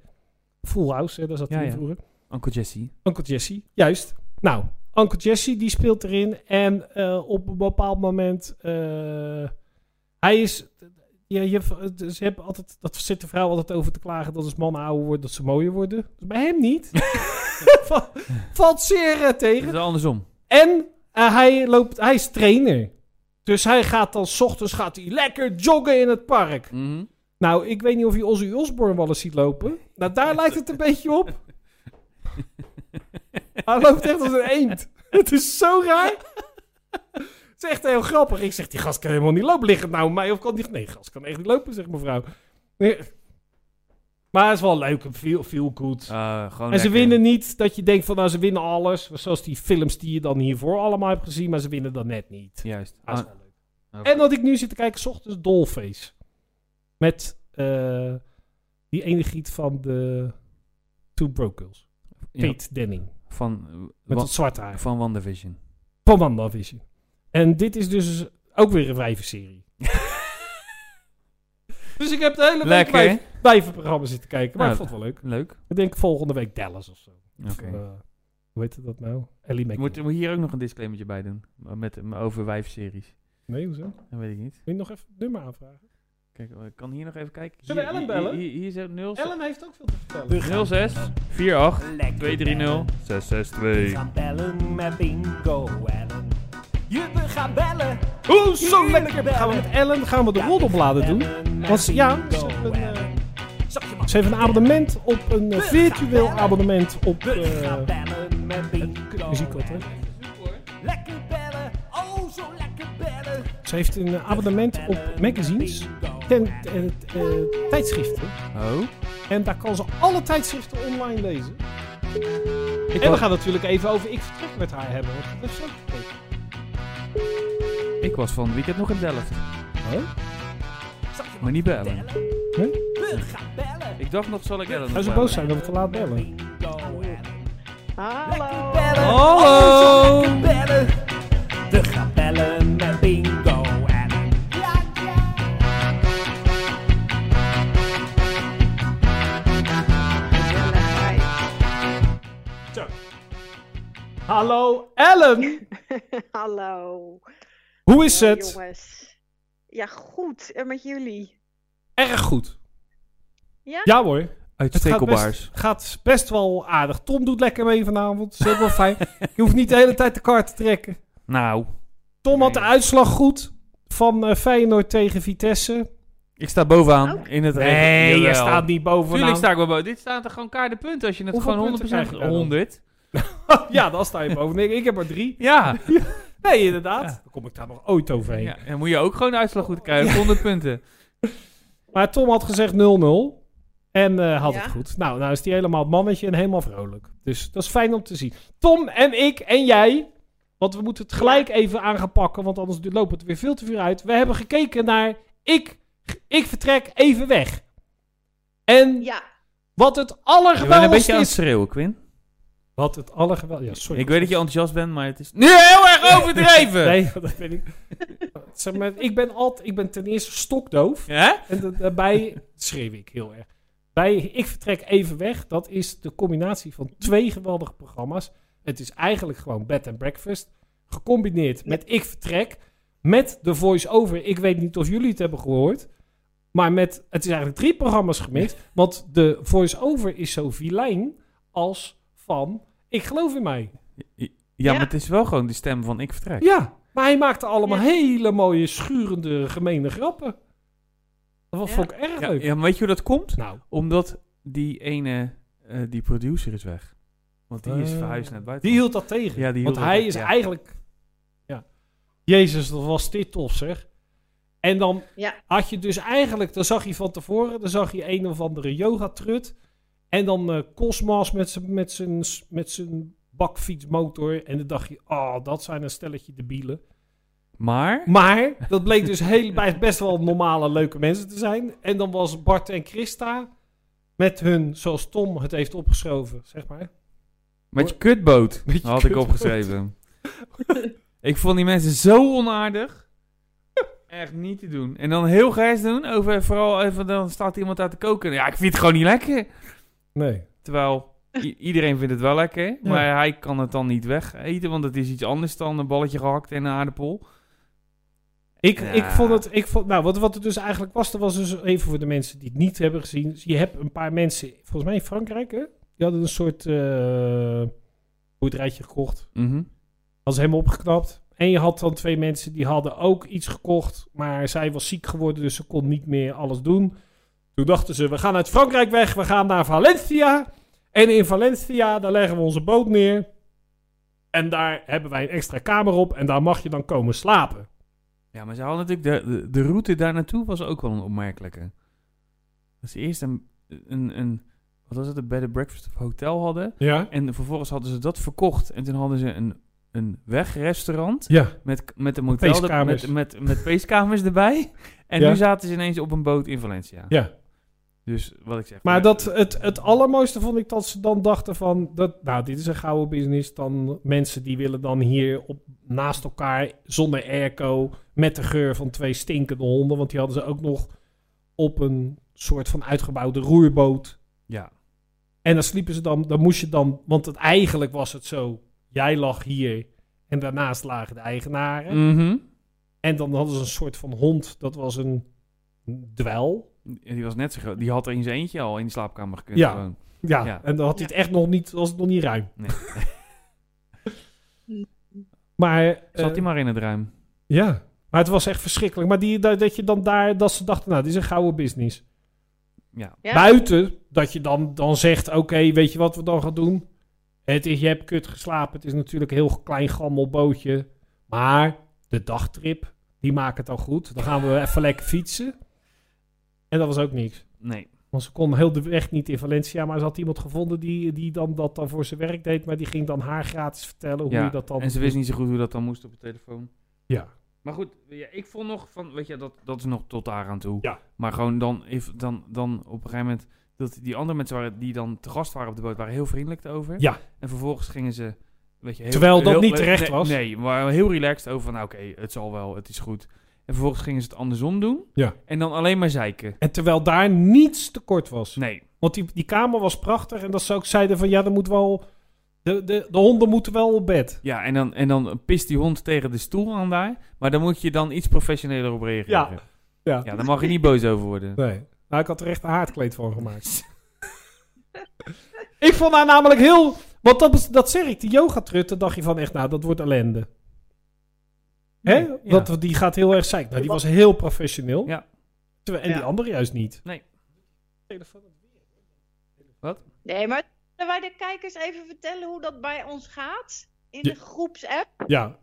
B: Full House, hè, daar zat
A: Ja,
B: hij in
A: ja.
B: vroeger.
A: Uncle Jesse.
B: Uncle Jesse, juist. Nou, Uncle Jesse die speelt erin. En eh, op een bepaald moment. eh, hij is. Ja, je, hebt- ze hebben altijd, dat zit de vrouw altijd over te klagen dat als mannen ouder worden, dat ze mooier worden. Bij hem niet. Va- Valt zeer eh, tegen.
A: Het is andersom.
B: En eh, hij, loopt, hij is trainer. Dus hij gaat dan 's ochtends gaat hij lekker joggen in het park.
A: Mhm.
B: Nou, ik weet niet of je Ozzy Osbourne wel eens ziet lopen. Nou, daar lijkt het een beetje op. Hij loopt echt als een eend. Het is zo raar. Het is echt heel grappig. Ik zeg, die gast kan helemaal niet lopen. Ligt het nou aan mij of kan die... Nee, gast kan echt niet lopen, zegt mevrouw. Nee. Maar het is wel leuk. Feel, feel good.
A: Eh, gewoon
B: En ze
A: lekker.
B: winnen niet dat je denkt van, nou, ze winnen alles. Zoals die films die je dan hiervoor allemaal hebt gezien. Maar ze winnen dan net niet.
A: Juist.
B: Dat is
A: Ah,
B: wel leuk.
A: oké.
B: En dat ik nu zit te kijken, 's ochtends Dollface. Met eh, die ene giet van de Two Broke Girls.
A: Ja,
B: Kate Denning.
A: van, eh,
B: Met
A: wa-
B: dat zwarte haar.
A: van WandaVision.
B: Van WandaVision. En dit is dus ook weer een wijvenserie. dus ik heb de hele week
A: Lekker,
B: wijf, wijvenprogramma's zitten kijken. Maar
A: Nou,
B: ik vond het wel leuk.
A: *laughs* Leuk.
B: Ik denk volgende week Dallas of zo.
A: Oké.
B: Of, eh, hoe heet dat nou? Ellie McNeil.
A: Moeten we hier ook nog een disclaimertje bij doen? Met, over wijfseries.
B: Nee, hoezo? Wil
A: Dat weet ik niet.
B: je nog even het nummer aanvragen?
A: Kijk, eh, ik kan hier nog even kijken.
B: Zullen we
A: Hier-
B: Ellen bellen?
A: Hier, hier, hier zit 0,
B: Ellen heeft ook veel te vertellen.
A: 06 48 230 662.
F: gaan bellen met Bingo Ellen. Je we gaan bellen.
B: Oeh, zo lekker. Gaan we met Ellen gaan we de roddelbladen doen. Want ze- ja, ze heeft een, eh,
F: Zak je maar.
B: ze heeft een abonnement op een eh, virtueel abonnement op
F: We gaan
B: eh
F: bellen met Bingo
B: muziek altijd.
F: Lekker bellen. Oh, zo lekker bellen.
B: Ze heeft een eh, abonnement op magazines, ten, eh, eh, tijdschriften.
A: Oh.
B: En daar kan ze alle tijdschriften online lezen. en
A: wou-
B: we gaan natuurlijk even over Ik Vertrek met haar hebben. Want dat is ook gekeken.
A: Ik was van het weekend nog in Delft.
B: Nou,
F: Zak je
A: Maar niet bij Ellen.
B: Huh?
F: We gaan bellen.
A: Ik dacht nog, zal ik Ellen
B: Gaan ze
A: nog
B: boos
A: bellen?
B: zijn dat we te laat bellen?
F: Bingo Ellen.
G: Hallo.
F: Bellen.
A: Hallo.
F: Oh, zo lekker bellen. We gaan bellen met Bingo Ellen.
B: Hallo Ellen!
G: *laughs* Hallo.
B: Hoe is
G: Hoi,
B: het?
G: Jongens. Ja, goed. En met jullie?
B: Erg goed.
G: Ja?
B: Ja hoor.
A: Uit
B: Het gaat
A: stekelbaars.
B: best, gaat best wel aardig. Tom doet lekker mee vanavond. Dat is ook wel fijn. Je hoeft niet de hele tijd de kaart te trekken.
A: Nou,
B: Tom had de
A: Nee.
B: uitslag goed van eh, Feyenoord tegen Vitesse.
A: ik sta bovenaan
G: Oh.
A: in het regen.
B: Nee, je
A: Jawel.
B: staat niet bovenaan.
A: Tuurlijk sta ik wel boven. Dit staat er gewoon kaartenpunten als je het
B: Hoeveel
A: gewoon 100%...
B: punten krijg je daar dan?
A: 100.
B: *laughs* ja, dan sta je bovenaan. Ik heb er drie.
A: Ja.
B: Nee, inderdaad. Dan kom ik daar nog ooit overheen.
A: *laughs* ja. Dan moet je ook gewoon de uitslag goed krijgen. 100 *laughs* punten.
B: Maar Tom had gezegd 0-0. En eh, had
G: Ja.
B: het goed. Nou, nou is die helemaal het mannetje en helemaal vrolijk. Dus dat is fijn om te zien. Tom en ik en jij. Want we moeten het gelijk even aan gaan pakken. Want anders loopt het weer veel te veel uit. We hebben gekeken naar ik, ik vertrek even weg. En
G: Ja.
B: wat het
A: Je bent een
B: allergeweldigste
A: beetje aan het
B: is...
A: schreeuwen, Quinn.
B: Wat het allergeweldigste... Ja, sorry.
A: Ik weet dat je enthousiast bent, maar het is nu heel erg overdreven.
B: Nee, *laughs* dat ben ik. zeg maar, ik ben altijd... Ik ben ten eerste stokdoof.
A: Hè?
B: En da-
A: *laughs*
B: daarbij schreeuw ik heel erg. Bij Ik Vertrek Even Weg, dat is de combinatie van twee geweldige programma's. Het is eigenlijk gewoon Bed and Breakfast, gecombineerd met Ik Vertrek, met de voice-over. Ik weet niet of jullie het hebben gehoord, maar met, het is eigenlijk drie programma's gemixt. Want de voice-over is zo vilijn als van Ik geloof in mij.
A: Ja,
G: Ja.
A: maar het is wel gewoon de stem van ik vertrek.
B: Ja, maar hij maakte allemaal
G: Ja.
B: hele mooie, schurende, gemene grappen. Dat
G: Ja.
B: vond ik erg
A: Ja,
B: leuk.
A: ja, maar weet je hoe dat komt?
B: Nou,
A: Omdat die ene, eh, die producer is weg. Want die is
B: Eh,
A: verhuisd naar het buitenland.
B: Die hield dat tegen.
A: Ja, die hield
B: Want
A: dat
B: hij
A: tegen,
B: is
A: ja.
B: eigenlijk... Ja. Jezus, dat was dit tof zeg. En dan
G: Ja.
B: had je dus eigenlijk... Dan zag je van tevoren, dan zag je een of andere yoga-trut. En dan eh Cosmas met zijn met zijn- met zijn bakfietsmotor. En dan dacht je, oh, dat zijn een stelletje debielen.
A: Maar,
B: Maar dat bleek dus heel, bij- best wel normale, leuke mensen te zijn. En dan was Bart en Christa met hun, zoals Tom het heeft opgeschoven, zeg maar.
A: met je kutboot,
B: Met je
A: had ik
B: kutboot.
A: opgeschreven. *laughs* Ik vond die mensen zo onaardig. Echt niet te doen. En dan heel grijs doen. Over, vooral even, dan staat iemand uit te koken. Ja, ik vind het gewoon niet lekker.
B: Nee.
A: Terwijl i- iedereen vindt het wel lekker. Maar hij kan het dan niet wegeten. Want het is iets anders dan een balletje gehakt en een aardappel.
B: Ik,
A: Ja.
B: ik vond het, ik vond, nou, wat, wat het dus eigenlijk was, dat was dus even voor de mensen die het niet hebben gezien. Dus Je hebt een paar mensen, volgens mij in Frankrijk, hè? die hadden een soort eh boerderijtje gekocht.
A: Mhm.
B: was helemaal opgeknapt. En je had dan twee mensen die hadden ook iets gekocht, maar zij was ziek geworden, dus ze kon niet meer alles doen. Toen dachten ze, we gaan uit Frankrijk weg, we gaan naar Valencia. En in Valencia, daar leggen we onze boot neer. En daar hebben wij een extra kamer op en daar mag je dan komen slapen.
A: Ja, maar ze hadden natuurlijk de, de, de route daar naartoe was ook wel een opmerkelijke. Dat ze eerst een, een, een wat was het, een bed and breakfast of hotel hadden.
B: Ja?
A: En vervolgens hadden ze dat verkocht. En toen hadden ze een, een wegrestaurant
B: Ja.
A: met, met een motel,
B: feestkamers.
A: met, met, met feestkamers
B: *laughs*
A: erbij. En
B: Ja.
A: nu zaten ze ineens op een boot in Valencia.
B: Ja.
A: Dus wat ik zeg.
B: Maar dat, het, het allermooiste vond ik dat ze dan dachten van... Dat, nou, dit is een gouden business. Dan mensen die willen dan hier op, naast elkaar zonder airco... met de geur van twee stinkende honden. Want die hadden ze ook nog op een soort van uitgebouwde roerboot.
A: Ja.
B: En dan sliepen ze dan... Dan moest je dan... Want het, eigenlijk was het zo... Jij lag hier en daarnaast lagen de eigenaren.
A: Mhm.
B: En dan hadden ze een soort van hond. Dat was een dweil.
A: En Die was net zo groot. Die had er in zijn eentje al in de slaapkamer gekund.
B: Ja.
A: gewoon.
B: Ja,
A: Ja.
B: en dan had hij het echt nog niet... was het nog niet ruim.
A: *laughs* Nee.
B: Maar, eh,
A: Zat die maar in het ruim.
B: Ja, maar het was echt verschrikkelijk. Maar die, dat, dat je dan daar, dat ze dachten, nou, dit is een gouden business.
A: Ja.
G: Ja.
B: Buiten dat je dan, dan zegt, oké, weet je wat we dan gaan doen? Het is, je hebt kut geslapen, het is natuurlijk een heel klein gammel bootje. Maar de dagtrip, die maakt het al goed. Dan gaan we even lekker fietsen. En dat was ook niks.
A: Nee.
B: Want ze kon heel de weg niet in Valencia, maar ze had iemand gevonden die, die dan dat dan voor zijn werk deed. Maar die ging dan haar gratis vertellen hoe
A: Ja,
B: je dat dan...
A: En ze wist niet zo goed hoe dat dan moest op de telefoon.
B: Ja.
A: Maar goed, ja, ik vond nog van, weet je, dat, dat is nog tot daar aan toe.
B: Ja.
A: Maar gewoon dan, if- dan, dan op een gegeven moment, dat die andere mensen waren, die dan te gast waren op de boot, waren heel vriendelijk over.
B: Ja.
A: En vervolgens gingen ze, weet je, heel,
B: Terwijl dat
A: heel-
B: niet terecht
A: nee,
B: was.
A: Nee, maar heel relaxed over van, nou, oké, het zal wel, het is goed. En vervolgens gingen ze het andersom doen.
B: Ja.
A: En dan alleen maar zeiken.
B: En terwijl daar niets tekort was.
A: Nee.
B: Want die, die kamer was prachtig. En dat ze ook zeiden van ja, er moet wel. De, de, de honden moeten wel op bed.
A: Ja, en dan, en dan pist die hond tegen de stoel aan daar. Maar dan moet je dan iets professioneler op reageren.
B: Ja. Ja.
A: Ja, daar mag je niet boos over worden.
B: Nee. Nou, ik had er echt een haardkleed van
A: *laughs*
B: gemaakt. ik vond haar namelijk heel. Want dat, is- dat zeg ik, die yogatrut, dan dacht je van echt, nou, dat wordt ellende. Hè?
A: Nee, ja.
B: Dat, die gaat heel erg zeik. Nou, die was heel professioneel.
A: Ja.
B: Terwijl- En die
G: Ja.
B: andere juist niet.
A: Nee.
G: Nee, maar zullen wij de kijkers even vertellen hoe dat bij ons gaat? In
B: Ja.
G: de groepsapp.
B: Ja.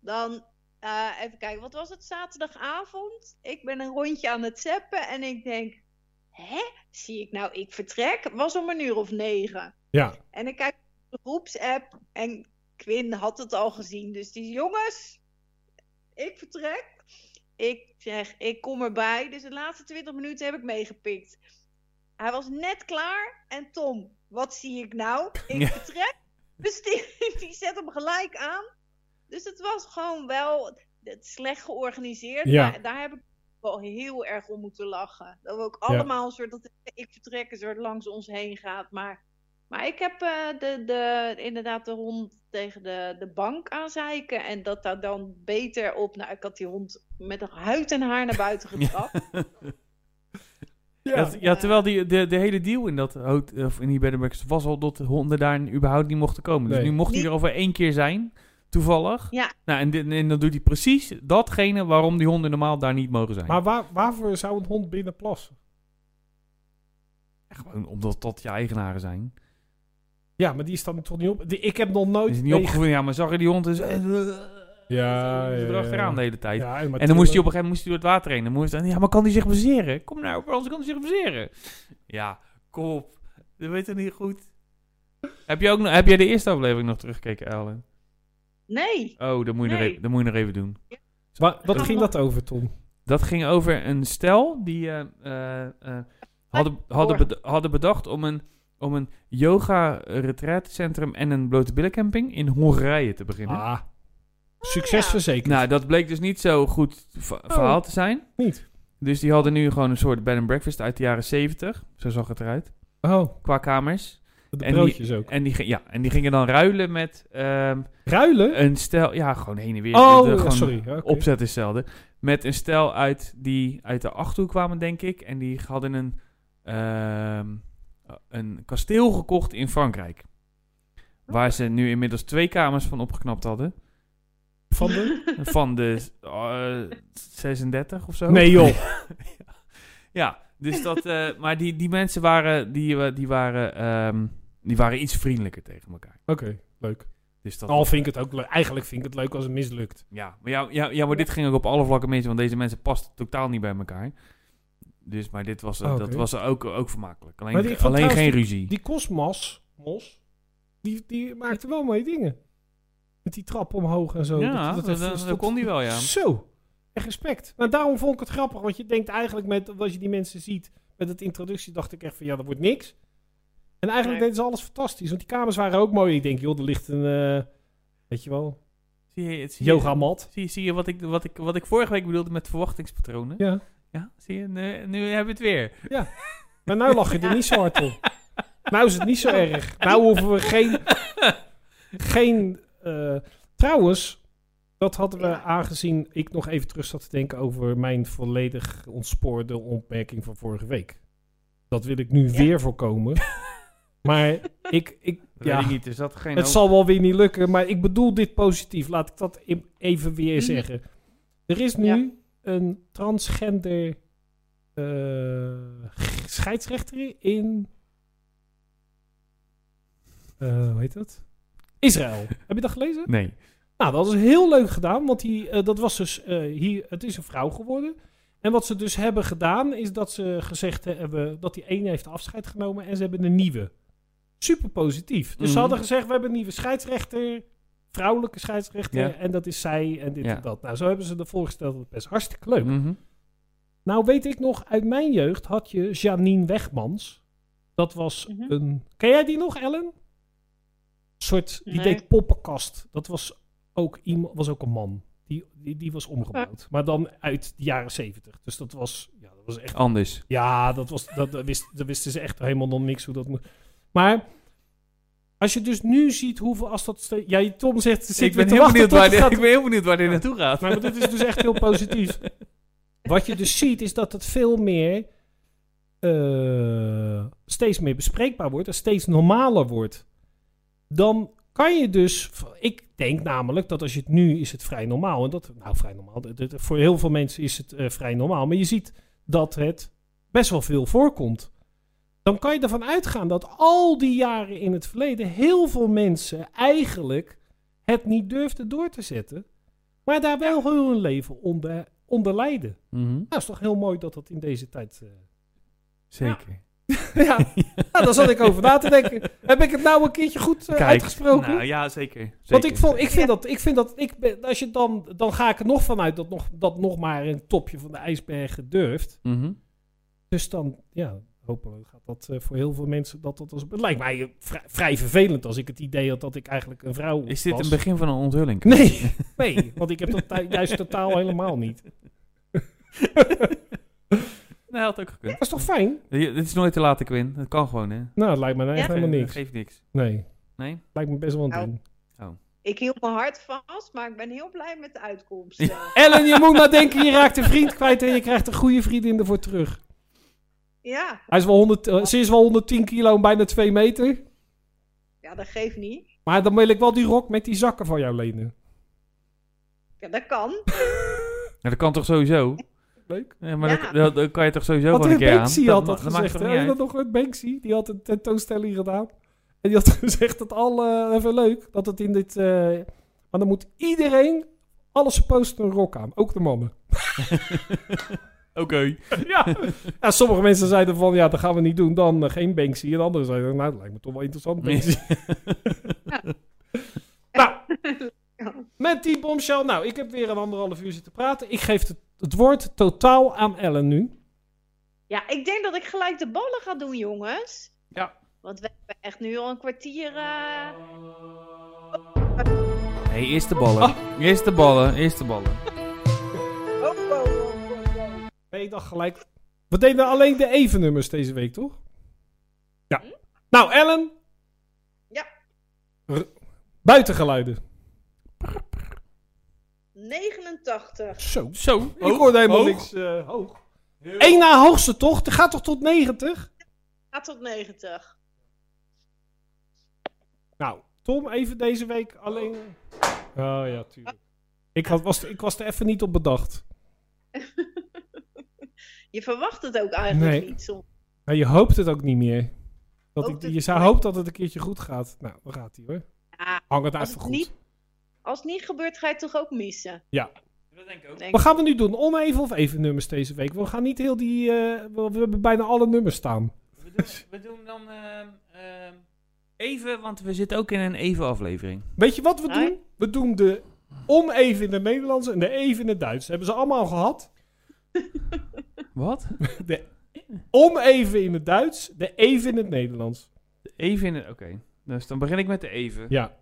G: Dan eh, even kijken, wat was het zaterdagavond? Ik ben een rondje aan het zappen en ik denk, hè, zie ik nou, ik vertrek? Was om een uur of negen.
B: Ja.
G: En ik kijk op de groepsapp en Quinn had het al gezien. Dus die jongens, ik vertrek. Ik zeg, ik kom erbij. Dus de laatste 20 minuten heb ik meegepikt. Hij was net klaar en Tom, wat zie ik
B: *laughs*
G: nou? Ik
A: Ja.
G: vertrek. Dus die, *laughs* die zet hem gelijk aan. Dus het was gewoon wel het is slecht georganiseerd.
B: Ja.
G: Maar daar heb ik wel heel erg om moeten lachen. Dat we ook allemaal een soort, dat ik vertrek een soort langs ons heen gaat. Maar maar ik heb eh, de, de, inderdaad de hond tegen de, de bank aanzeiken. En dat daar dan beter op. Nou, ik had die hond met een huid en haar naar buiten
B: *laughs*
G: getrapt.
A: Ja, t- ja, terwijl die, de, de hele deal in dat hot- of in die bed and breakfast was al dat de honden daar überhaupt niet mochten komen. Dus
B: Nee.
A: nu mocht hij
G: Niet-
A: er over één keer zijn, toevallig.
G: Ja.
A: Nou, en, dit- en dan doet hij precies datgene waarom die honden normaal daar niet mogen zijn.
B: Maar waar, waarvoor zou een hond binnen plassen?
A: Ja, gewoon omdat dat je eigenaren zijn.
B: Ja, maar die staat toch niet op. Die, ik heb nog nooit.
A: Is het niet
B: meege-
A: opgevoed? Ja, maar zag je die hond dus...
B: Ja, Ah, ja, ja,
A: erachteraan
B: ja.
A: de hele tijd.
B: Ja, maar
A: en dan moest hij
B: tuurlijk.
A: op een gegeven moment moest hij door het water heen. Dan moest hij, ja, maar kan hij zich bezeren? Kom nou, anders kan hij zich bezeren. Ja, kom op. Dat weet het niet goed. heb, je ook, nog- heb jij de eerste aflevering nog teruggekeken, Ellen?
G: Nee.
A: Oh, dat moet je, nog,
G: Nee.
A: even, dat moet je nog even doen.
B: Wa- wat ging dat over, Tom?
A: Dat ging over een stel die eh, eh, eh, hadden, hadden, bed- hadden bedacht om een, om een yoga retraitecentrum en een blote billencamping in Hongarije te beginnen.
B: Ah, Succesverzekerd.
A: Nou, dat bleek dus niet zo goed v- verhaal te zijn.
B: Oh. Niet.
A: Dus die hadden nu gewoon een soort bed and breakfast uit de jaren 70. Zo zag het eruit.
B: Oh,
A: Qua kamers.
B: de
A: En
B: broodjes ook.
A: En die, ging- ja, en die gingen dan ruilen met ehm,
B: Ruilen?
A: een stel... Ja, gewoon heen en weer.
B: Oh,
A: De- de-
B: ja,
A: gewoon
B: sorry. Oké.
A: Opzet is hetzelfde. Met een stel uit die uit de Achterhoek kwamen, denk ik. En die hadden een, ehm, een kasteel gekocht in Frankrijk. Waar ze nu inmiddels twee kamers van opgeknapt hadden.
B: Van de...
G: *laughs*
A: Van de eh, 36 of zo.
B: Nee
A: *laughs*
B: joh.
A: Ja, dus dat, eh, maar die, die mensen waren, die, wa- die, waren, ehm, die waren iets vriendelijker tegen elkaar.
B: Oké, leuk.
A: Dus dat,
B: Al vind ik het ook leuk. Eigenlijk vind ik het leuk als het mislukt.
A: Ja, maar, ja, ja, ja, maar dit ging ook op alle vlakken mis, want deze mensen pasten totaal niet bij elkaar. Dus, maar dit was, eh,
B: Oh, Oké.
A: dat was ook, ook vermakelijk. Alleen,
B: Maar die- ik vond
A: alleen geen
B: trouwens
A: ruzie.
B: Die Cosmas, Mos, die, die maakte wel mooie dingen. Met die trap omhoog en zo.
A: ja, dat, dat,
B: even-
A: dat kon die wel, ja.
B: Zo. Echt respect. Nou, daarom vond ik het grappig. Want je denkt eigenlijk met, als je die mensen ziet met het introductie, dacht ik echt van ja, dat wordt niks. En eigenlijk
G: Nee.
B: deden ze alles fantastisch. Want die kamers waren ook mooi. Ik denk, joh, er ligt een, eh, weet je wel,
A: Zie je, het- zie je-
B: yogamat.
A: Zie, je- zie je wat ik, wat, ik, wat ik vorige week bedoelde met verwachtingspatronen?
B: Ja.
A: Ja, zie je? Nu, nu hebben we het weer.
B: Maar nou lach je er niet zo hard om. Nou is het niet zo erg. Nou hoeven we
A: *laughs*
B: geen, geen eh, trouwens, dat hadden we
G: Ja.
B: aangezien ik nog even terug zat te denken over mijn volledig ontspoorde opmerking van vorige week. Dat wil ik nu weer voorkomen. Maar ik, ik
A: Dat
B: ja,
A: weet ik niet, dus dat geen...
B: het zal wel weer niet lukken. Maar ik bedoel dit positief. Laat ik dat im- even weer
G: Mhm.
B: zeggen. Er is nu
G: Ja.
B: een transgender eh, scheidsrechter in. eh, hoe heet dat? Israël. Heb je dat gelezen?
A: Nee.
B: Nou, dat is heel leuk gedaan, want die, eh, dat was dus eh, hier, het is een vrouw geworden. En wat ze dus hebben gedaan, is dat ze gezegd hebben dat die ene heeft afscheid genomen en ze hebben een nieuwe. Super positief. Dus ze
A: Mhm.
B: hadden gezegd, we hebben een nieuwe scheidsrechter, vrouwelijke scheidsrechter,
A: Ja.
B: en dat is zij en dit
A: Ja.
B: en dat. Nou, zo hebben ze dat voorgesteld, dat is best hartstikke leuk.
A: Mhm.
B: Nou, weet ik nog, uit mijn jeugd had je Janine Wegmans. Dat was
G: Mhm.
B: een. Ken jij die nog, Ellen? Een soort. Die
G: Nee.
B: deed poppenkast. Dat was ook, iemand, was ook een man. Die, die, die was omgebouwd.
G: Ah.
B: Maar dan uit de jaren zeventig. Dus dat was. Ja, dat was echt.
A: Anders.
B: Ja, dat was, dat, dat wist, dat wisten ze echt helemaal nog niks hoe dat moet. Maar. Als je dus nu ziet hoeveel. Als dat. ste- Ja, Tom zegt. Zit
A: Ik
B: weer
A: ben,
B: te
A: heel
B: wachten
A: benieuwd
B: tot
A: waar
B: het
A: dit,
B: gaat
A: ik ben heel benieuwd waar dit naartoe gaat.
B: maar dit is dus echt heel positief. Wat je dus ziet is dat het veel meer eh, steeds meer bespreekbaar wordt en steeds normaler wordt. Dan kan je dus, ik denk namelijk dat als je het nu is het vrij normaal en dat nou vrij normaal. dat- dat- voor heel veel mensen is het eh, vrij normaal, maar je ziet dat het best wel veel voorkomt. Dan kan je ervan uitgaan dat al die jaren in het verleden heel veel mensen eigenlijk het niet durfden door te zetten. Maar daar wel heel hun leven onder, onder lijden. Nou,
A: Mhm.
B: dat is toch heel mooi dat dat in deze tijd... eh,
A: Zeker.
B: *laughs* ja, nou, daar zat ik over na te denken. Heb ik het nou een keertje goed eh,
A: Kijk,
B: uitgesproken?
A: Nou ja, zeker.
B: Want
A: Zeker.
B: ik, vond, ik vind dat... Ik vind dat ik ben, als je dan, dan ga ik er nog vanuit dat nog, dat nog maar een topje van de ijsbergen durft.
A: Mhm.
B: Dus dan, ja, hopelijk gaat dat eh, voor heel veel mensen... Dat, dat als, het lijkt mij eh, vrij, vrij vervelend als ik het idee had dat ik eigenlijk een vrouw
A: Is dit
B: was.
A: een begin van een onthulling?
B: Oh, *laughs* Nee, nee, want ik heb dat tui- juist totaal helemaal niet.
A: Nou, had ook gekund.
B: Dat is toch fijn?
A: Je- Dit is nooit te laat, Quinn. Dat kan gewoon, hè?
B: Nou, het lijkt me nou echt
G: Ja.
B: helemaal
A: Dat
B: niks.
A: geeft niks.
B: Nee,
A: Nee?
B: lijkt me best wel een
G: Nou.
B: ding.
G: Ik hield mijn hart vast, maar ik ben heel blij met de uitkomst. eh.
B: Ellen, je moet maar denken, je raakt een vriend kwijt en je krijgt een goede vriendin ervoor terug.
G: ja.
B: Hij is wel 100, eh, ze is wel 110 kilo en bijna 2 meter.
G: ja, dat geeft niet.
B: Maar dan wil ik wel die rok met die zakken van jou lenen.
G: Ja, dat kan.
A: Nou, dat kan toch sowieso?
B: Leuk.
A: Ja, maar
G: Ja.
A: Dat, dat, dat kan je toch sowieso
B: Wat
A: gewoon een
B: een
A: keer aan?
B: Banksy
A: ma-
B: had dat,
A: maakt
B: gezegd.
A: toch
B: Hè?
A: niet
B: Heb je
A: uit?
B: dat nog met Banksy? Die had een tentoonstelling gedaan. En die had *laughs* gezegd dat alle, eh, even leuk, dat het in dit... eh, maar dan moet iedereen, alle supposed een rok aan. Ook de mannen.
A: Oké.
B: *laughs* Ja. ja, sommige mensen zeiden van, ja, dat gaan we niet doen. Dan eh, geen Banksy. En anderen zeiden, nou, dat lijkt me toch wel interessant. Banksy. Nou, met die bombshell. Nou, ik heb weer een anderhalf uur zitten praten. Ik geef het, het woord totaal aan Ellen nu.
G: Ja, ik denk dat ik gelijk de ballen ga doen, jongens.
A: Ja.
G: Want we hebben echt nu al een kwartier. eh,
A: Nee, eerst de ballen.
B: Oh.
A: Eerst de ballen, eerst de ballen.
G: Oh, oh, oh, oh, oh.
B: Nee, ik dacht gelijk. We deden alleen de even nummers deze week, toch? Ja. Nou, Ellen.
G: Ja.
B: R- buitengeluiden.
G: 89.
B: Zo.
A: Zo,
B: ik hoorde helemaal
A: hoog.
B: niks eh, hoog. Eén na hoogste, toch? Dat gaat toch tot 90?
G: Gaat tot 90.
B: Nou, Tom, even deze week alleen. Oh ja, tuurlijk. Ik, had, was, ik was er even niet op bedacht.
G: Je verwacht het ook eigenlijk
B: Nee.
G: niet soms.
B: Maar je hoopt het ook niet meer. Dat
G: Hoopt
B: ik,
G: het
B: je zou
G: niet.
B: hoopt dat het een keertje goed gaat. Nou, dan gaat hij hoor.
G: Ja,
B: Hang het uit
G: als
B: voor
G: het
B: goed.
G: niet- als het niet gebeurt, ga je het toch ook missen.
B: Ja.
A: Dat denk ik ook.
G: Denk
B: Wat gaan we nu doen? Oneven of even nummers deze week? We gaan niet heel die... eh, we, we hebben bijna alle nummers staan.
A: We doen, we doen dan ehm, ehm, even, want we zitten ook in een even aflevering.
B: Weet je wat we
G: Nee.
B: doen? We doen de oneven in het Nederlands en de even in het Duits. Hebben ze allemaal gehad.
A: Wat?
B: Oneven in het Duits, de even in het Nederlands.
A: Even in het... Oké, dus dan begin ik met de even.
B: Ja.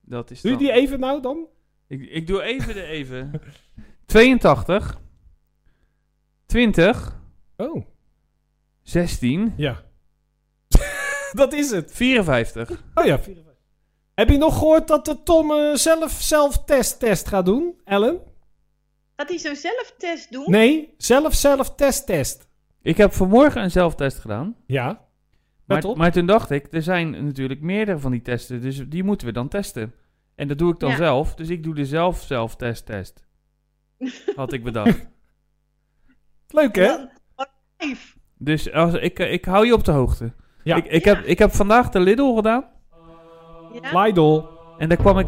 A: Dat is
B: Doe je
A: dan-
B: die even nou dan?
A: Ik, ik doe even de
B: *laughs*
A: even. 82. 20.
B: Oh,
A: 16.
B: ja. *laughs* dat is het.
A: 54.
B: Oh ja. Heb je nog gehoord dat de Tom eh, zelf zelf-test-test gaat doen, Ellen?
G: Gaat hij zo'n zelftest doen?
B: Nee, zelf-zelf-test-test.
A: Ik heb vanmorgen een zelftest gedaan.
B: Ja. Let
A: Maar,
B: op.
A: maar toen dacht ik, er zijn natuurlijk meerdere van die testen, dus die moeten we dan testen. En dat doe ik dan
G: Ja.
A: zelf, dus ik doe de zelf zelf test test. Had ik bedacht.
B: Leuk hè?
G: Dan- Live.
A: dus als, ik, eh, ik hou je op de hoogte.
B: Ja.
A: Ik, ik, heb, ik heb vandaag de Lidl gedaan
G: Ja?
B: Lidl.
A: en daar kwam ik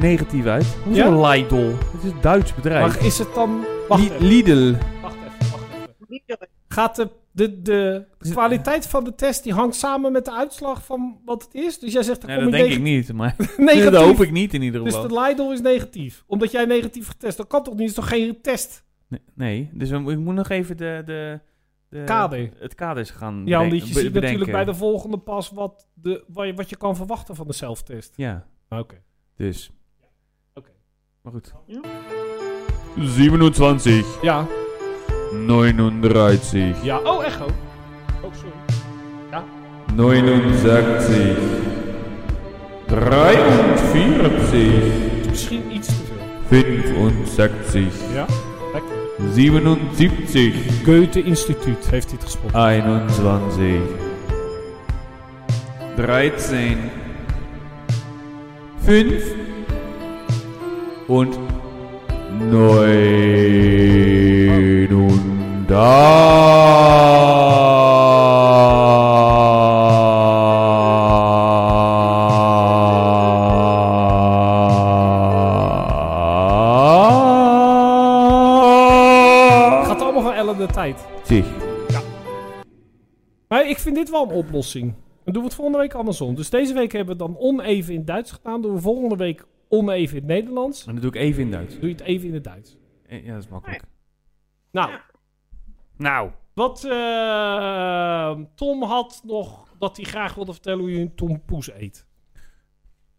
A: negatief uit. Hoezo
B: Ja?
A: Lidl? Het is een Duits bedrijf.
B: Maar is het dan... Wacht
A: Li-
B: even.
A: Lidl.
B: Wacht even, wacht even.
G: Lieder.
B: Gaat de, de, de kwaliteit van de test die hangt samen met de uitslag van wat het is? Dus jij zegt er
A: Nee,
B: kom
A: dat
B: je
A: denk
B: neg-
A: ik niet, maar
B: *laughs* negatief.
A: dat hoop ik niet in ieder
B: Dus
A: geval.
B: de Lidl is negatief. Omdat jij negatief getest. Dat kan toch niet? Dat is toch geen test?
A: Nee, nee, dus we mo- ik moet nog even de, de, de
B: Kader.
A: het kader is gaan
B: Ja,
A: beden-
B: omdat je
A: be-
B: ziet natuurlijk
A: bedenken.
B: bij de volgende pas wat, de, wat, je, wat je kan verwachten van de zelftest.
A: Ja,
B: Ah, Oké.
A: dus.
B: Oké.
A: Maar goed.
C: 27.
B: Ja.
C: 39.
B: ja. Oh, echo. Oh, sorry.
C: 69. 43.
B: Dat is misschien iets te veel.
C: 65.
B: Ja. Lekker.
C: 77.
B: Goethe Instituut heeft dit gespot.
C: 21. 13. 5. Und 89.
B: Gaat allemaal van Ellen de tijd. Maar ik vind dit wel een oplossing. Dan doen we het volgende week andersom. Dus deze week hebben we dan oneven in het Duits gedaan. Doen we volgende week oneven in het Nederlands.
A: En dat doe ik even in Duits.
B: Doe je het even in het Duits.
A: Eh, Ja, dat is makkelijk.
B: Nou,
A: Nou,
B: wat eh, Tom had nog dat hij graag wilde vertellen hoe je een tompoes eet.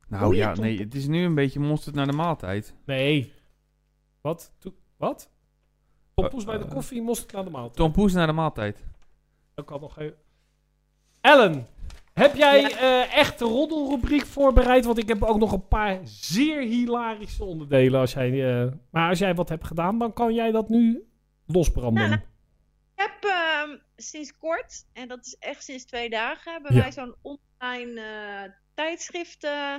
A: nou ja, nee, het is nu een beetje monster naar de maaltijd.
B: Nee. Wat? To- wat? Tompoes bij de koffie, mosterd aan de maaltijd.
A: Tom Poes naar de maaltijd.
B: Dat kan nog even. Ellen, heb jij eh, echt de roddelrubriek voorbereid? Want ik heb ook nog een paar zeer hilarische onderdelen. Als jij, eh, maar als jij wat hebt gedaan, dan kan jij dat nu losbranden.
G: Ja, nou, Ik heb ehm, sinds kort, en dat is echt sinds twee dagen, hebben
B: Ja.
G: wij zo'n online eh tijdschrift eh,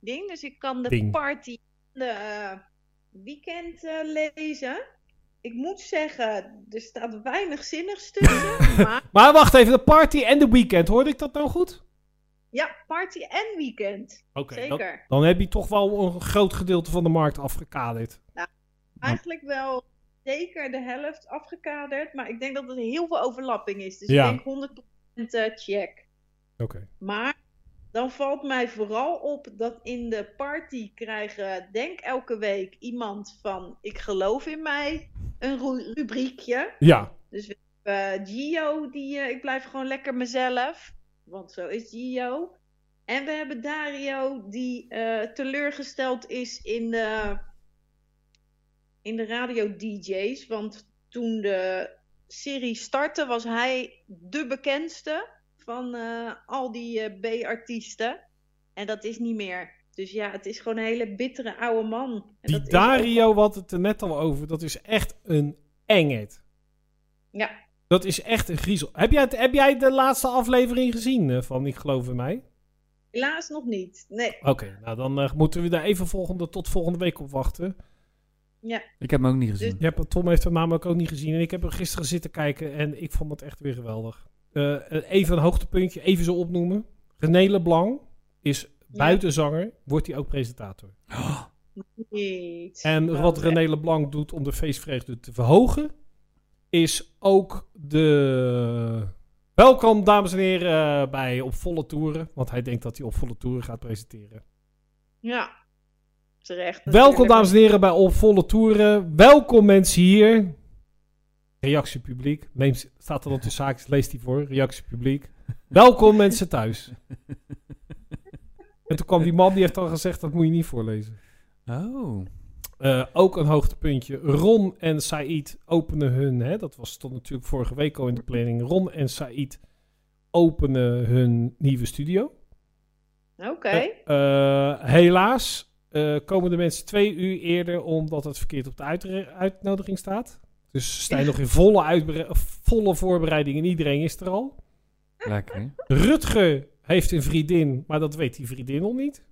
G: ding. Dus ik kan de
B: Ding.
G: party van de eh, weekend eh, lezen. Ik moet zeggen, er staat weinig
B: *laughs*
G: zinnigs tussen. maar
B: Maar wacht even, de party en de weekend. Hoorde ik dat nou goed?
G: ja, party en weekend.
B: Oké. Dan,
G: zeker.
B: dan heb je toch wel een groot gedeelte van de markt afgekaderd.
G: Eigenlijk wel zeker de helft afgekaderd. Maar ik denk dat er heel veel overlapping is. Dus
B: Ja.
G: ik denk 100% eh, check.
B: Oké.
G: Maar dan valt mij vooral op dat in de party krijgen, denk elke week, iemand van Ik geloof in mij een ru- rubriekje.
B: Ja.
G: Eh, Gio, die eh, ik blijf gewoon lekker mezelf, want zo is Gio. En we hebben Dario die eh, teleurgesteld is in de, in de radio-DJ's. Want toen de serie startte was hij de bekendste van eh, al die eh, B-artiesten. En dat is niet meer. Dus ja, het is gewoon een hele bittere oude man. En
B: Die
G: dat is
B: Dario, wat het er net al over, dat is echt een engheid.
G: Ja.
B: Dat is echt een griezel. Heb jij, het, heb jij de laatste aflevering gezien eh, van Ik Geloof in Mij?
G: ook- helaas nog niet. Nee,
B: Oké, nou dan eh, moeten we daar even volgende, tot volgende week op wachten.
A: Ik heb hem ook niet gezien.
B: Je hebt, Tom heeft hem namelijk ook niet gezien. En ik heb hem gisteren zitten kijken en ik vond het echt weer geweldig. Eh, even een hoogtepuntje, even zo opnoemen. René Leblanc is buitenzanger, wordt hij ook presentator.
G: niet.
B: En wat
G: René.
B: René Leblanc doet om de feestvreugde te verhogen, is ook de. Welkom, dames en heren, eh, bij Op Volle Toeren. Want hij denkt dat hij Op Volle Toeren gaat presenteren.
G: Ja, terecht.
B: Welkom,
G: natuurlijk.
B: dames en heren, bij Op Volle Toeren. Welkom, mensen hier. Reactie publiek. Neem, staat er dan tussen zaakjes, lees die voor. Reactie publiek. Welkom, mensen thuis. En toen kwam die man, die heeft al gezegd, dat moet je niet voorlezen.
G: Dus- *laughs*
A: Oh.
B: Eh, ook een hoogtepuntje. Ron en Said openen hun. Hè, dat was tot natuurlijk vorige week al in de planning. Ron en Said openen hun nieuwe studio.
G: Oké.
B: Eh, helaas eh, komen de mensen twee uur eerder omdat het verkeerd op de uitre- uitnodiging staat. Dus ze zijn nog in volle, uitbere- volle voorbereiding en iedereen is er al.
A: Lekker.
B: Rutger heeft een vriendin, maar dat weet die vriendin nog niet.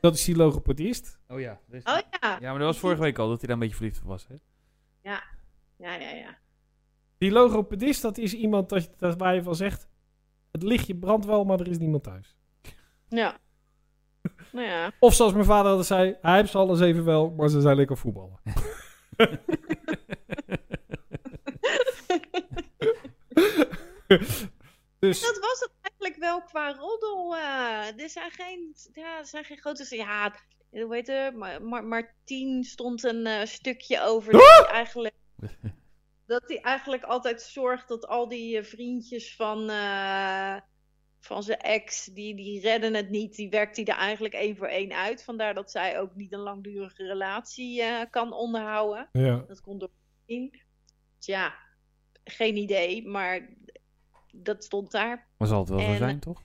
B: Dat is die logopedist.
A: Oh ja. dus-
G: Oh ja.
A: Ja, maar dat was vorige week al, dat hij daar een beetje verliefd op was. Hè?
G: Ja, ja, ja.
B: Die logopedist, dat is iemand dat, dat waar je van zegt... het lichtje brandt wel, maar er is niemand thuis.
G: Ja. Nou ja.
B: Of zoals mijn vader altijd zei... hij heeft ze alles even wel, maar ze zijn lekker voetballen. *laughs*
G: *laughs*
B: dus
G: Dat was het eigenlijk wel qua roddel. eh. er, zijn geen, ja, er zijn geen grote... Ja, hoe heet het? Ma- Ma- Martien stond een eh, stukje over dat hij eigenlijk... Dat hij eigenlijk altijd zorgt dat al die eh, vriendjes van, eh, van zijn ex, die, die redden het niet. Die werkt hij er eigenlijk één voor één uit. Vandaar dat zij ook niet een langdurige relatie eh, kan onderhouden.
B: ja,
G: Dat kon door in. Ja, geen idee, maar dat stond daar.
A: Maar zal het wel zo
G: En-
A: zijn, toch?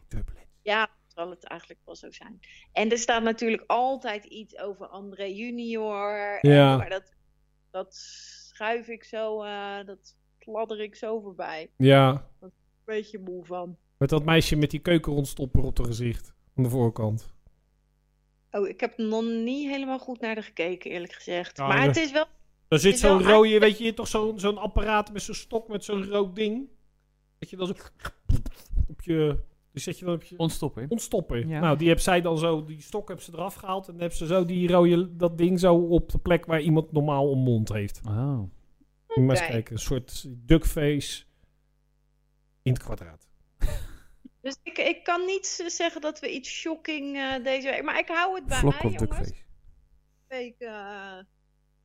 G: Ja, dat zal het eigenlijk wel zo zijn. En er staat natuurlijk altijd iets over André Junior. En-
B: Ja.
G: maar dat, dat schuif ik zo, eh, dat kladder ik zo voorbij.
B: ja,
G: Beetje moe van.
B: met dat meisje met die keukenrondstopper op haar gezicht. Aan de voorkant.
G: Oh, ik heb nog niet helemaal goed naar de gekeken, eerlijk gezegd.
B: Nou,
G: maar
B: ja.
G: het is wel
B: Daar zit
G: Is wel
B: zo'n rode, weet je, hier toch zo'n zo'n apparaat met zo'n stok met zo'n rood ding. Dat je dan zo op je... Dus zet je dan op je...
A: Ontstoppen.
B: ontstoppen.
A: Ja.
B: Nou, die heb zij dan zo, die stok heb ze eraf gehaald. En dan heb ze zo die rode, dat ding zo op de plek waar iemand normaal een mond heeft.
A: Oh.
B: Moet je Maar eens
G: Oké.
B: kijken, een soort duckface in het kwadraat.
G: Dus ik, ik kan niet z- zeggen dat we iets shocking eh, deze week. Maar ik hou het bij
A: Vlok
G: mij,
A: op
G: jongens.
A: duckface.
G: Week, eh,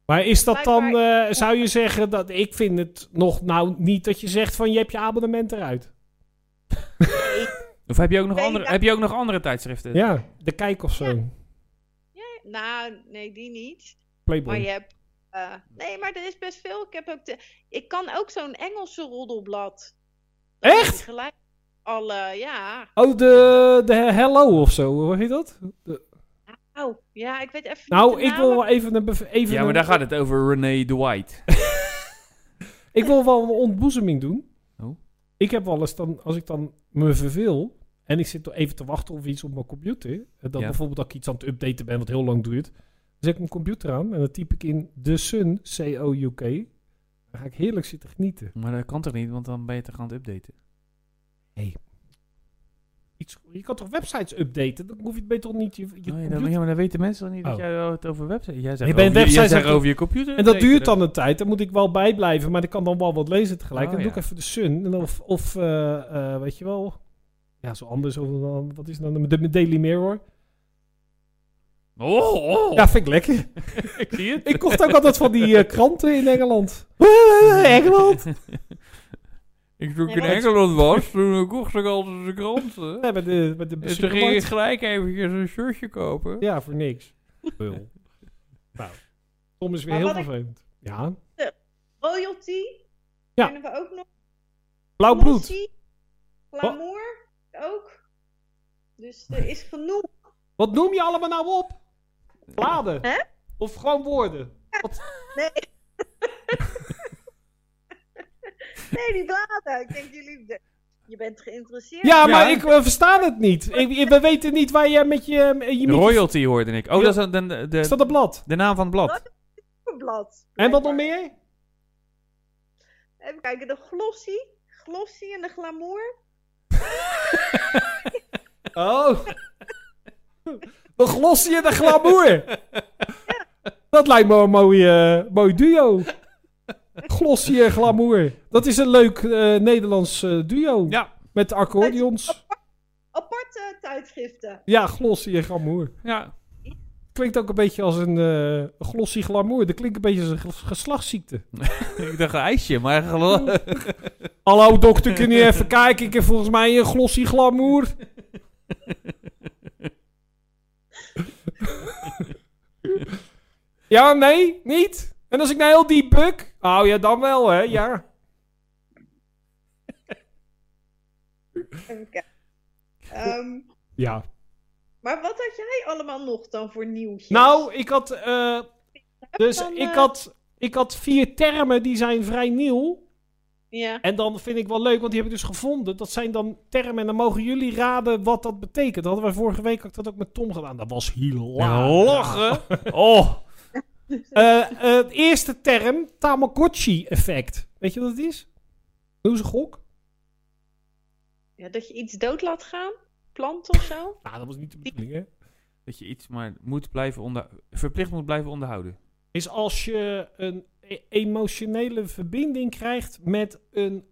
B: Maar is dat dan, eh, zou je zeggen dat ik vind het nog nou niet dat je zegt van je hebt je abonnement eruit.
A: Of heb je ook nog
G: Nee,
A: andere,
G: ja.
A: heb je ook nog andere tijdschriften?
B: Ja, de kijk of zo.
G: nou, nee, die niet.
B: Playboy.
G: Maar je hebt. eh, nee, maar er is best veel. Ik, heb ook de, ik kan ook zo'n Engelse roddelblad. Dat
B: Echt?
G: is Gelijk alle, ja.
B: Oh, de, de Hello of zo, hoe heet dat?
G: Oh, ja, ik weet even. niet
B: Nou,
G: de
B: ik wil
G: namen.
B: wel even een... bev- Even
A: Ja, maar
B: een-
A: daar gaat het over René de White.
B: Ik wil wel een ontboezeming doen.
A: Oh.
B: Ik heb wel eens dan, als ik dan me verveel en ik zit even te wachten op iets op mijn computer. En dan
A: Ja.
B: bijvoorbeeld dat ik iets aan het updaten ben, wat heel lang duurt. Dan zet ik mijn computer aan en dan typ ik in The Sun, C-O-U-K. Dan ga ik heerlijk zitten genieten.
A: *laughs* Maar dat kan toch niet, want dan ben je toch aan het updaten. Oh,
B: Iets, je kan toch websites updaten? Dan hoef je het beter toch niet je, je
A: Oh, ja,
B: computer-
A: dan, ja, maar dan weten mensen dan niet dat
B: Oh.
A: jij het over website. Jij zegt,
B: Je
A: over,
B: bent
A: je- jij
B: websites
A: zegt
B: aan-
A: over je computer.
B: En dat
A: updaten.
B: duurt dan een tijd. Dan moet ik wel bijblijven, maar ik kan dan wel wat lezen tegelijk.
A: Oh,
B: en dan
A: ja.
B: doe ik even de Sun. En of, of eh, eh, weet je wel... Ja, zo anders. Of dan, wat is het nou? De Daily Mirror.
A: Oh, oh.
B: Ja, vind ik lekker.
A: ik zie het.
B: Ik
A: *laughs*
B: kocht ook altijd van die eh, kranten in Engeland. Eh, Engeland!
H: Ik, toen ik in
G: Nee, maar-
H: Engeland was, toen kocht ik altijd de kranten.
B: *laughs* Nee, bij de, bij de
A: Eh,
H: En toen ging ik
B: supermarkt.
H: gelijk eventjes een shirtje kopen.
B: Ja, voor niks. Bul. nou, Tom is weer
G: Maar
B: heel
G: wat ik-
B: vervelend. Ja.
G: Royalty.
B: Ja.
G: Kunnen we ook nog.
B: Blauw bloed.
G: Nancy, Glamour. Ook. Dus er is genoeg.
B: Wat noem je allemaal nou op? Bladen.
G: Hè?
B: Of gewoon woorden.
G: Nee, die bladen. Ik denk jullie... de- Je bent geïnteresseerd.
B: Ja, maar
A: Ja.
B: ik we verstaan het niet. Ik, ik- we weten niet waar jij met je... eh, je met je-
A: Royalty hoorde ik. Oh, dat is dan de,
B: Is dat
A: de,
B: een blad?
A: de naam van het blad.
G: Blad.
B: En wat nog meer?
G: Even kijken. De glossy. Glossy en de glamour.
B: Oh. De glossie en de glamour. Dat lijkt me een mooi, eh, mooi duo. Glossie en glamour. Dat is een leuk eh, Nederlands eh, duo.
A: Ja.
B: Met accordeons.
G: Aparte tijdschriften.
B: Ja, glossie en glamour.
A: Ja. *laughs*
B: Klinkt ook een beetje als een eh glossie glamour. Dat klinkt een beetje als een ges- geslachtsziekte.
A: ik dacht een ijsje, maar gelo-
B: Hallo dokter, kun je even kijken? Ik heb volgens mij een glossie glamour. ja, nee, niet. En als ik nou heel diep buk? Oh ja, dan wel hè, ja.
G: Even kijken. Ehm,
B: Ja.
G: maar wat had jij allemaal nog dan voor nieuwtjes?
B: Nou, ik had, eh, dus
G: Dan,
B: ik
G: eh,
B: had, ik had vier termen die zijn vrij nieuw.
G: Ja.
B: En dan vind ik wel leuk, want die heb ik dus gevonden. Dat zijn dan termen en dan mogen jullie raden wat dat betekent. Dat hadden wij vorige week ook dat ook met Tom gedaan. Dat was hilarisch.
A: lachen. Oh.
B: *laughs* Eh, eh, eerste term, Tamagotchi-effect. Weet je wat het is? Doe ze gok?
G: ja. Dat je iets dood laat gaan? Plant of zo?
B: Nou, dat was niet de bedoeling, hè?
A: Dat je iets maar moet blijven onder, verplicht moet blijven onderhouden.
B: Is als je een e- emotionele verbinding krijgt met een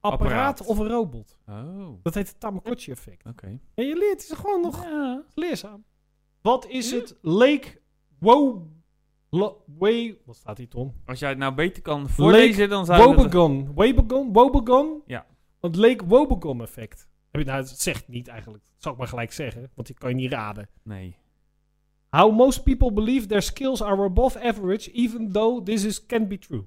B: apparaat,
A: Apparaat.
B: of een robot.
A: Oh, oké.
B: Dat heet het Tamagotchi-effect. En je leert het gewoon nog
A: Ja.
B: leerzaam. Wat is het Lake Wow... Lo- Way- wat staat hier, Tom?
A: Als jij het nou beter kan voorlezen, dan zou je het...
B: Wobegon. Wobegon? Wobegon?
A: Ja.
B: Want leek Wobegon effect. Heb je, nou, het zegt niet eigenlijk. Dat zal ik maar gelijk zeggen, want ik kan je niet raden.
A: Nee.
B: How most people believe their skills are above average, even though this is, can be true.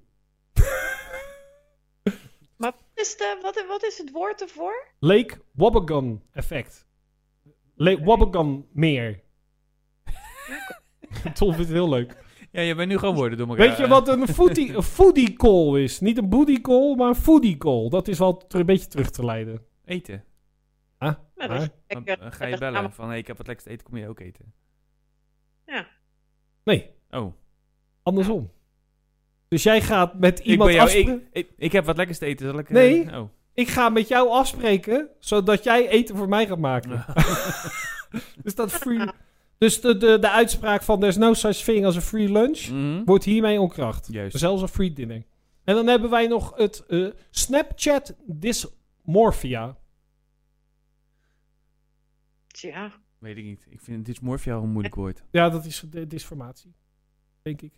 G: Maar wat is, de, wat, wat is het woord ervoor?
B: Lake Wobegon effect. Lake Wobegon meer. *laughs* Tom vindt het heel leuk.
A: Ja, je bent nu gewoon woorden Eh, door elkaar.
B: Weet je wat een foodie, een foodie call is? Niet een booty call, maar een foodie call. Dat is wel ter- een beetje terug te leiden.
A: Eten.
B: Huh?
G: Nou, dat je
A: Dan,
G: lekker-
A: eh, ga je bellen van, hey, ik heb wat lekkers te eten, kom je ook eten?
B: Nee,
A: Oh,
B: andersom. Dus jij gaat met iemand
A: ik ben jou,
B: afspre-
A: ik, ik, ik heb wat lekkers te eten, zal ik... eh,
B: Nee.
A: oh.
B: ik ga met jou afspreken, zodat jij eten voor mij gaat maken. *laughs* dus dat free... Dus de, de, de uitspraak van there's no such thing als een free lunch
A: Mhm.
B: wordt hiermee onkracht.
A: Juist.
B: Zelfs een free dinner. En dan hebben wij nog het eh, Snapchat dysmorphia.
G: Tja.
A: Weet ik niet. Ik vind dysmorphia al een moeilijk woord.
B: Ja, dat is de dysformatie, denk ik.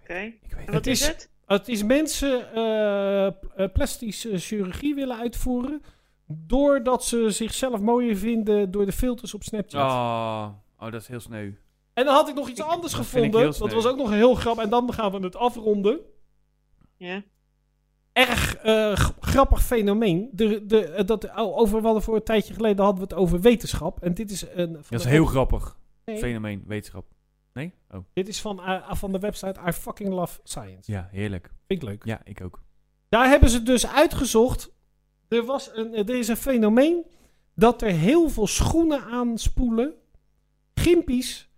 G: Oké.
A: Ik weet
G: En
A: het.
G: wat
B: Het
G: is
B: is-
G: het?
B: Het is mensen eh, p- eh, plastische chirurgie willen uitvoeren. Doordat ze zichzelf mooier vinden door de filters op Snapchat. Ah,
A: Oh, oh, dat is heel sneu.
B: En dan had ik nog iets anders
A: dat vind ik
B: gevonden.
A: heel
B: Dat
A: sneu.
B: was ook nog een heel grap. En dan gaan we het afronden.
G: Ja.
B: Erg eh, g- grappig fenomeen. De, de, eh, dat, oh, over wat voor een tijdje geleden hadden we het over wetenschap. En dit is een. van
A: Dat is
B: de-
A: heel grappig.
B: Nee,
A: Fenomeen, wetenschap. Nee? Oh,
B: Dit is van, eh, van de website I fucking love science.
A: ja, heerlijk.
B: Vind ik leuk.
A: Ja, ik ook.
B: Daar hebben ze dus uitgezocht. Er, was een, er is een fenomeen dat er heel veel schoenen aanspoelen. Gimpies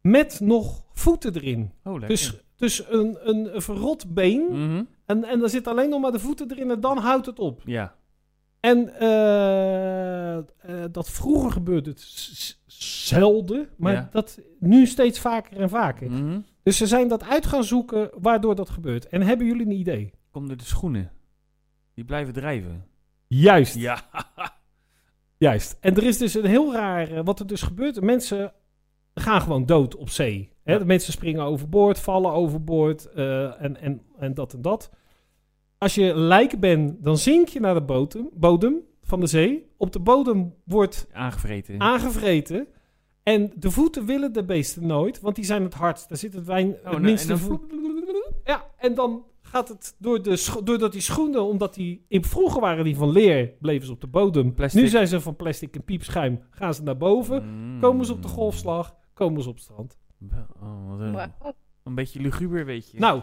B: met nog voeten erin.
A: Oh, lekker.
B: Dus, dus een, een, een verrot been.
A: Mhm.
B: En, en dan zit alleen nog maar de voeten erin en dan houdt het op.
A: Ja.
B: En eh, eh, dat vroeger gebeurde het s- s- zelden, maar
A: Ja.
B: dat nu steeds vaker en vaker.
A: Mhm.
B: Dus ze zijn dat uit gaan zoeken waardoor dat gebeurt. En hebben jullie een idee?
A: Kom door de schoenen. Die blijven drijven.
B: Juist.
A: Ja.
B: Juist. En er is dus een heel raar, eh, wat er dus gebeurt. Mensen gaan gewoon dood op zee. Hè?
A: Ja.
B: De mensen springen overboord, vallen overboord eh, en, en, en dat en dat. Als je lijk bent, dan zink je naar de bodem, bodem van de zee. Op de bodem wordt
A: Aangevreten.
B: aangevreten. En de voeten willen de beesten nooit, want die zijn het hardst. Daar zit het wijn het
A: nou,
B: minste
A: en dan-
B: voet. Ja, en dan gaat het door de scho- doordat die schoenen, omdat die in vroeger waren die van leer, bleven ze op de bodem.
A: Plastic.
B: Nu zijn ze van plastic en piepschuim. Gaan ze naar boven,
A: Mm.
B: komen ze op de golfslag, komen ze op het strand.
A: Wel, oh, wat een,
G: Wauw.
A: een beetje luguber, weet je.
B: Nou,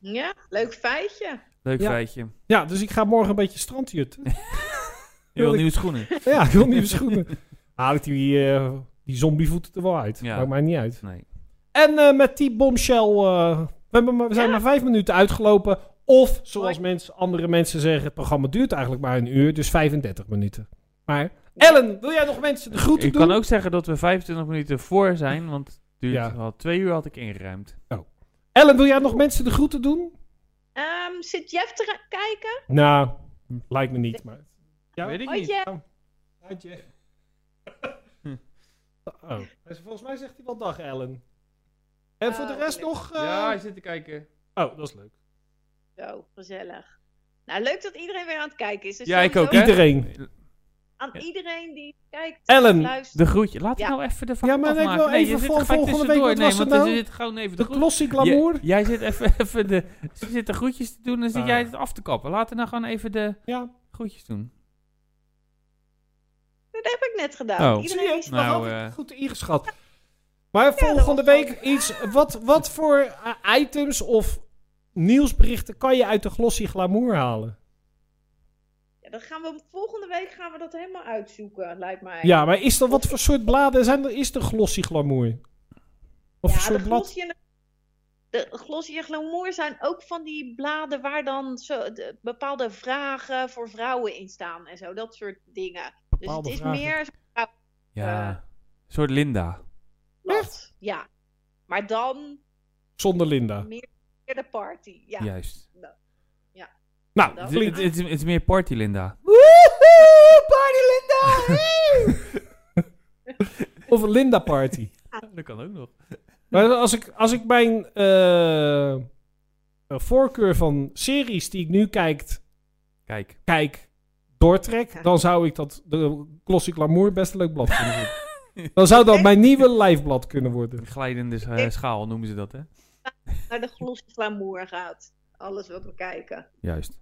G: Ja, leuk feitje.
A: Leuk
B: ja.
A: feitje.
B: ja, dus ik ga morgen een beetje strandjutten. *laughs*
A: Je wil nieuwe schoenen.
B: ja, ik wil nieuwe schoenen.
A: *laughs*
B: Haal ik die, eh, die zombievoeten er wel uit.
A: Ja.
B: Maakt mij niet uit.
A: Nee.
B: En eh, met die bombshell. eh, we, hebben maar- we zijn maar vijf minuten uitgelopen. Of zoals mensen, andere mensen zeggen: het programma duurt eigenlijk maar een uur, dus 35 minuten. Maar Ellen, wil jij nog mensen de groeten
A: Ik
B: doen?
A: kan ook zeggen dat we 25 minuten voor zijn, want het duurt
B: Ja.
A: al twee uur had ik ingeruimd.
B: Ellen, wil jij nog mensen de groeten doen?
G: Ehm, zit Jeff te ra- kijken?
B: Nou, lijkt me niet. Maar... Ja,
A: Weet ik
G: Hoi
A: niet. Hm.
G: Jeff.
B: Oh. Volgens mij zegt hij wel dag, Ellen. En voor de
G: Oh,
B: rest
G: leuk.
B: nog. eh,
A: zit te kijken.
B: Oh, dat is leuk.
G: Zo, gezellig. Nou, leuk dat iedereen weer aan het kijken is. Dus
A: Ja, ik
G: sowieso
A: ook, hè?
B: Iedereen.
G: Aan
A: Ja.
G: iedereen die kijkt,
B: Ellen,
G: luistert.
A: De groetje. Laat
G: Ja.
A: ik nou even de vak
B: Ja, maar ik wil
A: afmaken. nee,
B: even
A: je zit
B: voor-
A: gelijk
B: volgende week,
A: tussendoor.
B: wat was
A: nee,
B: het
A: want
B: nou?
A: er zit gewoon even de
B: De
A: groet.
B: glossy glamour.
A: Jij- jij zit even, *laughs* even de, ze zit de groetjes te doen en zit
B: Ah.
A: jij het af te kappen. Laten we nou gewoon even de
B: Ja.
A: groetjes doen.
G: Dat heb ik net gedaan.
A: Oh.
B: Zie je,
G: Iedereen
B: het
G: is
B: is
A: Nou,
B: nog altijd
A: eh.
B: goed ingeschat. Maar
G: dat
B: volgende
G: was
B: week iets. Wat, wat voor eh, items of nieuwsberichten kan je uit de glossy glamour halen?
G: Ja, dan gaan we, volgende week gaan we dat helemaal uitzoeken, lijkt mij.
B: Ja, maar is er wat voor soort bladen zijn er? Is er glossy glamour? Of
G: Ja,
B: een soort
G: de
B: blad?
G: glossie en de, de glossie en glamour zijn ook van die bladen waar dan zo de- bepaalde vragen voor vrouwen in staan en zo, dat soort dingen. Dus het
B: Bepaalde
G: is
B: vragen.
G: meer zo'n
A: Ja.
G: Eh.
A: Een soort Linda.
G: blad. Ja. Maar dan
B: Zonder Linda.
G: weer de party. Ja.
A: Juist.
B: Nou,
G: Dat-
A: Het, het, het is- het is meer party Linda.
B: Party Linda! of een Linda
G: *laughs*
B: party.
A: Dat kan ook nog.
B: Maar als ik, als ik mijn eh, eh, voorkeur van series die ik nu kijk
A: Kijk.
B: kijk, doortrek,
G: Ja.
B: dan zou ik dat de Glossy Glamour best een leuk blad kunnen vinden.
A: *laughs*
B: Dan zou dat mijn nieuwe lijfblad kunnen worden.
A: Een glijdende eh,
G: Ik-
A: schaal noemen ze dat, hè?
G: Naar de glossie glamour gaat. Alles wat we kijken.
A: Juist.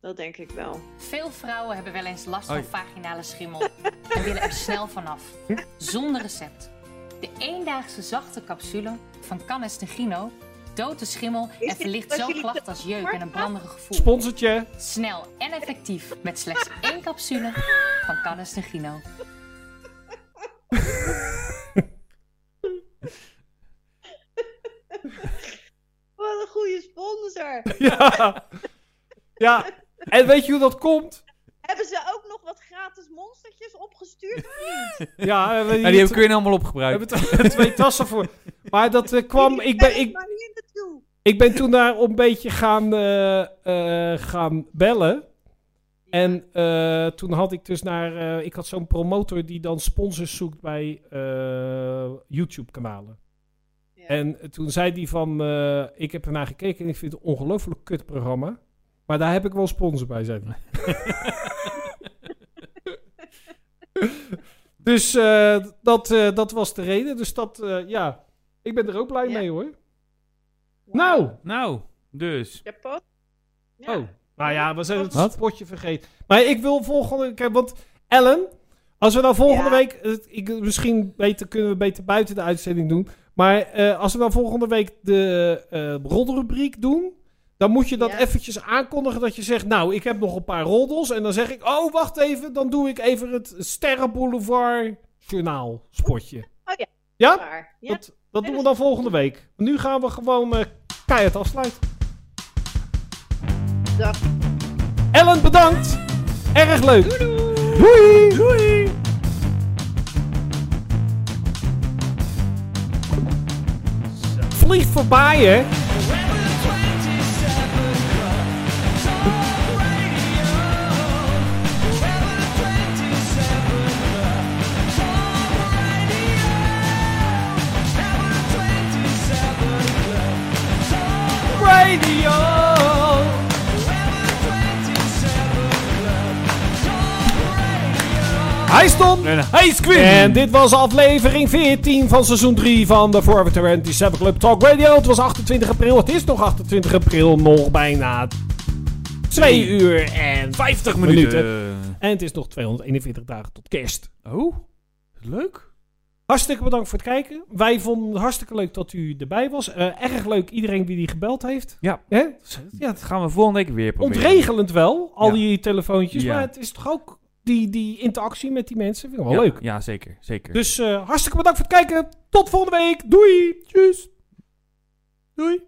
G: Dat denk ik wel.
I: Veel vrouwen hebben wel eens last
A: Oei.
I: van vaginale schimmel *laughs* en willen er snel vanaf. Zonder recept. De eendaagse zachte capsule van Canes de Gino doodt de schimmel
G: dit
I: en verlicht
G: wat
I: zo
G: jullie
I: klachten als jeuk en een branderig gevoel.
B: Sponsortje.
I: Snel en effectief met
G: *laughs*
I: slechts één capsule van Canes de Gino.
G: Wat een goede
B: *laughs*
G: sponsor.
B: Ja. ja. En weet je hoe dat komt?
G: Hebben ze ook nog wat gratis monstertjes
B: *laughs*
G: opgestuurd? of niet?
B: Ja, eh, we,
A: En die heb- kun je allemaal opgebruiken.
B: hebben twee, *laughs* twee tassen voor. Maar dat eh, kwam. Ik ben, ik,
G: maar hier naartoe.
B: ik ben toen daar een beetje gaan, eh, eh, gaan bellen. En eh, toen had ik dus naar. eh, ik had zo'n promotor die dan sponsors zoekt bij eh, YouTube-kanalen.
G: Ja.
B: En toen zei hij van, eh, ik heb ernaar gekeken en ik vind het een ongelooflijk kut programma. Maar daar heb ik wel sponsor bij, zei
G: *laughs*
B: hij. dus eh, dat, eh, dat was de reden. Dus dat, eh, ja, ik ben er ook blij
G: Ja.
B: mee hoor.
G: Wauw.
B: Nou,
A: Nou, dus.
G: Japan. Ja.
B: oh, nou ja, we zijn het
A: Wat?
B: spotje vergeten. Maar ik wil volgende keer, want Ellen, als we dan volgende
G: Ja.
B: week, het- ik, misschien beter, kunnen we beter buiten de uitzending doen. Maar eh, als we dan volgende week de eh roddelrubriek doen, dan moet je dat
G: Ja.
B: eventjes aankondigen dat je zegt, nou, ik heb nog een paar roddels. En dan zeg ik, oh, wacht even, dan doe ik even het Sterrenboulevard Journaal spotje.
G: Oh ja.
B: Ja?
G: Waar. Ja.
B: Dat, dat doen we dan volgende week. Nu gaan we gewoon eh keihard afsluiten.
G: Dag.
B: Ellen, bedankt. Erg leuk. Doei. Doei. Vlieg voorbij, hè. Radio. Hij stond.
A: En hij is Queen!
B: En dit was aflevering 14 van seizoen 3 van de Forever 27 Club Talk Radio. Het was 28 april. Het is nog 28 april. Nog bijna 2 uur en
A: 50
B: minuten.
A: minuten.
B: En het is nog 241 dagen tot kerst.
A: Eh, Oh, leuk.
B: Hartstikke bedankt voor het kijken. Wij vonden het hartstikke leuk dat u erbij was. Eh, erg leuk iedereen die die gebeld heeft.
A: Ja.
B: Hè?
A: Ja, dat gaan we volgende week weer proberen.
B: Ontregelend wel, al
A: Ja.
B: die telefoontjes.
A: Ja.
B: Maar het is toch ook die, die interactie met die mensen. Vind ik wel
A: Ja,
B: Oh, leuk.
A: Ja, zeker. zeker.
B: Dus eh, hartstikke bedankt voor het kijken. Tot volgende week. Doei. Tjus. Doei.